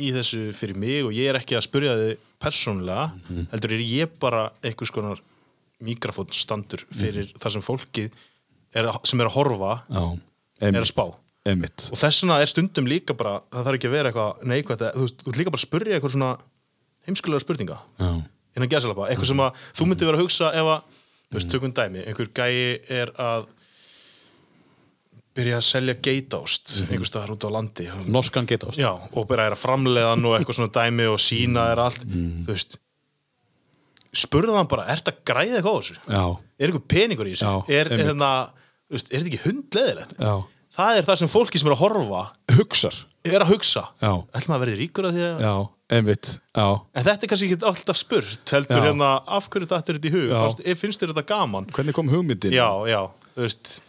í þessu fyrir mig og ég er ekki að spurja þig persónulega Mhm. heldur er ég bara einhvers konar mikrafónstandur fyrir það sem fólkið er, að- sem er að horfa Mhm. já. er að spá emitt og þess vegna er stundum líka bara það þarf ekki að vera eitthvað neikvægt eða- þú veist, þú ert líka bara að spyrja eitthvað svona heimskulega spurninga já, innan gæsalapa, eitthvað sem að þú Mhm. myndir vera að hugsa ef að, þú veist, tökum dæmi einhver gæi er að byrja að selja geitaost Mhm. einhver staðar út á landi norskan geta ást já, og byrja að framleiða hann og eitthvað svona dæmi og sína er allt Mhm. þú veist spurðu hann bara, ert að græða eitthvað á þessu já, er eitthvað peningur í þessu Já, er, er, einmitt. þarna, þú veist, er þetta ekki hundleðilegt já. það er það sem fólki sem er að horfa hugsar er að hugsa Já. ætlum að verði ríkur að því að já, emitt, já en þetta er kannski ekki alltaf spurt heldur Já. hérna af hverju þetta er þetta í hug Já. Fannst, eh, finnst þér þetta gaman hvernig kom hugmyndin já, já, þú veist,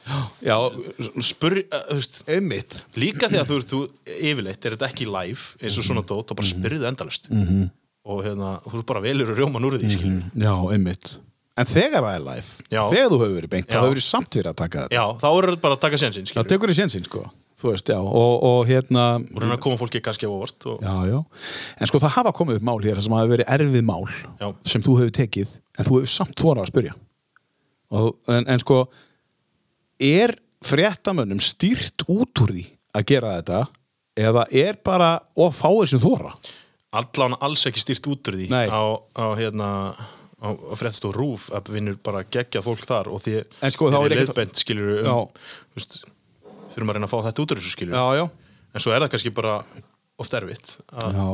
já eh, spur, uh, þú veist emitt líka þegar þú, þú yfirleitt er þetta ekki live eins og Mhm. svona dót og bara spyrðu endalist -hmm. og hérna, þú bara velur að rjóman úr því mm Já, einmitt En þegar það er live, Já. þegar þú hefur verið beint þá Já. hefur verið samt verið að taka þetta já, þá eru þetta bara að taka sensin Það og tekur þið sénsinn sko Þú veist, já, og, og hérna hérna koma fólki kannski á óvart og, Já, já En sko það hafa komið upp mál hér sem hafa verið erfið mál Já. sem þú hefur tekið en þú hefur samt þorað að spyrja og, en, en sko er fréttamönnum stýrt út úr því að gera þetta eða er bara of fáið sem þora allan alls ekki stýrt út úr því Nei. á, á hérna á, á fréttst og rúf að vinnur bara geggja fólk þar og því En sko, þeir þá er eru ekkert- leiðbent skilur um, Já. þú veist, þurfum að reyna að fá þetta út úr þessu skilur já en svo er það kannski bara oft erfitt að, Já,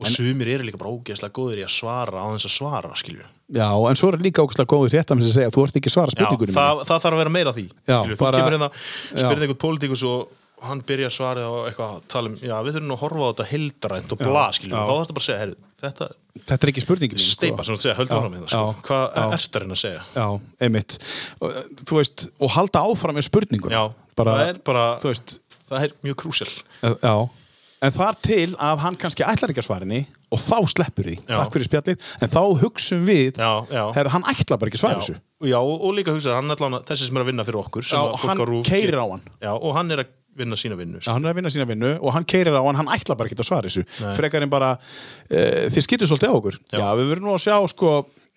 og sumir eru líka bara ógeðslega góðir í að svara á þess að svara skilur já en svo er líka ógustlega góðið fréttamönd sem segja að þú ert ekki að svara Já, spurningunum það, það þarf að vera meira af því Já, skilur, bara- þú kemur hérna, Já. spyrir einhvern pólitíkus og hann byrja að svara og eitthvað að tala um, já við þurfum að horfa á þetta heildrænt og bla skilur, þá þarfst bara að segja, herru, þetta Þetta er ekki spurningin mín, sko. steipa sem þú segja, höldu Já, áfram með það sko. já, hvað já. ert það reyna að segja Já, einmitt og, eh, Þú veist, og halda áfram með spurningur já, bara, það er bara Þú veist, það er mjög krúsel eh, já En þar til að hann kannski ætlar ekki að svara henni og þá sleppur því, Já. takk fyrir spjallið en þá hugsum við, Já, já. Herra, hann ætlar bara ekki já, að svara þessu já, og og líka hugsa, hann allan, þessi sem er að vinna fyrir okkur sem Já, að fólk hann á RÚV keyrir ger- á hann. já, og hann er að vinna sína vinnu Já, hann er að vinna sína vinnu og hann keirir á hann, hann ætlar bara ekki að svara þessu frekar en bara, uh, þið skýtur svolítið á okkur já. við verðum nú að sjá sko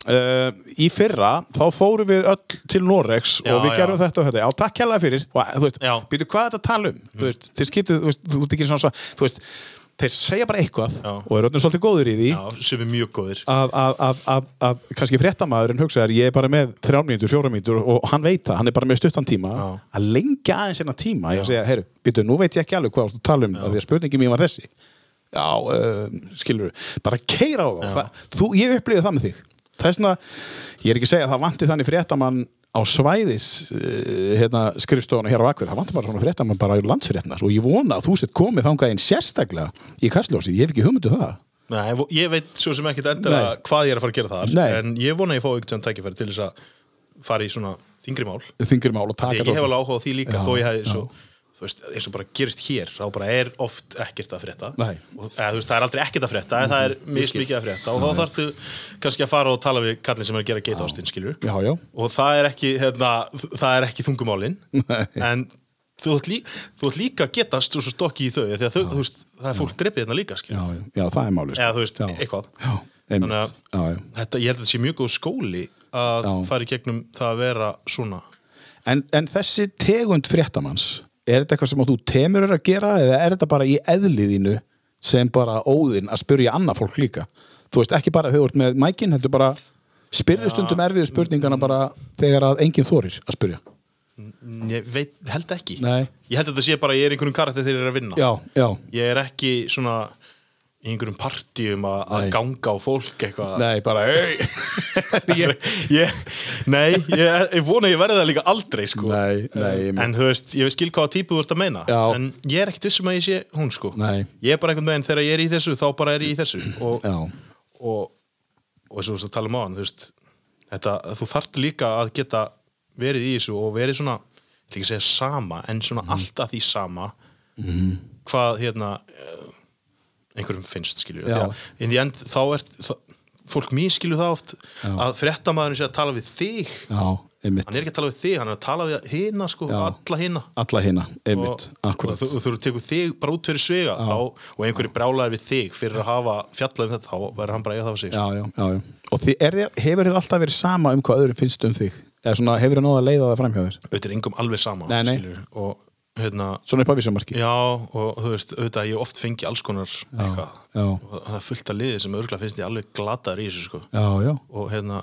uh, í fyrra, þá fórum við öll til Norex Já, og já. við gerum þetta og þetta, já takk hella fyrir og eh, þú veist, Já. Mm. býtu hvað er þetta að tala um þú veist, þið skýtur, þú veist, þú ert ekki svona svo þú veist, þeir segja bara eitthvað Já. og eru öllum svolítið góður í því já, sem er mjög góðir að, að, að, að, að kannski fréttamaðurinn hugsa þér, ég er bara með þrjár mínútur, fjórar mínútur og hann veit það, hann er bara með stuttan tíma Já. að lengja aðeins hérna tíma ég að segja, heyru, býtu, nú veit ég ekki alveg hvað þú ert að tala um, af því að spurningi mín var um, þessi já, uh, skilur bara keira á þá það, þú, ég upplifið það með þig þessna, ég er ekki að segja að það vanti þannig fréttamann á svæðis eh, hérna, skrifstofuna hér á Akkur það vanti bara svona fréttamann bara í landsfrétnar og ég vona að þú sett komið þangað inn sérstaklega í kastljósið, ég hef ekki hugmyndu það Nei, vo- ég veit svo sem ekkert endilega Nei. hvað ég er að fara að gera þar Nei. en ég vona að ég fá einhvern sem tækifæri til þess að fara í svona þingri mál þingur mál og taka ég, ég hef alveg áhuga á því líka Já, þó ég hefði já. svo þú veist, eins og bara gerist hér þá bara er oft ekkert að frétta Nei. Mhm. og, eða, þú veist, það er aldrei ekkert að frétta en það er mismikið að frétta og þá þarftu kannski að fara og tala við kallin sem er að gera geita ástinn skilur Já, já, og það er ekki, hérna, það er ekki þungumálin Nei. en þú ætti lí, þú átt líka að geta stús og stokki í þau af því að þau, þú veist, það er fólk greipið hérna líka skilur já, já, það er máli sko. eða þú veist, Já. eitthvað Já, einmitt Þannig að- já, já. þetta, ég held að þetta sé mjög góð skóli að Já. fara í gegnum það að vera svona En, en þessi tegund fréttamanns er þetta eitthvað sem að þú temur er að gera eða er þetta bara í eðliðinu sem bara óðinn að spyrja annað fólk líka þú veist ekki bara þegar þú ert með mækin heldur bara spyrðu stundum erfiðu spurningana bara þegar að enginn þorir að spyrja Mm, ég veit, held ekki Nei. ég held að þetta sé bara að ég er í einhverjum karakter þegar ég er að vinna já, já, ég er ekki svona í einhverjum partíum að, að Nei. ganga á fólk eitthvað nei bara hey. ég, ég, nei, ég, ég vona að ég verði það líka aldrei sko. Nei, nei, einmitt. en þú veist, ég skil hvaða típu þú ert að meina Já. en ég er ekkert vissum að ég sé hún sko. Nei. ég er bara einhvern veginn þegar ég er í þessu þá bara er ég í þessu og, Já. og, og eins og þú veist að tala um á hann veist, þetta, þú þarft líka að geta verið í þessu og verið svona ég ætla ekki að segja sama, en Mhm. svona alltaf því sama hvað hérna eh, einhverjum finnst skilur Já. in the end þá er fólk mískilur það oft að fréttamaðurinn sé að tala við þig já, hann er einmitt ekki að tala við þig, hann er að tala við hina sko, Já. alla hina alla hina, einmitt, og akkurat þú, þú eru tekur þig bara út fyrir svega þá, og einhverju brálaðir við þig fyrir að hafa fjallað um þetta, þá verður hann bara að eiga það á sig sko. já, já, já, já. og þið, er, þér- hefur þér alltaf verið sama um hvað öðru finnst um þig eða svona hefur þér náða að leiða það framhjá þér auðvitað er engum alveg sama Nei, nei. skilurðu, og hérna svona upp á vísumarki já, og þú veist, auðvitað ég oft fengi alls konar eitthvað, já. og það er fullt af liði sem örgulega finnst ég alveg glataður í þessu sko. já, já, og hérna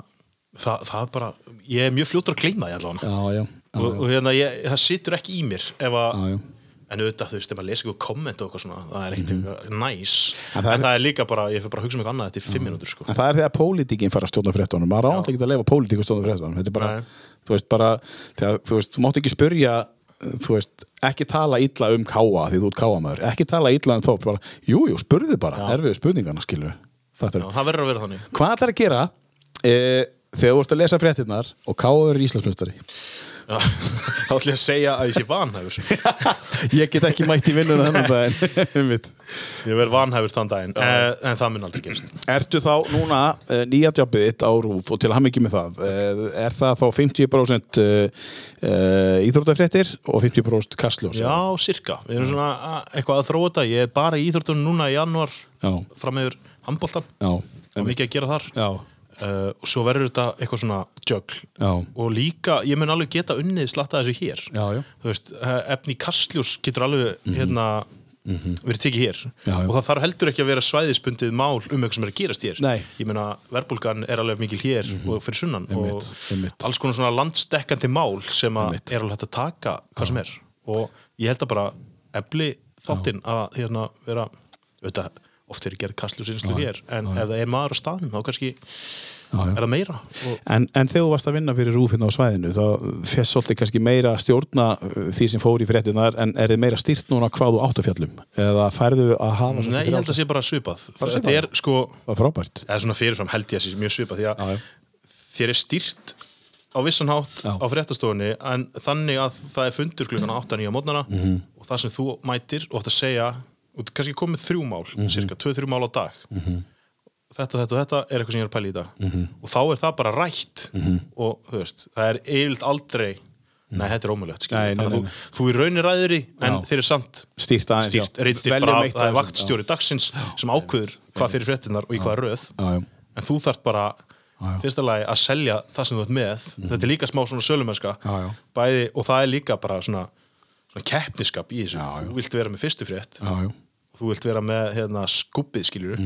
það, það er bara, ég er mjög fljótur að gleyma því allan já, já, já, og, og hérna, ég, það situr ekki í mér ef að, Já, já. en auðvitað þú veist, ef maður lesa eitthvað komment og eitthvað svona, það er ekkert eitthvað næs, Mhm. En en það það, er- er líka bara, ég fyrir bara að hugsa um eitthvað annað þetta í fimm mínútur sko. En það er þegar pólitíkinn fara að stjórna fréttunum maður áhald ekki að leifa pólitík að stjórna fréttunum þetta er bara, Nei. þú veist, bara þegar, þú veist, þú mátt ekki spyrja þú veist, ekki tala illa um káa því þú ert káamöður, ekki tala illa um þó bara, jú, jú, spurðu bara, erfiðu spurningana skilju, þetta Já, það verður að vera þannig hvað ætlar að gera e, þegar þú ert að lesa fréttinnar og káa verður íslensmjöstari Já, þá ætlum ég að segja að ég sé vanhæfur ég get ekki mætt í vinnuna þennan daginn Einmitt. ég verð vanhæfur þann daginn en, en það mun aldrei gerist Ertu þá núna eh, nýja jobbið þitt á RÚF og til að hafa mikið með það eh, er það þá 50% eh, eh, íþróttafréttir og 50% kastljós já, sirka, við erum svona að- eitthvað að þróa þetta ég er bara í íþróttunum núna í januar Já. fram yfir handbóltan Já, og mikið að gera þar Já. Eh, og svo verður þetta eitthvað svona jögl Já. og líka, ég mun alveg geta unnið slatta þessu hér Já, já. þú veist, eh, efni kastljós getur alveg hérna verið tekið hér Mhm. Já, já. og það þarf heldur ekki að vera svæðisbundið mál um eitthvað sem er að gerast hér Nei. Mhm. ég meina, verbulgan er alveg mikil hér og fyrir sunnan og einmitt. alls konar svona landstekkandi mál sem að Einmitt. er alveg hægt að taka hvað sem er og ég held að bara efli þáttinn að hérna vera auðvitað, oft er gerð kastljósinslu hér en ef það er maður á staðnum þá kannski já. er það meira og En, en þegar þú varst að vinna fyrir RÚF hérna á svæðinu þá fyrst svolítið kannski meira að stjórna eh, því sem fór í fréttinar en er þið meira stýrt núna hvað þú átt að fjallum eða færðu að hafa Nei, ég held að sé bara svipað Bara Þetta svipað? er sko, það var frábært eða svona fyrirfram held ég að sé mjög svipað því að Já, já. þér er stýrt á vissan hátt Já. á fréttastofunni en þannig að það er fundur klukkan 8-9 á mótnana Mhm. og það sem þú mætir og átt að segja, og þú kannski komið þrjú mál, Mhm. cirka, tvö-þrjú mál á dag þetta, þetta og þetta er eitthvað sem ég er að pæla í dag Mhm. og þá er það bara rætt og þú veist, það er eiginlega aldrei Nei, þetta er ómulegt, Nei, skilur. Mhm. nei, Þannig að nei, þú, þú í raunir ræður í, en þeir eru samt Stýrt aðeins, já. stýrt, reitstýrt Veljum bara af, eitt það er af þessum, vaktstjóri dagsins sem ákveður hvað fyrir fréttinnar og í hvað röð Já, já. en þú þarft bara fyrsta lagi að selja það sem þú ert með þetta er líka smá svona sölumennska Mhm. Já, já. bæði og það er líka bara svona, svona keppniskap í þessu þú vilt vera með fyrstu frétt Já, Mhm. já. og þú vilt vera með hérna, skubbið skilur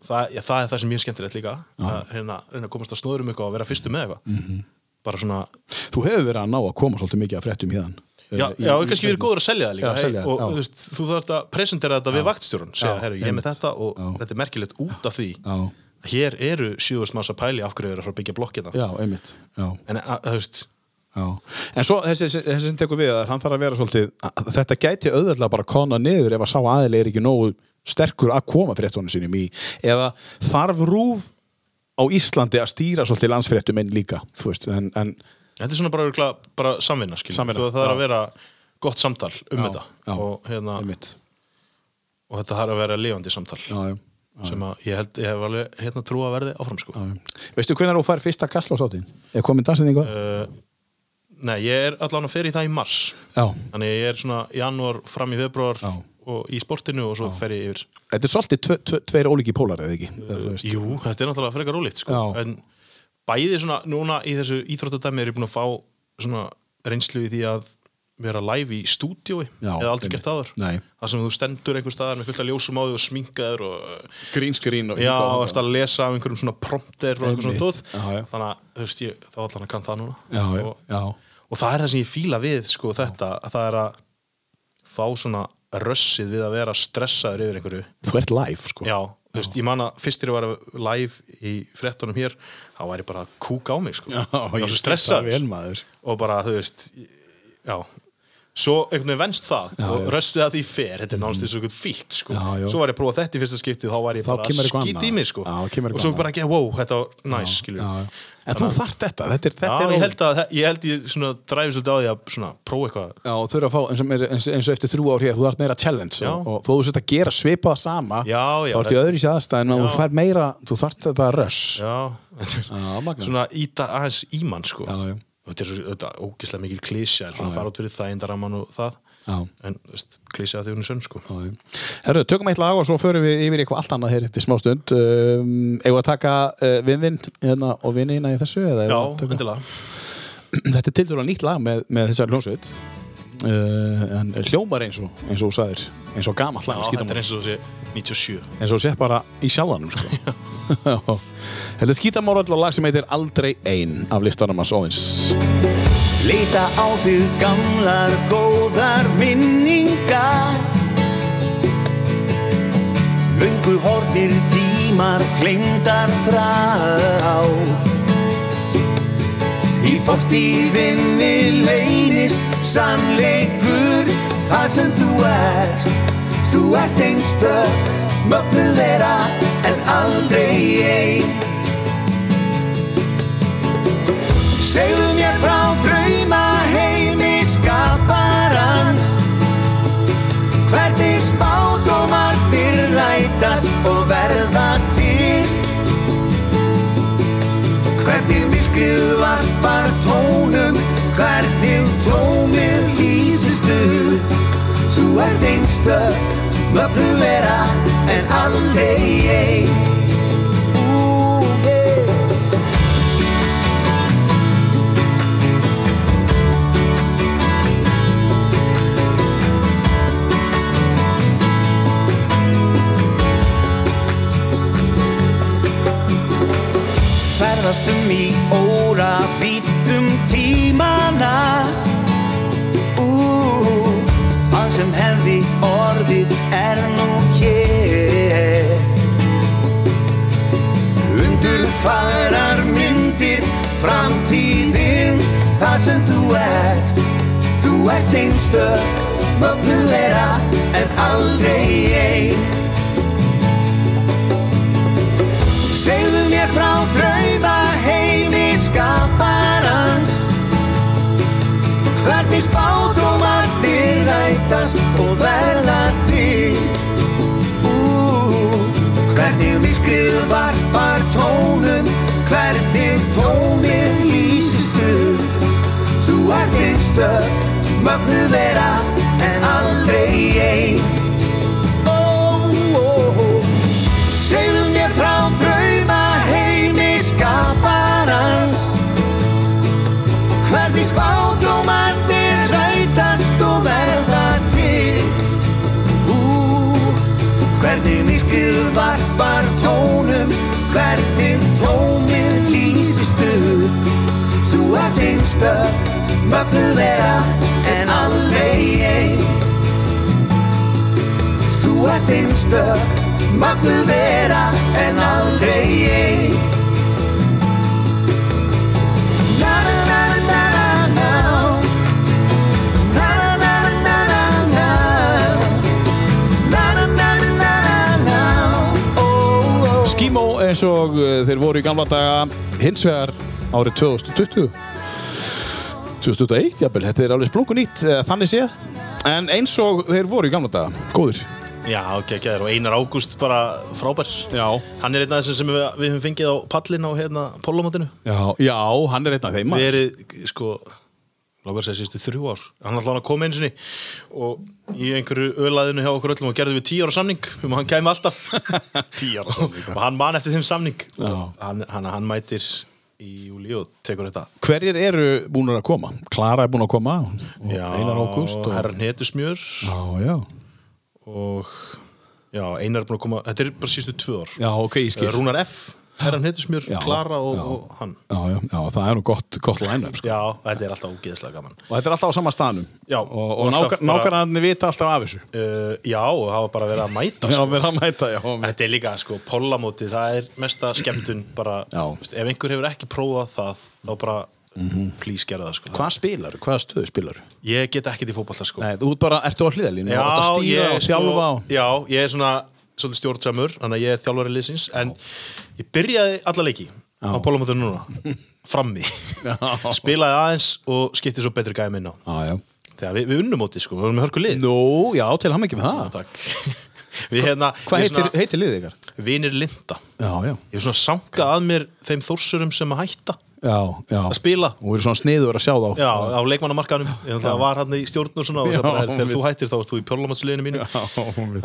það, já, það er það sem er mjög skemmtilegt líka að hérna, reyna að komast að snóður um eitthvað og vera fyrstu með eitthvað Mhm. bara svona Þú hefur verið að ná að koma svolítið mikið að fréttum hérna Já, Eh, í- já í- kannski verið góður að selja það líka Já, selja það, hei, og já. þú veist, þú þarf að presentera þetta við vaktstjórun segja, Já, herru, ég er með einmitt. þetta og Já. þetta er merkilegt út af því Já. hér eru sjúðust manns að pæli af hverju eru að fara að byggja blokkina Já, einmitt Já, en að- að, þú veist, já En svo þessi, þessi, þessi sem tekur við að hann þarf að vera svolítið Að- Þetta gæti auðvitað bara kona niður ef að sá aðeil er ekki nógu sterkur að koma fréttunum sínum í eða þarf rúf á Íslandi að stýra svolítið landsfréttum inn líka þú veist, en, en þetta er svona bara, örugglega bara samvinna, skilur, Samvinna, þú veist, það er já. að vera gott samtal um Já, þetta já. og, hérna, einmitt og þetta þarf að vera lifandi samtal já, já. sem að ég held, ég hef alveg hérna trú að verði áfram sko. Veistu hvernig þú fær fyrsta kastlós átti? Er komin dansendingu? Uh, uh, Nei, ég er allan að fyrir í það í mars já, Þannig að ég er svona í janúar fram í februar Já. og í sportinu og svo fer ég yfir þetta er svolítið tve, tve, tveir ólíki pólar eða ekki eða, þú veist. Jú, þetta er náttúrulega frekar ólíkt sko. Já. en bæði svona, núna í þessu íþróttadæmi er ég búin að fá svona reynslu í því að vera live í stúdiói Já, eða aldrei einmitt. gert áður Nei. þar sem þú stendur einhver staðar með fullt af ljósum á því og sminkaður og green screen og já, hingað og og ert að lesa af einhverjum svona prompter og einhver svona tóð Einmitt. Já, já. þannig að, þú veist, ég, þá allan að kann það núna Já, já, og, já. og það er það sem ég fíla við sko, þetta, að það er að fá svona rössið við að vera stressaður yfir einhverju Þú ert live sko Já, þú veist, ég man að fyrst þegar ég var live í frettunum hér, þá var ég bara að kúka á mig, sko. Já, ég var svo ég skil það vel, stressaður maður. og bara, þú veist, já, svo einhvern veginn venst það og já. Mhm. röstið að því fer, þetta er nánst eins og einhvern fílt, sko. Já, já. Svo var ég að prófa þetta í fyrsta skiptið, þá var ég Þá bara kemur að eitthvað skýta annað. í mig, sko. Já, kemur eitthvað og svo annað. bara ekki, wow, þetta var næs, nice, skiljum. já, já. En þú þarft þetta, þetta er, þetta Já, er ég held að, ég held ég svona dræfi svolítið á því að svona prófa eitthvað Já, og þau eru að fá, eins og, eins, eins og eftir þrjú ár hér, þú ert meira challenge Já. og, og þó þú sett að gera svipaða sama Já, já, þá ert í þetta- öðru sér aðstæðin og þú fær meira, þú þarft þetta rush Já, þetta Já, er magnað. svona íta aðeins í mann sko Já, já. Þetta er þetta er ógeðslega mikil klísja en svona fara út fyrir þægindaramann og það Já. en þú veist, klísja að því hún er sönn sko Já, já. Herru, tökum eitt lag og svo förum við yfir í eitthvað allt annað hér eftir smá stund um, eigum við að taka uh, vinnvinn hérna, og vinnina í þessu eða Já, eigum við að taka- endilega þetta er tildur nýtt lag með, með þessar hljónsveit uh, en hljómar eins og eins og þú sagðir, eins og gamall Já, lag skítamál. þetta er eins og sé 97 eins og sett bara í sjálfanum sko. þetta er skítamórall og lag sem heitir Aldrei ein af listanum hans Óvins Leita á þig gamlar góðar minningar Lungu hornir tímar glemdar þrá Í fortíðinni leynist sannleikur Það sem þú ert, þú ert einstök Mögnuð vera en aldrei ein Segðu mér frá drauma heimi skaparans Hvernig spátómarnir rætast og verða til Hvernig myrkrið varpar tónum Hvernig tómið lýsist upp Þú ert einstök, mögnu vera en aldrei ein Ú, yeah. ferðast um í óra vítum tímana Ú, það sem hefði orðið er nú hér Undurfarar myndir framtíðin Það sem þú ert, þú ert einstök Mögnu vera en aldrei ein Segðu mér frá drauga heimi skaparans Hvernig spátómarnir rætast og verða til Ú, Hvernig myrkrið varpar tónum Hvernig tónið lýsist upp Þú ert einstök, mögnu vera en aldrei ein Ó, ó, ó Segðu mér frá drauma heimi skaparans Hvernig spátómarnir rætast og verða til Ú, Hvernig myrkrið varpar tónum Hvernig tónið lýsist upp Þú ert einstök, mögnuð vera en aldrei ein Þú ert einstök, Mögnuð vera en aldrei ég Na na na na na na Na na na na na na na Na na na na na na na Oh oh Skímó eins og uh, þeir voru í gamla daga hins vegar árið 2020 2021 jafnvel, þetta er alveg splungun nýtt eh, þannig séð, en eins og þeir voru í gamla daga, góðir Já, geggjaður og Einar Ágúst bara frábær Já Hann er einn af þessum sem við, við höfum fengið á pallin á hérna pólumótinu Já, já hann er einn af þeim maður. Verið, sko, lókar segja sístu þrjú ár Hann ætlaði að koma einu sinni og í einhverju ölaðinu hjá okkur öllum og gerðum við tíu ára samning um að hann kæmi alltaf Tíu ára samning Og hann man eftir þeim samning Og hann, hann, hann mætir í júli og tekur þetta Hverjir eru búin að koma? Klara er búin að koma og Já, Einar Ágúst og... Herran Hetusmjör Já, já og já, Einar er búin að koma þetta er bara sístu tvö ár Eh, Já, ok, ég skil Rúnar F, Herran Hittusmjör, Já, Klara og, já. og hann Já, já, já, það er nú gott, gott line-up sko. Já, þetta er alltaf ógeðslega gaman og þetta er alltaf á sama staðnum Já, og, og, og og alltaf bara- nákvæmlega vita alltaf af þessu uh, Já, og það var bara verið að mæta Já, sko. við erum að mæta, já með- Þetta er líka, sko, pollamóti það er mesta skemmtun bara, Já. veist, ef einhver hefur ekki prófað það þá bara, please gera það sko. Mhm. Hvað spilar, hvaða stöðu spilar? Ég get ekkert í fótballta sko. Nei, þú ert bara, ertu á hliðalínu og ert að stýra og sjálfa og... já, ég er svona svolítið stjórnsamur, þannig að ég er þjálfari liðsins en ég byrjaði alla leiki á pólumótur núna, frammi spilaði aðeins og skipti svo betri gæmi inn á Já, já. þegar við, við unnum móti sko, við vorum með hörku lið Nú, já, til ham ekki með það Takk. við hérna, Hvað ég heitir, heitir liðið ykkar? vinir linda Já, já, ég er svona sanga að mér þeim þórsurum sem að hætta já, já að spila Og eru svona sniður að sjá þá Já, á leikmannamarkanum, ég ætla að var hann í stjórn og svona, og Já, það bara, er, þegar við- þú hættir þá ert þú í pjólamatsliðinu mínu Þannig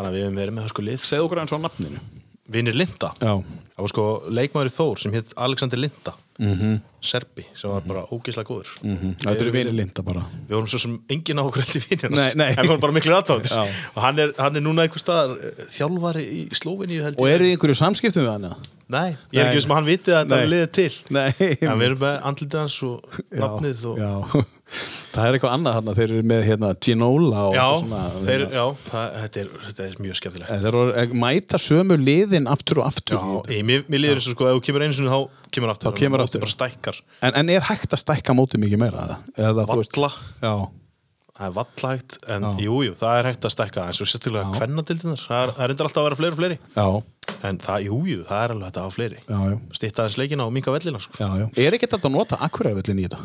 þannig að við hefum verið með hörku lið Segð okkur aðeins á nafninu Vinir Linda Já, Það var sko leikmaður í Þór sem hétt Alexander Linda -hmm. Serbi sem var bara ógeðslega góður Mhm. þetta eru vinir linda bara Við vorum svo sem engin á okkur heldur vinir Nei, hans nei. En við vorum bara miklu aðtátt Já. Og hann er, hann er núna einhver staðar eh, þjálfari í Slóviníu held ég Og eru þið einhverju samskiptum við hann? eða? Nei, ég er Nei. ekki sem að hann viti að þetta Nei. er liðið til Nei En við erum með andlitið hans og Já, nafnið og... Já, það er eitthvað annað þarna Þeir eru með hérna Ginola og Já, svona, þeir, já það, þetta, er, þetta er mjög skemmtilegt Þeir eru að mæta sömu liðin aftur og aftur í þetta. Ég, mér, mér líður eins og sko, ef þú kemur einu sinni þá kemur aftur Þá kemur Mótið aftur. bara stækkar en, en er hægt að stækka mótið mikið meira? eða? Eða, þú veist- Valla, Já, það er vallægt en Já. jújú, jú, það er hægt að stekka eins og sérstaklega kvennadildinar, það er- það er reyndar alltaf að vera fleiri og fleiri, já, en það, jújú, jú, það er alveg hægt að hafa fleiri, já, já stýtta aðeins leikina og minga vellina sko. Já, já. Er ekki þetta að nota akkurærvellin í þetta?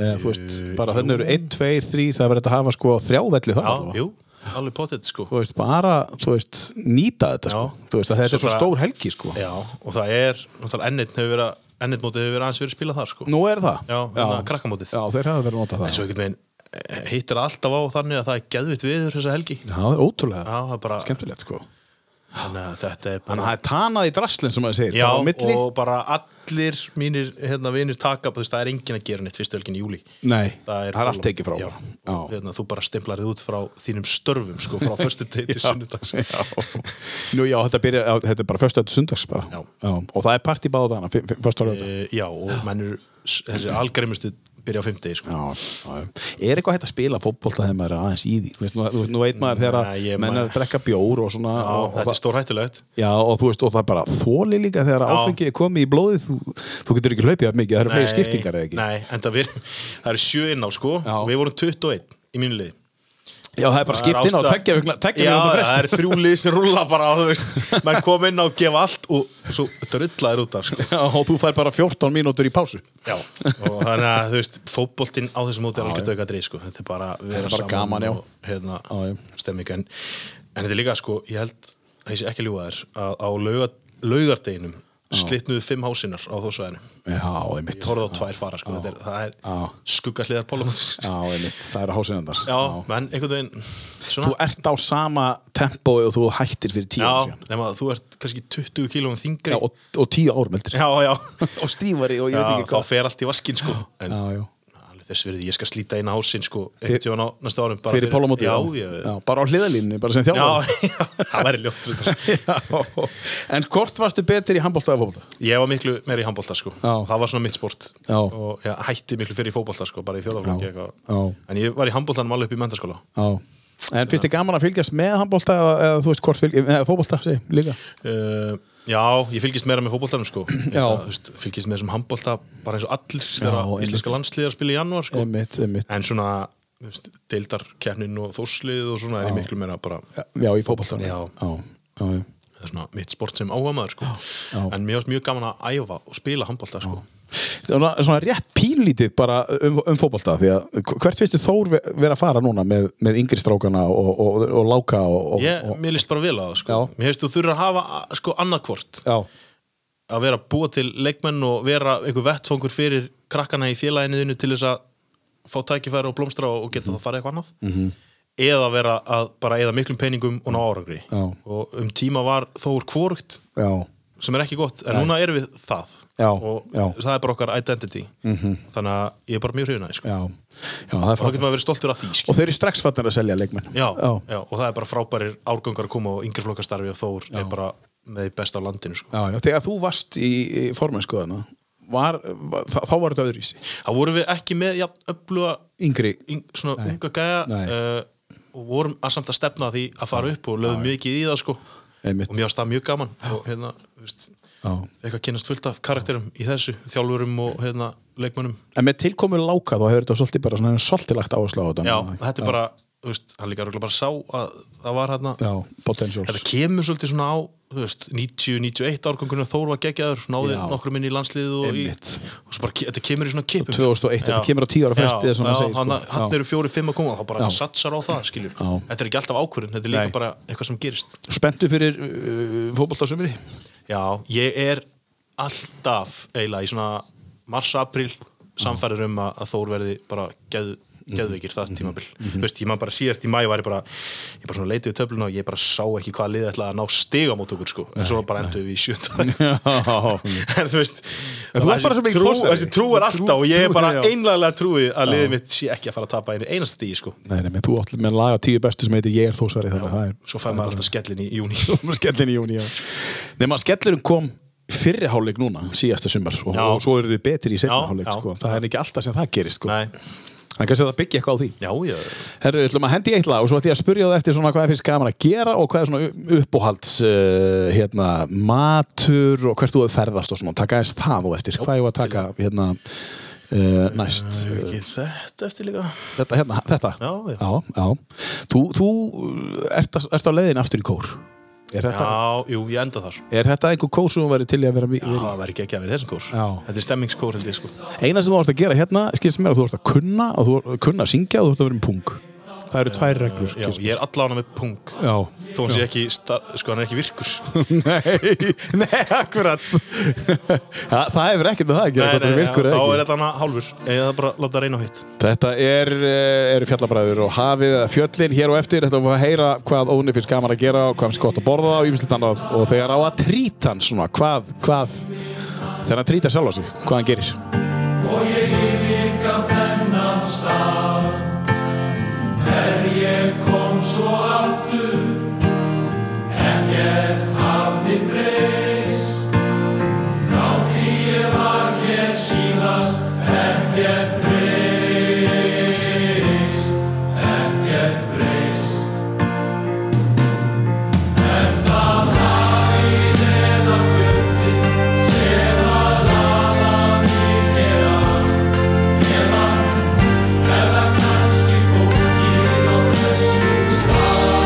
Eða, þú veist, Eh, bara þannig eru 1, 2, 3 það verður þetta að hafa sko þrjá velli það já, allavega. jú, alveg potið sko. Þú veist, bara, þú veist, nýta þetta sko. Já. Þú veist, að þetta er Svo svo bara- stór helgi sko. já, og það er, náttúrulega ennit hefur verið, að- ennit mótið hefur verið aðeins verið spilað þar sko. Nú er það. já, já. krakkamótið, Já, þeir hafa verið að nota en það. svo einhvern veginn eh, hittir það alltaf á þannig að það er geðvitt viður þessa helgi, Já, það er ótrúlega já, það er bara skemmtilegt sko. þannig að þetta er Þannig að bara það er tanað í draslinn sem maður segir. Já, bara á milli. og bara allir mínir hérna, vinir taka, þú veist, það er enginn að gera neitt fyrstu helgin í júli Nei, það er, allt tekið frá. já, Já. Og, hérna, þú bara stimplar þið út frá þínum störfum sko, frá förstu til sunnudags Nú, já, þetta, byrja, já, þetta er bara fyrsta til sundags bara. Já. Og það er partí báða dana, fyrsta lögða. Eh, já, og mennur þessi algremustu byrja á fimmtegi sko. Já, já, já. er eitthvað hægt að spila fótbolta þegar maður er aðeins í því Þú veist, nú, þú veist, nú veit maður þegar Nei, að ég menn er að maður- drekka bjór og svona Já, og, og, þetta er það, stór hættulegt já, og þú veist, og það er bara þóli líka þegar Já. áfengi er komið í blóðið þú, þú getur ekki hlaupið af mikið, það eru fleiri skiptingar eða ekki Nei, en það, við, það er sjö inn á sko, Já. og við vorum 21 í mínu liði Já, það er bara Það er skipt inn á ástæða- tveggja vikna tveggja Já, vikna það er frest. þrjú lið sem rúla bara á, þú veist menn kom inn á og gefa allt og svo drullaðir út af sko. Já, og þú fær bara 14 mínútur í pásu Já, og þannig að þú veist fótboltinn á þessum móti er alveg auka drið sko. þetta er bara að vera Þetta er bara saman gaman, já. og hérna, Já, já. stemming en, en þetta er líka sko, ég held að ég sé ekki að ljúga þér að á lauga, laugardeginum slitnuðu fimm hásinnar á þósvæðinu Já, einmitt ég horfði á tvær fara sko. þetta er, það er Já. skuggahliðar pólumótis Já, einmitt, það eru hásinandar já, menn einhvern veginn Þú svona, ert á sama tempói og þú hættir fyrir tíu árum já, síðan nema að þú ert kannski 20 kílum þingri Já, og, og tíu árum heldur já, já, Og stífari og ég já veit ekki þá hvað fer allt í vaskinn sko. en Já, já alveg þess verði, ég skal slíta eina hásinn sko, einhvern tíðan á næsta árum bara fyrir pólumóti já, já, bara á hliðalínu, bara sem Já, þjálfari já, það væri ljótt reyndar. Já. en hvort varstu betur í handbólta eða fótbolta? Ég var miklu meira í handbólta sko Já. Það var svona mitt sport Já. Og ég hætti miklu fyrir í fótbólta sko Bara í Já. fjólaflokki eitthvað Já. En ég var í handbóltanum alveg upp í mentaskóla Já, En finnst þið gaman að fylgjast með handbólta eða, eða þú veist hvort fylg, eða fótbolta segi, líka? Uh, já, ég fylgist meira með fótboltanum sko. Ég Já. þetta, þú veist, fylgist með þessum handbolta bara eins og allir þegar einmitt. íslenska landsliðar spila í janúar sko. Einmitt, einmitt. en svona þú veist, deildarkernin og þórslið og svona er Já. ég miklu meira bara Já, í fótboltanum. Já. já, já. það er svona mitt sport sem áhuga maður sko. já. en mér varst mjög gaman að æfa og spila handbolta sko. Svona, svona rétt pínlítið bara um, um fótbolta því að hvert finnst þið Þór ve- vera að fara núna með, með yngri strákana og, og, og, og láka og, og, ég, mér líst bara vel á það sko. mér hefst þú þurfa að hafa a- sko, annarkvort Já. að vera að búa til leikmenn og vera einhver vettfangur fyrir krakkana í félaginu þínu til þess að fá tækifæri og blómstra og og geta það að fara eitthvað annað Mhm. eða vera að bara eða miklum peningum og ná árangri Já. og um tíma var Þór kvorugt já, sem er ekki gott, en Nei. núna erum við það Já, og já. það er bara okkar identity Mhm. þannig að ég er bara mjög hrifnaði sko. já, já, það er og það frábært. getur maður verið stoltur af því sko. Og þeir eru strax fattar að selja leikmenn. já, já. já, og það er bara frábærir árgangar að koma og yngri flokkastarfi og Þór er bara með því besta á landinu sko. Já, já, þegar þú varst í, í formennskuðana var, var, þá, þá var þetta öðruvísi þá vorum við ekki með ja, öfluga yngri yng, svona unga gæja uh, og vorum að samt að stefna að því að fara upp og lögum mikið í það sko. Einmitt. og mér varst það mjög gaman og hérna, þú veist, Já. eitthvað kynast fullt af karakterum í þessu, þjálfurum og hérna, leikmönnum En með tilkomu láka þá hefur þetta svolítið bara svona svolítið lagt áherslu á þetta Já, þetta er bara, þú veist, hann líka örugglega bara sá að það var hérna Já, potentials Þetta kemur svolítið svona á, þú veist, 90-91 árgangunum Þór var geggjaður, náði Já. nokkrum inn í landsliðið og, í, og svo bara, ke- þetta kemur í svona kipum 2001, þetta kemur á 10 ára fresti, eða já, svona maður segir, hann, sko. hann Já. eru fjóri, fimm að koma og þá bara Já. satsar á það, skiljum Já. Þetta er ekki alltaf ákvörðun, þetta er líka Nei. bara eitthvað sem gerist Spenntu fyrir uh, fótboltasumri? Já, ég er alltaf eiginlega í svona mars-april samfærir um að, að Þór verði bara geð, geðveikir það tímabil Mhm. Þú veist, ég man bara síðast í mæ var ég bara ég bara svona leitið við töfluna og ég bara sá ekki hvað liðið ætlaði að ná stiga mót okkur sko en svo bara endur við í sjönda en þú veist En þú ert bara svo mikið þessi trú, forsvari. þessi trú er alltaf og ég er Trú- bara trú- já. einlega trúið að Já. liðið mitt sé ekki að fara að tapa einu einast stígi sko Nei, nei, menn þú átt með laga tíu bestu sem heitir Ég er þósari þannig að það er svo fær maður alltaf skellin í júni skellin í júni, já Nei, maður skellurinn kom fyrri hálfleik núna, síðasta sumar og, Já. og svo eru þið betri í setna Já, hálfleik já. sko. það er ekki alltaf sem það gerist sko. Nei. en kannski það byggja eitthvað á því Já, já Herru, ætlum að hendi eitt lag og svo ætlum ég að spyrja það eftir svona hvað er fyrst gaman að gera og hvað er svona uppóhalds uh, hérna, matur og hvert þú hefur ferðast og svona, taka eins það og eftir hvað ég var að taka hérna uh, næst Ekki þetta eftir líka Þetta hérna, þetta Já, já. já, Þú, þú uh, ert, að- ert á leiðin aftur í kór Er þetta, Já, jú, ég enda þar er þetta einhver kór sem þú væri til í að vera Já, það væri ekki ekki að vera í þessum kór Já. Þetta er stemmingskór held ég sko Eina sem þú ert að gera hérna, skilst mér að þú ert að kunna og þú ert að kunna að syngja og þú ert að vera með punk Það eru tvær reglur Já, skilst mér. ég er allan með punk Já. Þó hann Já. sé ekki, star- sko hann er ekki virkur nei, nei, akkurat Þa, Það hefur ekkert með það að gera hvort það er virkur já, Þá eða er ekki þetta hana hálfur Eða bara láta reyna á hitt Þetta er, eh, eru fjallabræður og hafið eða fjöllin hér og eftir Þetta var að heyra hvað Óni finnst gaman að gera og hvað finnst gott að borða og ýmislegt annað og þegar á að trýta hann svona, hvað, hvað þegar hann trýta sjálf á sig, hvað hann gerir Og ég yfirgaf þennan stað Er ég kom svo aftur Ekkert hafði breyst Frá því ég var hér síðast Ekkert breyst Ekkert breyst Er það hafið eða fjöldin sem að laða mig hér að eða er það kannski fólkið á þessum stað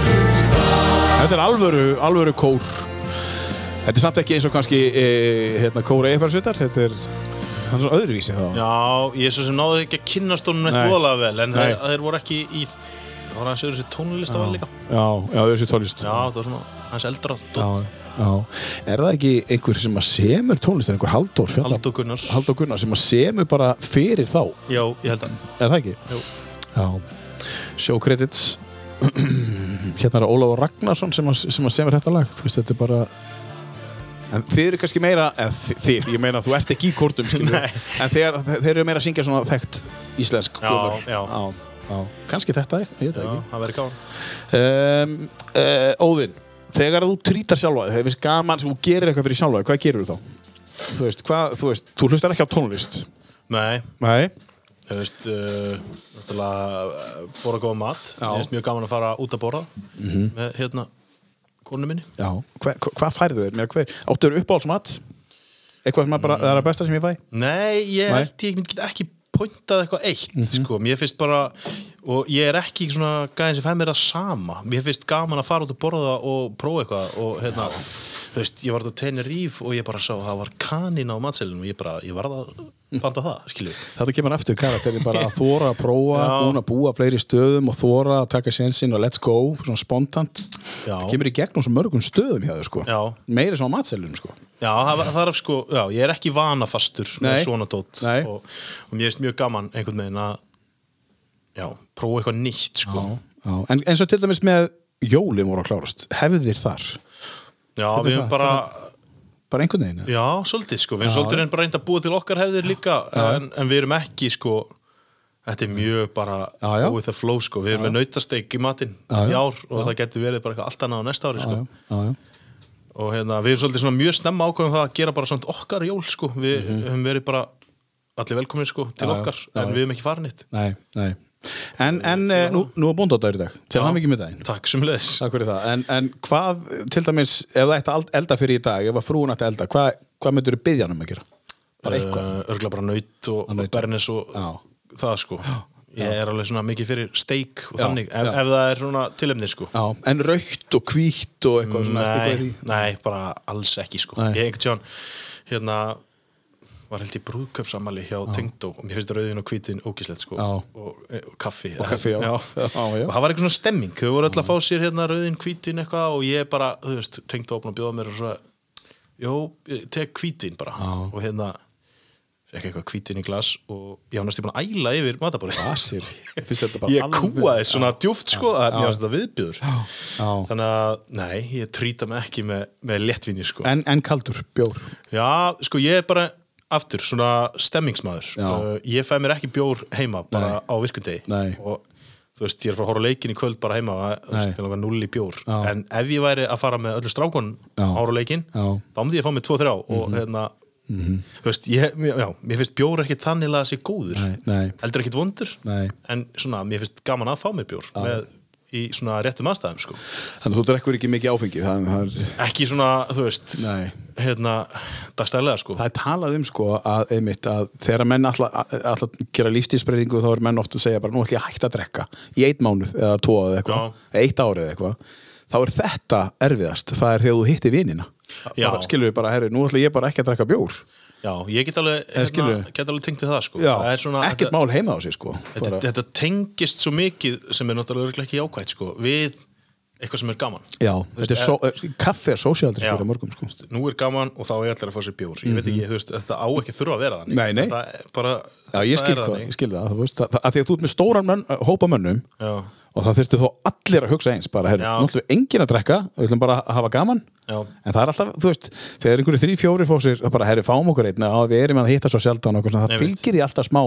þetta er alvöru, alvöru kór Þetta er samt ekki eins og kannski e, hérna, kóra eiffarsveitar Þetta er hann er svona öðruvísi þá Já, ég svo sem náði ekki að kynnast honum neitt Nei. voðalega vel en Nei. þeir, þeir voru ekki í það var hans öðru sér tónlist á vel líka Já, já öðruvísi tólist Já, það var svona hans eldra já, dótt já. Er það ekki einhver sem að semur tónlist einhver Halldór Fjalla Halldór Gunnar Halldór Gunnar sem að semur bara fyrir þá Já, ég held að Er það ekki? Jú. Já Show credits Hérna er Ólafur Ragnarsson sem að, sem að semur þetta lag Þú veist, þetta er bara En þið eru kannski meira, eða þi- þið, ég meina þú ert ekki í kórtum, skilur Nei. En þeir, þeir eru meira að syngja svona þekkt íslensk Já, gömul. já. já, já Kannski þetta, ég veit það Já, ekki það verður gáðan um, uh, Óðinn, þegar þú trítar sjálfa þig, þegar þú finnst gaman sem þú gerir eitthvað fyrir sjálfa þig, hvað gerir þú þá? Þú veist, hvað, þú veist, þú hlustar ekki á tónlist Nei, Nei þú veist uh, náttúrulega uh, borða góða mat Já. Mér finnst mjög gaman að fara út að borða Mhm. með hérna konu minni Já, hva, hva, hvað færðu þér? Mér, hver, áttu þér uppáhaldsmat? Eitthvað sem að bara, það er að besta sem ég fæ? Nei, ég Nei. held ég get ekki pointað eitthvað eitt sko. Mér finnst bara og ég er ekki svona gæðin sem fæ mér það sama Mér finnst gaman að fara út og borða og prófa eitthvað og hérna þú veist, ég var þetta á Tenerife og ég bara sá það var kanína á matselinu og ég bara, ég varð að banda það, skilju Þetta kemur aftur karakterin bara að þóra að prófa, búin að búa fleiri stöðum og þóra að taka sénsinn og let's go, svona spontant. Já. Það kemur í gegnum svo mörgum stöðum hjá þér sko. Já. Meira svo á matselunum sko. Já, það, var- það er sko, já, ég er ekki vanafastur með Nei. svona dót Nei. og, og mér finnst mjög gaman einhvern veginn að já, prófa eitthvað nýtt sko. Já. En eins og til dæmis með jólum voru að klárast, hefðir þar? Já, Hvernig við það? höfum bara Bara einhvern veginn? eða? Já, svolítið sko, við erum Já, svolítið reynd bara reynd að búa til okkar hefðir líka en, en við erum ekki sko þetta er mjög bara Já, já. go with the flow sko, við erum með nautasteik í matinn Já, já. í ár og það getur verið bara eitthvað allt annað á næsta ári sko Já, já. og hérna, við erum svolítið svona mjög snemma ákvæðum það að gera bara svona okkar jól sko við höfum verið bara allir velkomin sko til Mhm. Já, já. okkar, Já, en já. við höfum ekki farin eitt Nei, nei. En, en eh, nú, nú er bóndáttaður í dag. Til Já. hann mikið með daginn. Takk sem leðis Takk fyrir það. En, en hvað, til dæmis, ef það ætti að eld- elda fyrir í dag, ef að frúin ætti að elda, hvað, hvað myndur þú byggja hann um að gera? Bara eitthvað. Örgla Eh, bara naut og, naut. og bernis og Já. það sko Ég er alveg svona mikið fyrir steik og Já, þannig, ef, já. ef það er svona tilefni sko Já, en raukt og hvítt og eitthvað svona, ertu Nei, eitthvað í því? nei, bara alls ekki sko. Nei. Ég einhvern tjón hérna var held í brúðköpsamali hjá Tengdó og mér finnst rauðin og hvítin ógislegt sko. Já. og, og kaffi, og kaffi, já. Já, já. og það var eitthvað svona stemming þau voru öll að fá sér hérna rauðin, hvítin eitthvað og ég bara, þú veist, Tengdó opna að bjóða mér og svo, jó, ég tek hvítin bara og hérna fekk eitthvað hvítin í glas og ég var næstu búin að æla yfir matabórið Basir. Ég finnst þetta bara ég alveg- kúaði svona djúft sko að mér já. varst þetta viðbjöður Já. þannig að, nei, ég trýta mig ekki með, með léttvinni, sko En, en kaldur, bjór. já, sko, ég er bara aftur, svona stemmingsmaður Já. uh, ég fæ mér ekki bjór heima bara á virkundegi Nei. og þú veist, ég er frá að horfa á leikin í kvöld bara heima og þú veist, Nei. mér langar null í bjór Já. en ef ég væri að fara með öllu strákon Já. að horfa á leikin, Já. Mhm. þá myndi ég fá mér tvo þrjá og hérna þú veist, ég, mér- já, mér finnst bjór ekkit þannig að sé góður Nei, nei. heldur ekkit vondur Nei. en svona, mér finnst gaman að fá mér bjór með, í svona réttum aðstæðum, sko Þannig að þú drekkur ekki mikið áfengi. Það, það, er, ekki svona, þú veist Nei. hérna, dagstælega sko það er talað um sko að, einmitt, að þegar menn alltaf að gera lífstíðsbreytingu þá er menn ofta að segja bara nú ætlum ég að hætta að drekka í eitt mánuð eða tvo eða eitthvað, eitt árið eða eitthvað. Þá er þetta erfiðast. Það er þegar þú hittir vinina. Já. Bara, skilur við bara, herri, nú ætlum ég bara ekki að drekka bjór. já, ég get alveg, Eh, skilurðu? hérna, get alveg tengt við það sko Já, það er svona, ekkert þetta, mál heima á sig sko þetta, bara, þetta tengist svo mikið sem er náttúrulega örugglega ekki jákvætt sko við eitthvað sem er gaman Já, Þú veist, þetta er so, kaffi er sósíaldri Já. fyrir mörgum sko nú er gaman og þá er allir að fá sér bjór ég veit ekki, þú veist, þetta á ekki þurfa að vera þannig Mhm. Nei, nei. Þetta er bara, Já, ég það skil er það, þannig. ég skil það, þú veist, það, það að Því að þú ert með stóran mönn, hópa mönnum já, og það þurftu þó allir að hugsa eins bara, herri, Já. nú ætlum við engin að drekka og við ætlum bara að hafa gaman Já. en það er alltaf, þú veist, þegar einhverju þrý, fjóri fá sér, það bara, herri, fáum okkur einn að við erum að hitta svo sjaldan og okkur svona, það Einmitt. fylgir því alltaf smá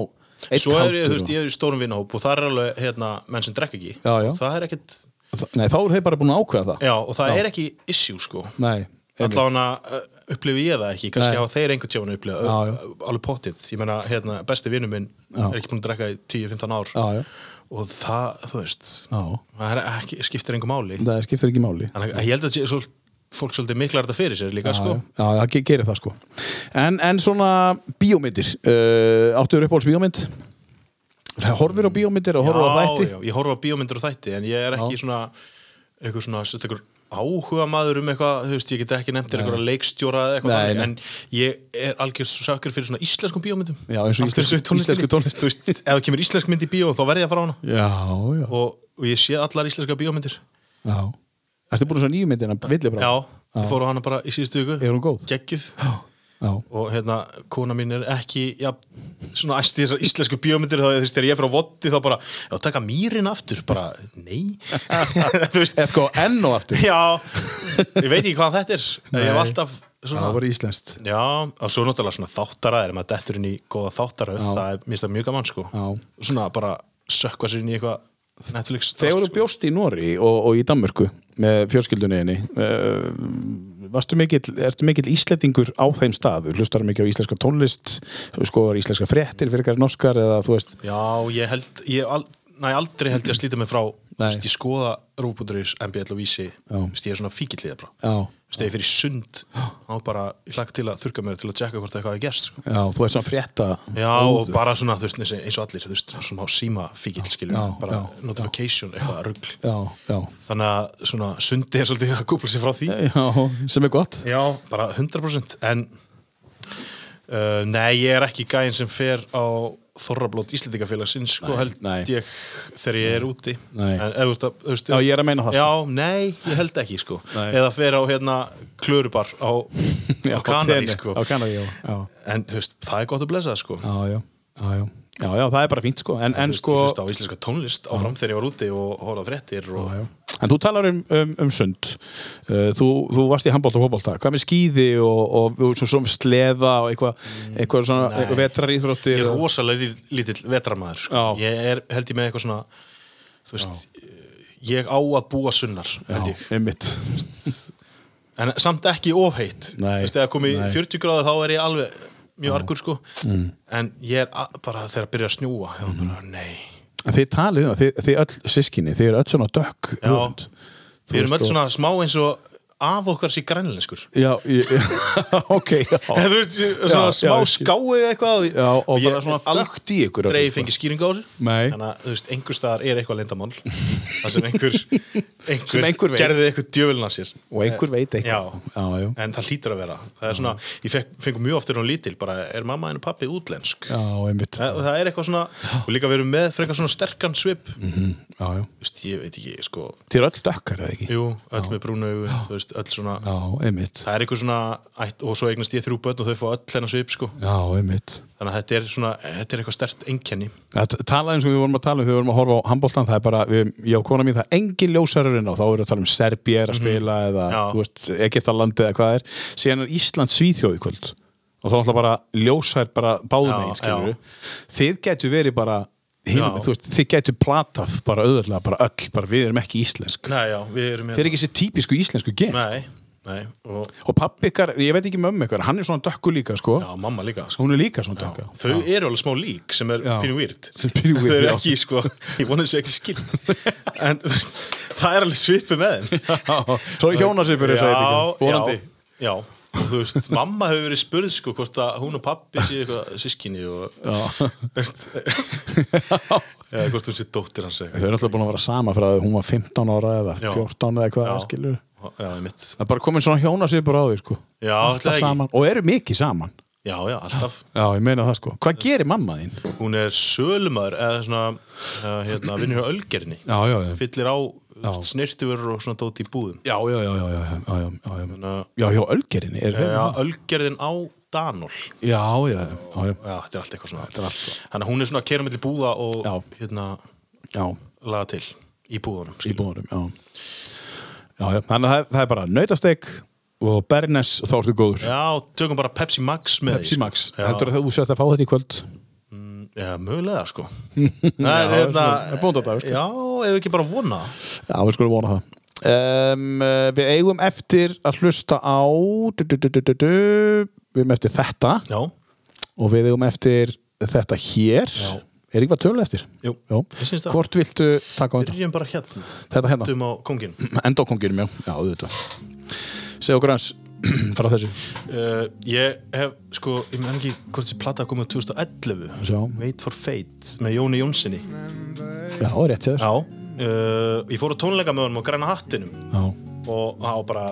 eitt svo er ég, þú kaldur veist, ég er í stórum vinahóp og það er alveg, hérna, menn sem drekka ekki Já, já. Og það er ekkit, og, Nei, þá eru þeir bara búin að ákveða það já, og það er ekki issue sko Nei, einmitt. allan að eh, upplifi ég það ekki kannski Nei. hafa þeir einhvern tjóðan upplifa Já, já. ö- alveg pottið, ég meina hérna, besti vinnu minn Já. er ekki búin að drekka í 10-15 ár Já, já. og það, þú veist Já. það er ekki, skiptir einhver máli það skiptir ekki máli þannig að ég held að sé, svol, fólk svolítið miklar þetta fyrir sér líka Já, sko. já, það ge- gerir það sko En, en svona bíómyndir uh, Áttuður uppáhalds bíómynd Horfir á bíómyndir og horfir á þætti já, ég horfa á bíómyndir og þætti en ég er ekki svona einhver svona sérstakur áhuga maður um eitthvað, þú veist, ég get ekki nefnt til Nei. eitthvað leikstjóra eða eitthvað Nei, þannig, nei. en ég er algjör sökkur fyrir svona íslenskum bíómyndum Já, eins og Aftur íslensku- þessu tónlistinni. íslensku tónlist. Þú veist, ef það kemur íslensk mynd í bíó þá verð ég að fara á hana Já, já, og, og ég sé allar íslenska bíómyndir já Ertu búin að sjá nýju myndina, Villibráð? Já, ég fór á hana bara í síðustu viku Er hún góð? Gekkið Já. Og hérna, kona mín er ekki já, svona æsti þessar íslensku bíómyndir þá þú veist, þegar ég er frá votti þá bara já, taka mýrin aftur, bara nei Þú veist, Eða sko enn og aftur já ég veit ekki hvað þetta er ég hef Nei. alltaf svona Það var íslenskt Já, og svo náttúrulega svona þáttarað er maður dettur inn í góða þáttarað, Já. það er mista mjög gaman sko Já. svona bara sökva sér inn í eitthvað Netflix sko. Þegar þú bjóst í Nóri og, og í Danmörku með fjölskyldunniðinni uh, varstu mikill, ertu mikill íslendingur á þeim stað, Þú hlustar mikið á íslenska tónlist skoðar íslenska fréttir fyrir hverjar norskar eða þú veist Já, ég held, ég al, næ, aldrei held ég að slíta mig frá Nei. Vist, ég skoða rúfbúndurins MBL og vísi Vist, ég er svona fíkillíða bara Já. Vist, ég fyrir sund á bara, ég hlakk til að þurka mér til að tjekka hvort eitthvað er gerst sko. Já, þú ert svona frétta Já, og bara svona, þú veist, eins- eins og allir þú veist, svona á síma fíkill, skiljum Já, bara já, notification, eitthvað rugl Já, já, þannig að svona sundi er svolítið að kúpla sér frá því já, sem er gott Já, bara 100% en uh, nei, ég er ekki gæinn sem fer á Þorrablót Íslendingafélagsins sko Nei, held nei. ég þegar ég er úti Nei. en, eða, þú veist, Já, ég er að meina það, Já, sko. nei, ég held ekki sko Nei. eða fer á hérna klörubar á, á Kanari Tenerife, sko Á Kanari, já, já, en þú veist, það er gott að blessa sko já, já, já, já. Já, já, það er bara fínt sko En, Þú en veist, sko ég hlusta á íslenska tónlist áfram þegar ég var úti og horfði á fréttir og Já, já. En þú talar um, um, um sund uh, þú, þú varst í handbólta og fótbólta Hvað með skíði og, og, og svo, svo sleða og eitthvað eitthvað svona Mm, Nei. eitthvað vetraríþrótti ég er rosalega lítill, lítill vetramaður sko. Já. ég er held ég með eitthvað svona þú veist, ég á að búa sunnar held ég, einmitt en samt ekki ofheitt Nei, Þú veist, eða komið í nei. Mm. 40 gráður þá er ég alveg mjög argur sko en ég er a- bara þegar að byrja að snjúa mm. Mhm. bara, nei, En þið talið um það, þið, þið öll sískinni þið eru öll svona dökk Já. húrund. við erum veist, öll og- svona smá eins og af okkar sér grænlenskur Já, ég, ok já. Eða þú veist, svona Já, smá já, ég skil. skái eitthvað Já, og ég bara svona al- dökkt í ykkur aldrei öllu, sko. fengið skýringa á þessu Nei. þannig að þú veist, einhver staðar er eitthvað lindamál þar sem einhver, einhver, Sem einhver veit. gerði eitthvað djövelin af sér og einhver veit já, eitthvað já, já. en það hlýtur að vera það er svona, ég fekk, fengur mjög oft þegar hún lítil bara, er mamma henni pappi útlensk já, einmitt það, og það er eitthvað svona, og líka við erum með frekar svona sterkan svip mm. já, já. veist, ég veit ekki, sko Þið eru öll dökkar eða ekki jú, öll með brúnu augu, þú veist, öll svona Já, einmitt það er eitthvað svona, ætt- og svo eignast ég þrjú börn og þau fá öll hennar svip, sko Já, einmitt þannig að þetta er svona, þetta er eitthvað stert einkenni Að tala eins og við vorum að tala um þegar við vorum að horfa á handbóltan það er bara, við, ég og kona mín, það er engin ljósarurinn á þá erum við að tala um Serbíu er að spila eða, Mhm. Já. þú veist, Egiptalandi eða hvað er síðan er Ísland svíþjóð í kvöld og þá er alltaf bara ljósar bara báðum Já, einn, skilur við þið getur verið bara, hinum, Já. þú veist, þið getur platað bara auðvitað, bara öll, bara við erum ekki íslensk Nei, já, við erum hérna. þið er ekki þessi típisku íslensku gen Nei, nei, og og pappi ykkar, ég veit ekki mömmu ykkar hann er svona dökku líka, sko já, mamma líka sko. hún er líka svona dökka Þau eru alveg smá lík sem er Já. pínu weird Sem pínu weird, Þau eru já. ekki, sko, ég vonið þessu ekki skil En þú veist, það er alveg svipu með þeim svo er hjónasipur Já, þess að já, já Og þú veist, mamma hefur verið spurð sko hvort að hún og pappi séu eitthvað sískinni og Já. þú veist eða hvort hún sé dóttir hans Þau eitthvað. eru alltaf búin að vera sama frá því að hún var 15 ára eða Já. 14 eða hvað Já. það er, skilur Já, ég mitt Það er bara komin svona hjóna sér bara á því sko Já, ætli Alltaf ekki. saman og eru mikið saman Já, já, alltaf Já, ég meina það sko Hvað gerir mamma þín? Hún er sölumar eða svona, uh, hérna, vinnur hjá Ölgerinni Já, já, já fyllir á Já. snirtuverur og svona dót í búðum Já, já, já, já, já, já, já, já, já, já. Þannig að- já hjá Ölgerinni er þeim Já, ölgerðin á Danól Já, já, já, já, Já, þetta er allt eitthvað svona Þannig að hún er svona að kera mellir búða og Já. hérna já, laga til í búðunum í búðurum, já Já, já, þannig að það, það er bara nautasteg og bernes og þá ertu góður Já, tökum bara Pepsi Max með Pepsi Max, Já. heldur að þú sérst að fá þetta í kvöld Já, mögulega sko Það er hérna það er bóndadagur, sko. Já, ef ekki bara vona Já, við skulum vona það um, eh, Við eigum eftir að hlusta á du, du, du, du, du, du. Við eigum eftir þetta Já, og við eigum eftir þetta hér Já. Er ekki bara tölu eftir? Jú, Já. ég syns það. Hvort viltu taka á þetta? byrjum bara hérna Þetta hérna. Dum á kongin Endókonginum, já, já, auðvitað Segðu okkur hans frá þessu uh, Ég hef, sko, ég menn ekki hvort þessi plata komið 2011 Sjá. Wait for Fate með Jóni Jónssoni Já, rétt hjá Eh, þér Já, uh, ég fór á tónleika með honum á Græna Hattinum Já, og það var bara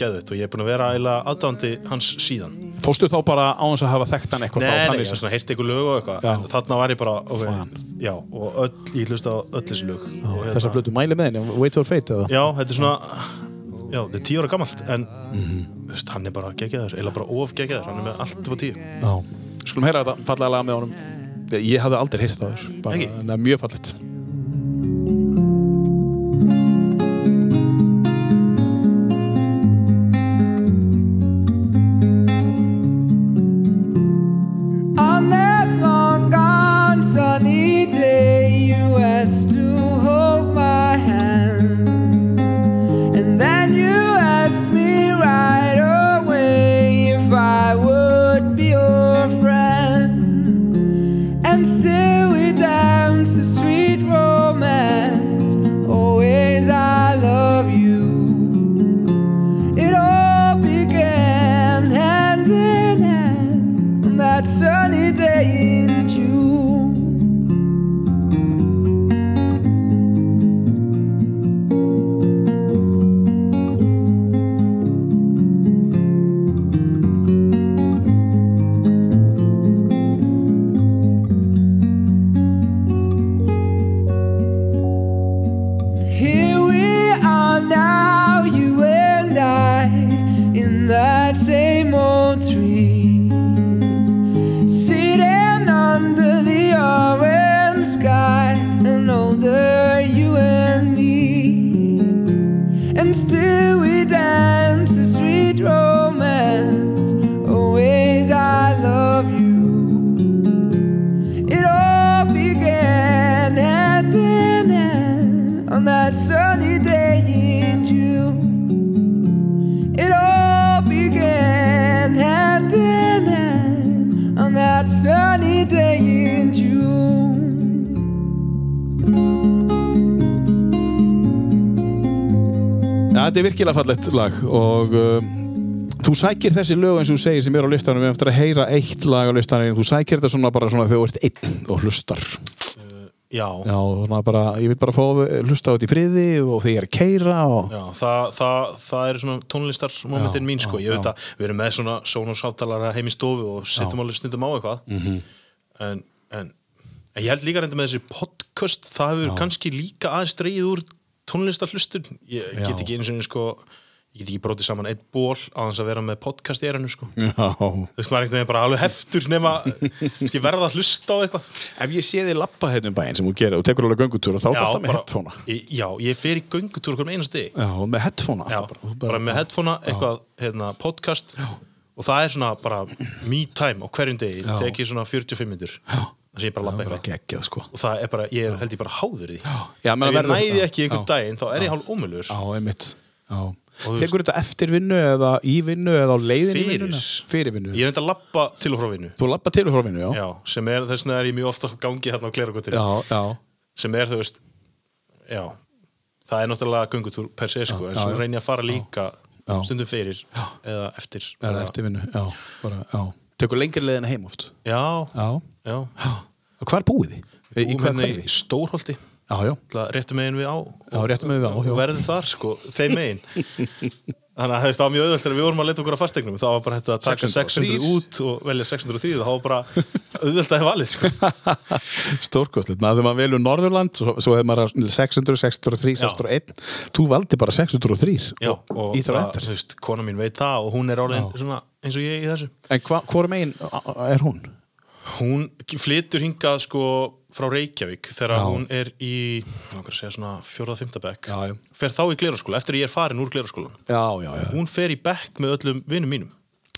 geðvitt og ég er búin að vera eiginlega aðdándi hans síðan Fórstu þá bara á hans að hafa þekkt hann eitthvað Nei, frá nei, þannig ég sem- svona heyrti ykkur lög og eitthvað Já. en þarna var ég bara, ok, já og öll, ég hlusta á öll þessi lög og hérna- Þessar blötu mæli með henni, Wait for Fate eða? Já, þetta er svona Já, þetta er tíu ára gamalt en Mhm. þú veist, hann er bara geggjaður, eða bara of geggjaður hann er með allt upp á tíu Já. Skulum heyra þetta fallega laga með honum. Ég hafði aldrei heyrst það þér. Bara, Ekki? það er mjög fallegt. On that long gone sunny day, you asked to hold my hand. And then you asked me right away if I would be your friend. And still we danced a sweet romance. Always I love you. It all began hand in hand on that sunny day in June. Here we are now, you and I, in that same old tree, sitting under the orange sky, and older you and me. And still we dance the sweet romance. Always I love you. It all began hand in hand on that sunny day in June. It all began hand in hand on that sunny day in June. Ja, þetta er virkilega fallegt lag og uh, þú sækir þessi lög eins og þú segir sem eru á listanum við erum eftir að heyra eitt lag á listanum þú sækir þetta svona bara svona þegar þú ert einn og hlustar Já, Já, svona bara, ég vil bara fá að hlusta á þetta í friði og þegar ég er að keira og já það, það, það eru svona tónlistarmomentin Já, mín sko, ég já, veit já. að við erum með svona Sonos hátalara heim í stofu og setjum alveg stundum á eitthvað Mhm. en, en, en ég held líka reynda með þessi podcast, það hefur kannski líka aðeins dreigið úr tónlistarhlustun ég Já. get ekki einu sinni sko ég get ekki brotið saman eitt ból á þess að vera með podcast í erinu sko Mm. Já þú veist maður einhvern veginn bara alveg heftur nema veist, ég verða að hlusta á eitthvað Ef ég sé þig lappa hérna um bæinn sem þú gerir og tekur alveg göngutúr og þá er það með headphone ég, já, ég fer í göngutúr hverjum einast degi Já, og með headphone já, bara, með headphone, eitthvað hérna, podcast og það er svona bara me time á hverjum degi Já. ég tek ég svona 45 minnur þannig að ég bara lappa eitthvað geggjað, sko. og það er bara, ég er, held ég bara háður í því Já, ef menn að ég verður- næði já, ekki einhvern já. daginn þá er Já. ég hálf ómulur Já, einmitt Já þú veist- Tekur þetta eftir vinnu eða í vinnu eða á leiðinu Fyrir. Fyrir vinnu ég er enda að lappa til og frá vinnu Þú lappa til og frá vinnu, já já, sem er, þess vegna er ég mjög ofta gangi þarna á Já, kleragotinu já sem er, þú veist já, það er náttúrulega göngutúr per se sko, en já, svo já. reyni ég að fara líka Já. stundum fyrir eða eftir Eða bara- eftir vinnu, já, bara, já Tekur lengri leiðin heim oft já, Já já Og hvar búið þið? Í- í Búum hvað hérna í hverfi? Stórholti Já, já Ætla, réttum megin við á Já, réttum megin við á, já. og verðum þar sko, þeim megin þannig að þú veist, það var mjög auðvöld þegar við vorum að leta okkur á fastegnum þá var bara þetta að taka 603 600 út og velja 603 þá var bara auðvöld að hefa valið sko. Stórkostlegt, maður þegar maður velur Norðurland svo, svo hefur maður 600, 603, 601 Þú valdi bara 603 já, og í þar á það, eftir þú veist, kona mín veit það og hún er orðin svona, eins og ég í þessu En hva, hvora megin a- a- er hún? hún flytur hingað sko frá Reykjavík þegar Já. hún er í langar að segja svona fjórða fymta bekk Já, já. fer þá í gleraskóla, eftir að ég er farin úr gleraskólan Já, já, já hún fer í bekk með öllum vinnum mínum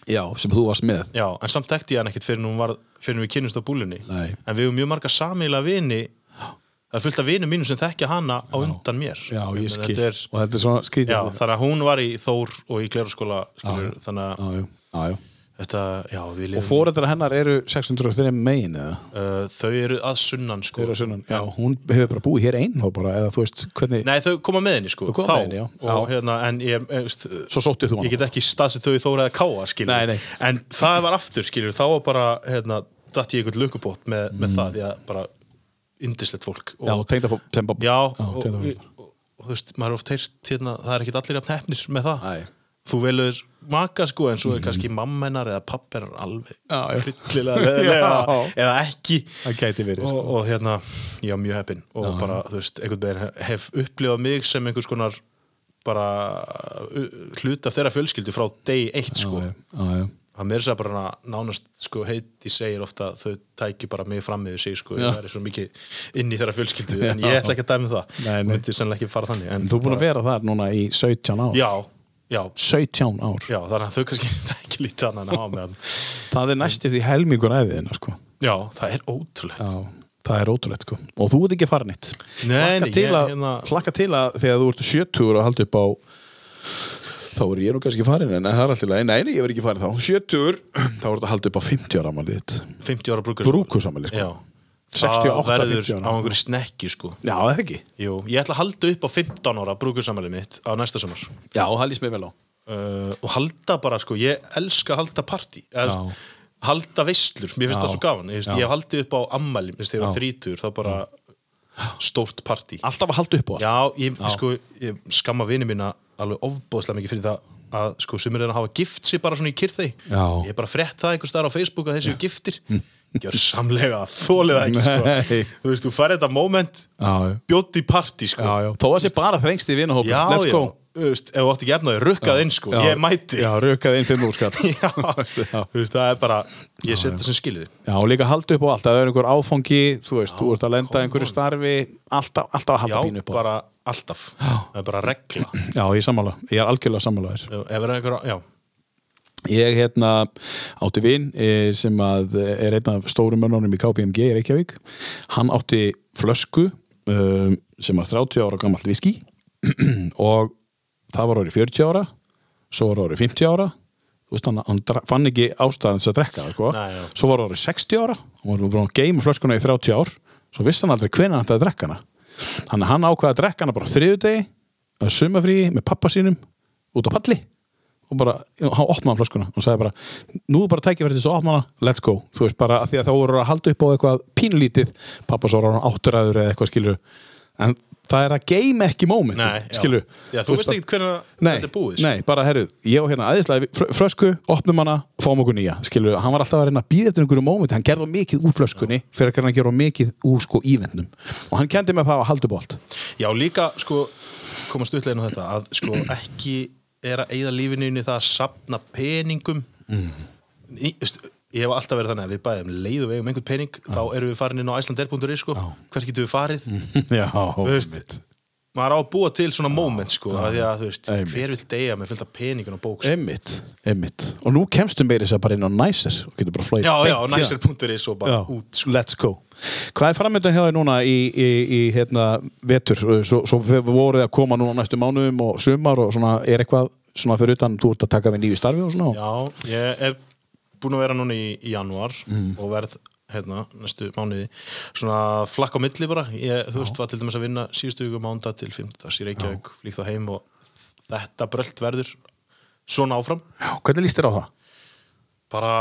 Já, sem þú varst með Já, en samt þekkti ég hann ekkert fyrir hún var fyrir við kynnumst á búlinni Nei. en við höfum mjög marga samíla vini það er fullt af vinum mínum sem þekkja hana á undan mér Já, Þannig að ég skil þetta er, Og þetta er svona skrítið já, þannig að hún var í Þór og í Glerarskóla skilur, þannig að já, já, já. þetta, já, við Og lifum fóreldrar hennar eru 603 megin eða? uh, þau eru að sunnan sko Fyrir að sunnan, já, hún hefur bara búið hér einn þá bara, eða þú veist, hvernig Nei, þau koma með henni sko Þau þá, koma með henni, já. og, hérna, en ég, eh, veist, Svo sóttið þú hana ég get ekki staðsett þau í Þóra eða Káa skilur Nei, nei. en það var aftur skilur þá var bara hérna, datt ég einhvern lukubót með, með það því að bara indislegt fólk Mm. Já, tengda fólk sem bara Já, já og, tengda og, fólk og, og þú veist, maður er oft heyrt hérna, það er ekkit allir jafn hefnir með það Æ. þú velur maka sko en Mhm. svo er kannski mamma hennar eða pappa hennar alveg hryllilega leðilega Já. eða ekki Það gæti verið, og, sko. og hérna, ég var mjög heppinn og Já. bara, þú veist, einhvern veginn hef- hef upplifað mig sem einhvers konar bara uh, hluta þeirra fjölskyldu frá day 1 sko já, já. það meira sér bara hana, nánast sko, heiti segir ofta að þau tæki bara mig fram með sig sko, Já. það er svo mikið inn í þeirra fjölskyldu en Já. ég ætla ekki að dæmi það Nei, nei. myndi sannlega ekki fara þannig en, Þú er búin að bara- vera þar núna í 17 ár já, já, 17 ár já, þannig að þau kannski ekki lítið annað en að hafa með hann Það er næstu því helmingur æðiðina sko. já, það er ótrúlegt Já, það er ótrúlegt sko. Og þú ert ekki farin eitt Nei, nei, Hlakka til, ég, að- hérna- hlakka til að þegar þú ert 70 og haldi upp á þá er ég nú kannski farin en það er alltaf leið, nei, nei, ég verð ekki farin þá 70, þá er þetta haldið upp á 50 ára amalið þitt 50 ára brúkars brúkusamali sko. já, 68, það 50 verður ára. á einhverju snekki sko Já, það er ekki Jú, ég ætla að halda upp á 15 ára brúkursamælið mitt á næsta sumar Já, það lýst mér vel á uh, og halda bara sko, ég elska að halda partí eða, Já. þú veist, halda veislur, mér finnst Já. það svo gaman ég, veist, Já. ég haldi upp á ammæli, minnst þegar Já. þrítur þá bara stórt partí Alltaf að halda upp á allt já, ég, Sko, ég skamma vini mína alveg ofbóðslega mikið fyrir það að sko, sumir þeirra hafa gift sér bara svona í kyrþei Já. Mm. ég hef bara frett það einhvers staðar á Facebook að þessi giftir gjör samlega þólið það ekki sko. Nei. þú veist, þú fær þetta moment Já, já. bjótt í partí sko. Já, já. Þó að sé bara þrengst í vinahóp já, Let's já. go Þú veist, ef þú átt ekki efnaði, rukkað inn sko. ég mæti Já, rökaði inn fimm úrskall já, þú veist, það er bara ég set það sem skilir Já, og líka halda upp á allt, ef það er einhver áfangi þú veist, þú ert að lenda einhverju starfi alltaf, alltaf að já, halda pínu upp á bara alltaf það er bara regla ef Já, ég er sammála, ég er algjörlega sammála þér það er einhver, já, Ég hérna átti vin eh, sem að eh, er einn af stórum mönnunum í KPMG í Reykjavík Hann átti flösku um, sem var 30 ára gamalt viski og það var orðið 40 ára svo var orðið 50 ára þú veist, hann, hann dra- fann ekki ástæðan til að drekka það, sko. Nei, já. svo var orðið 60 ára hann var búin að geima flöskuna í 30 ár svo vissi hann aldrei hvenær hann ætti að drekka hana þannig að hann ákvaði að drekka hana bara á þriðudegi að sumafríi með pappa sínum út á palli og bara, hann opnaði flöskuna og sagði bara, nú er bara tækifærið þess að opna hana, let's go, þú veist bara, af því að þá voru að halda upp á eitthvað pínlítið pappa svo var hann átturæður eða eitthvað skilur en það er að geima ekki moment nei, já. skilur, já, þú veist ekki hvernig Nei, þetta er búið sko. nei, bara herru, ég og hérna aðeinslega fr flösku, opnum hana, fáum okkur nýja skilur, hann var alltaf að reyna að býða eftir einhverju mómenti hann gerði of mikið úr flöskunni, fyrir að hann gerði of mikið úr sko ívendnum og hann kendi með það að halda upp á allt já, líka, sko, komast utlega inn á þetta að sko, ekki er að eigða lífinu inn í það að sapna peningum Mm. í, veist, ég hef alltaf verið þannig að við bæðum leið og við eigum einhvern pening þá erum við farin inn á Icelandair.is sko. hvert getum við farið Já, Þú veist, maður á að búa til svona moment sko, að því að þú veist, Einmitt. hver vil deyja með fylgta peningin og bóks Emmitt, emmitt og nú kemstu meiri þess að segja bara inn á næsir og getur bara flóið já, já, næsir.is og bara út Let's go Hvað er framöndan hjá þér núna í, í, í hérna, vetur? Svo, svo við voruð að koma núna á næstu mánuðum og sumar og svona, er eitthvað svona fyrir utan, þú ert að taka við nýju starfi og svona? Já, ég er búin að vera núna í, í januar og verð hérna, næstu mánuði svona flakk á milli bara ég, þú veist, var til dæmis að vinna síðustu viku mánda til 15. í Reykjavík, flík þá heim og þetta brölt verður svona áfram, Já, hvernig líst þér á það? bara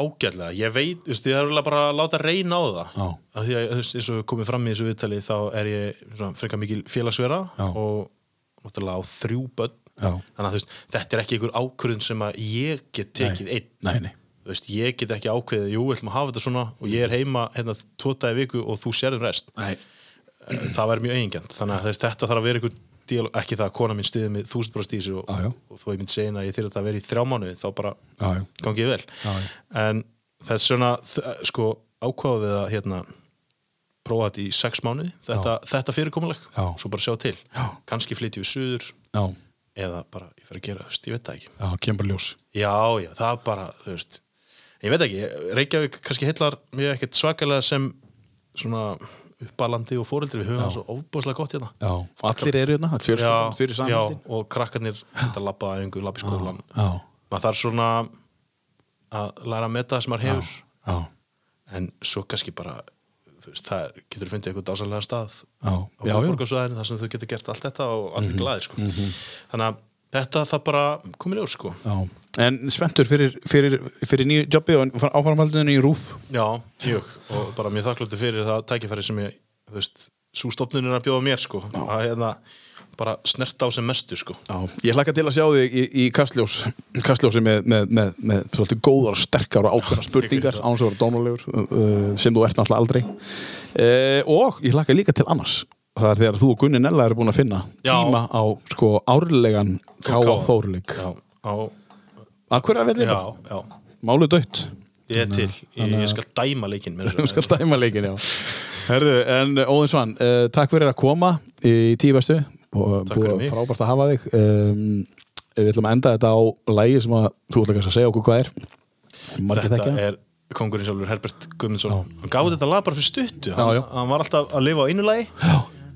ágætlega ég veit, þú veist, ég er örugglega bara að láta reyna á það Já. af því að, þú veist, eins og við komum fram í þessu viðtali þá er ég svona, frekar mikil félagsvera Já. og náttúrulega á þrjú börn Já. þannig að þú veist, þetta er ekki einhver ákvörðun sem að ég get tekið einn Nei, nei þú veist, ég get ekki ákveðið, jú, við ætlum að hafa þetta svona og ég er heima hérna tvo dagi í viku og þú sérðum rest Nei. Eh, það væri mjög eigingjant, þannig að þú veist, þetta þarf að vera einhver díl, ekki það að kona mín stiðið mig þúsund bara stíðis og, Já, já. og þó ég myndi segja henni að ég þyrfti að vera í þrjá mánuði þá bara Já, já. gangi ég vel Já, já. en það er svona þ- sko ákvaða við að hérna prófa þetta í sex mánuði þetta, þetta fyrirkomuleg, Já. svo bara sjá til já. kannski flytjum við suður Já, eða bara ég fer að gera, þú veist, ég veit það ekki já, kemur bara ljós Já, já, það er bara, þú veist Ég veit ekki, Reykjavík kannski heillar mjög ekkert svakalega sem svona uppalandi og fóreldri við höfum það svo ofbúðslega gott hérna Já, allir eru hérna, fjörskóðum, þau eru já, saman og krakkarnir þetta labba að einhver labba í skólan Já, maður þarf svona að læra að meta það sem maður hefur já, en svo kannski bara þú veist, það er, getur fundið eitthvað dásalega stað á já, já, Mhm. já. Borgarsvæðinu þar sem þau getur gert allt þetta og allir glaðir sko. þannig að þetta það bara komið ljós sko. já. En spenntur fyrir, fyrir, fyrir nýju jobbi og áframhaldinu í rúf Já, mjög og bara mjög þakkláttu fyrir það tækifæri sem ég, þú veist, svo stofnun er að bjóða mér sko að hérna bara snert á sem mestu sko Já, ég hlakka til að sjá þig í, í kastljós, kastljósi með, með, með, með svolítið góðar, sterkar og ákveðna spurningar án svo að vera dónulegur uh, sem þú ert náttúrulega aldrei uh, og ég hlakka líka til annars það er þegar þú og Gunni Nella eru búin að finna Já. tíma á sko árlegan Káa KA. Þórleik Já, á, Akkur er að velja já, já, Málu dött ég er til ég, þannig að- ég skal dæma leikinn mér Þú skal dæma leikin, já Herðu, en uh, Óðinn Svann, uh, takk fyrir að koma í tíu bestu og Takk fyrir búið mig. frábært að hafa þig um, Við ætlum að enda þetta á lægi sem að þú ætla kannski að segja okkur hvað er Margir þetta þekkja er kongurinn sjálfur Herbert Guðmundsson hann gáði þetta lag bara fyrir stuttu Já, hann, já. hann var alltaf að lifa á einu lagi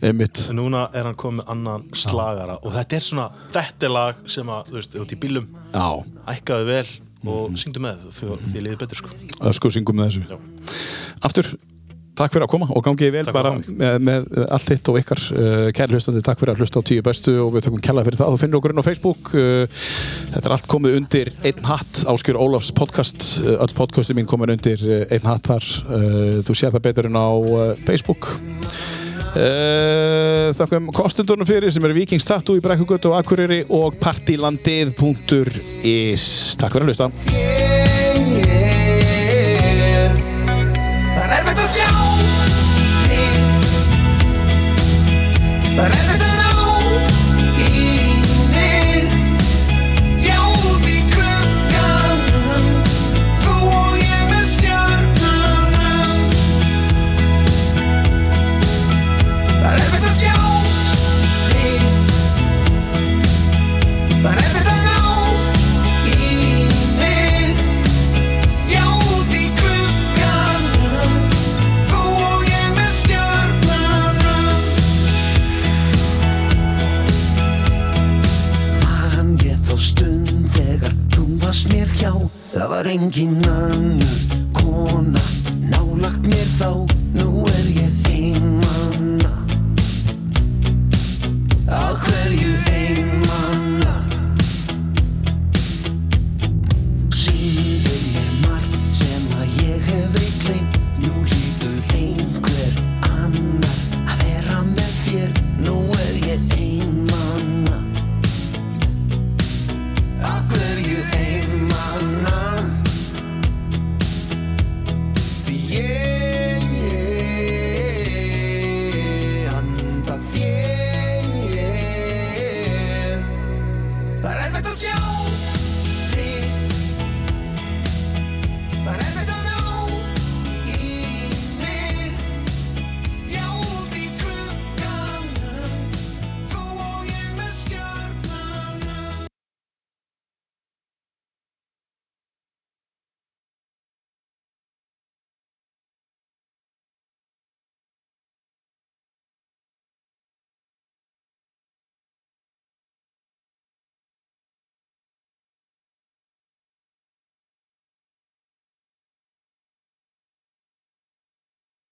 Einmitt, en núna er hann komið annan slagara og þetta er svona, þetta er lag sem að þú veist, út í bílum, já, ækkaðu vel og syngdu með því því liðið betur sko ösku syngum með þessu Aftur, takk fyrir að koma og gangið vel Takk bara fyrir með, með eh, allt þitt og ykkar uh, kæri hlustandi, takk fyrir að hlusta á tíu bestu og við þökkum kella fyrir það, þú finnir okkur inn á Facebook uh, þetta er allt komið undir einn hatt, Áskjör Ólafs podcast uh, öll podcasti mín komin undir uh, einn hatt þar, uh, þú sér það betur en á uh, Facebook uh, þakkum kostundunum fyrir sem eru Vikings Tattoo í Brekkugötu og Akureyri og partilandið.is takk fyrir að hlusta Það er erfitt að sjá þig Það er erfitt að ná í mig Já, út í glugganum Þú og ég með stjörnunum Það er erfitt að sjá þig Það er erfitt að ná í mig Já, út í glugganum Þú og ég með stjörnunum Man ég þá stund þegar þú varst mér hjá Það var engin annu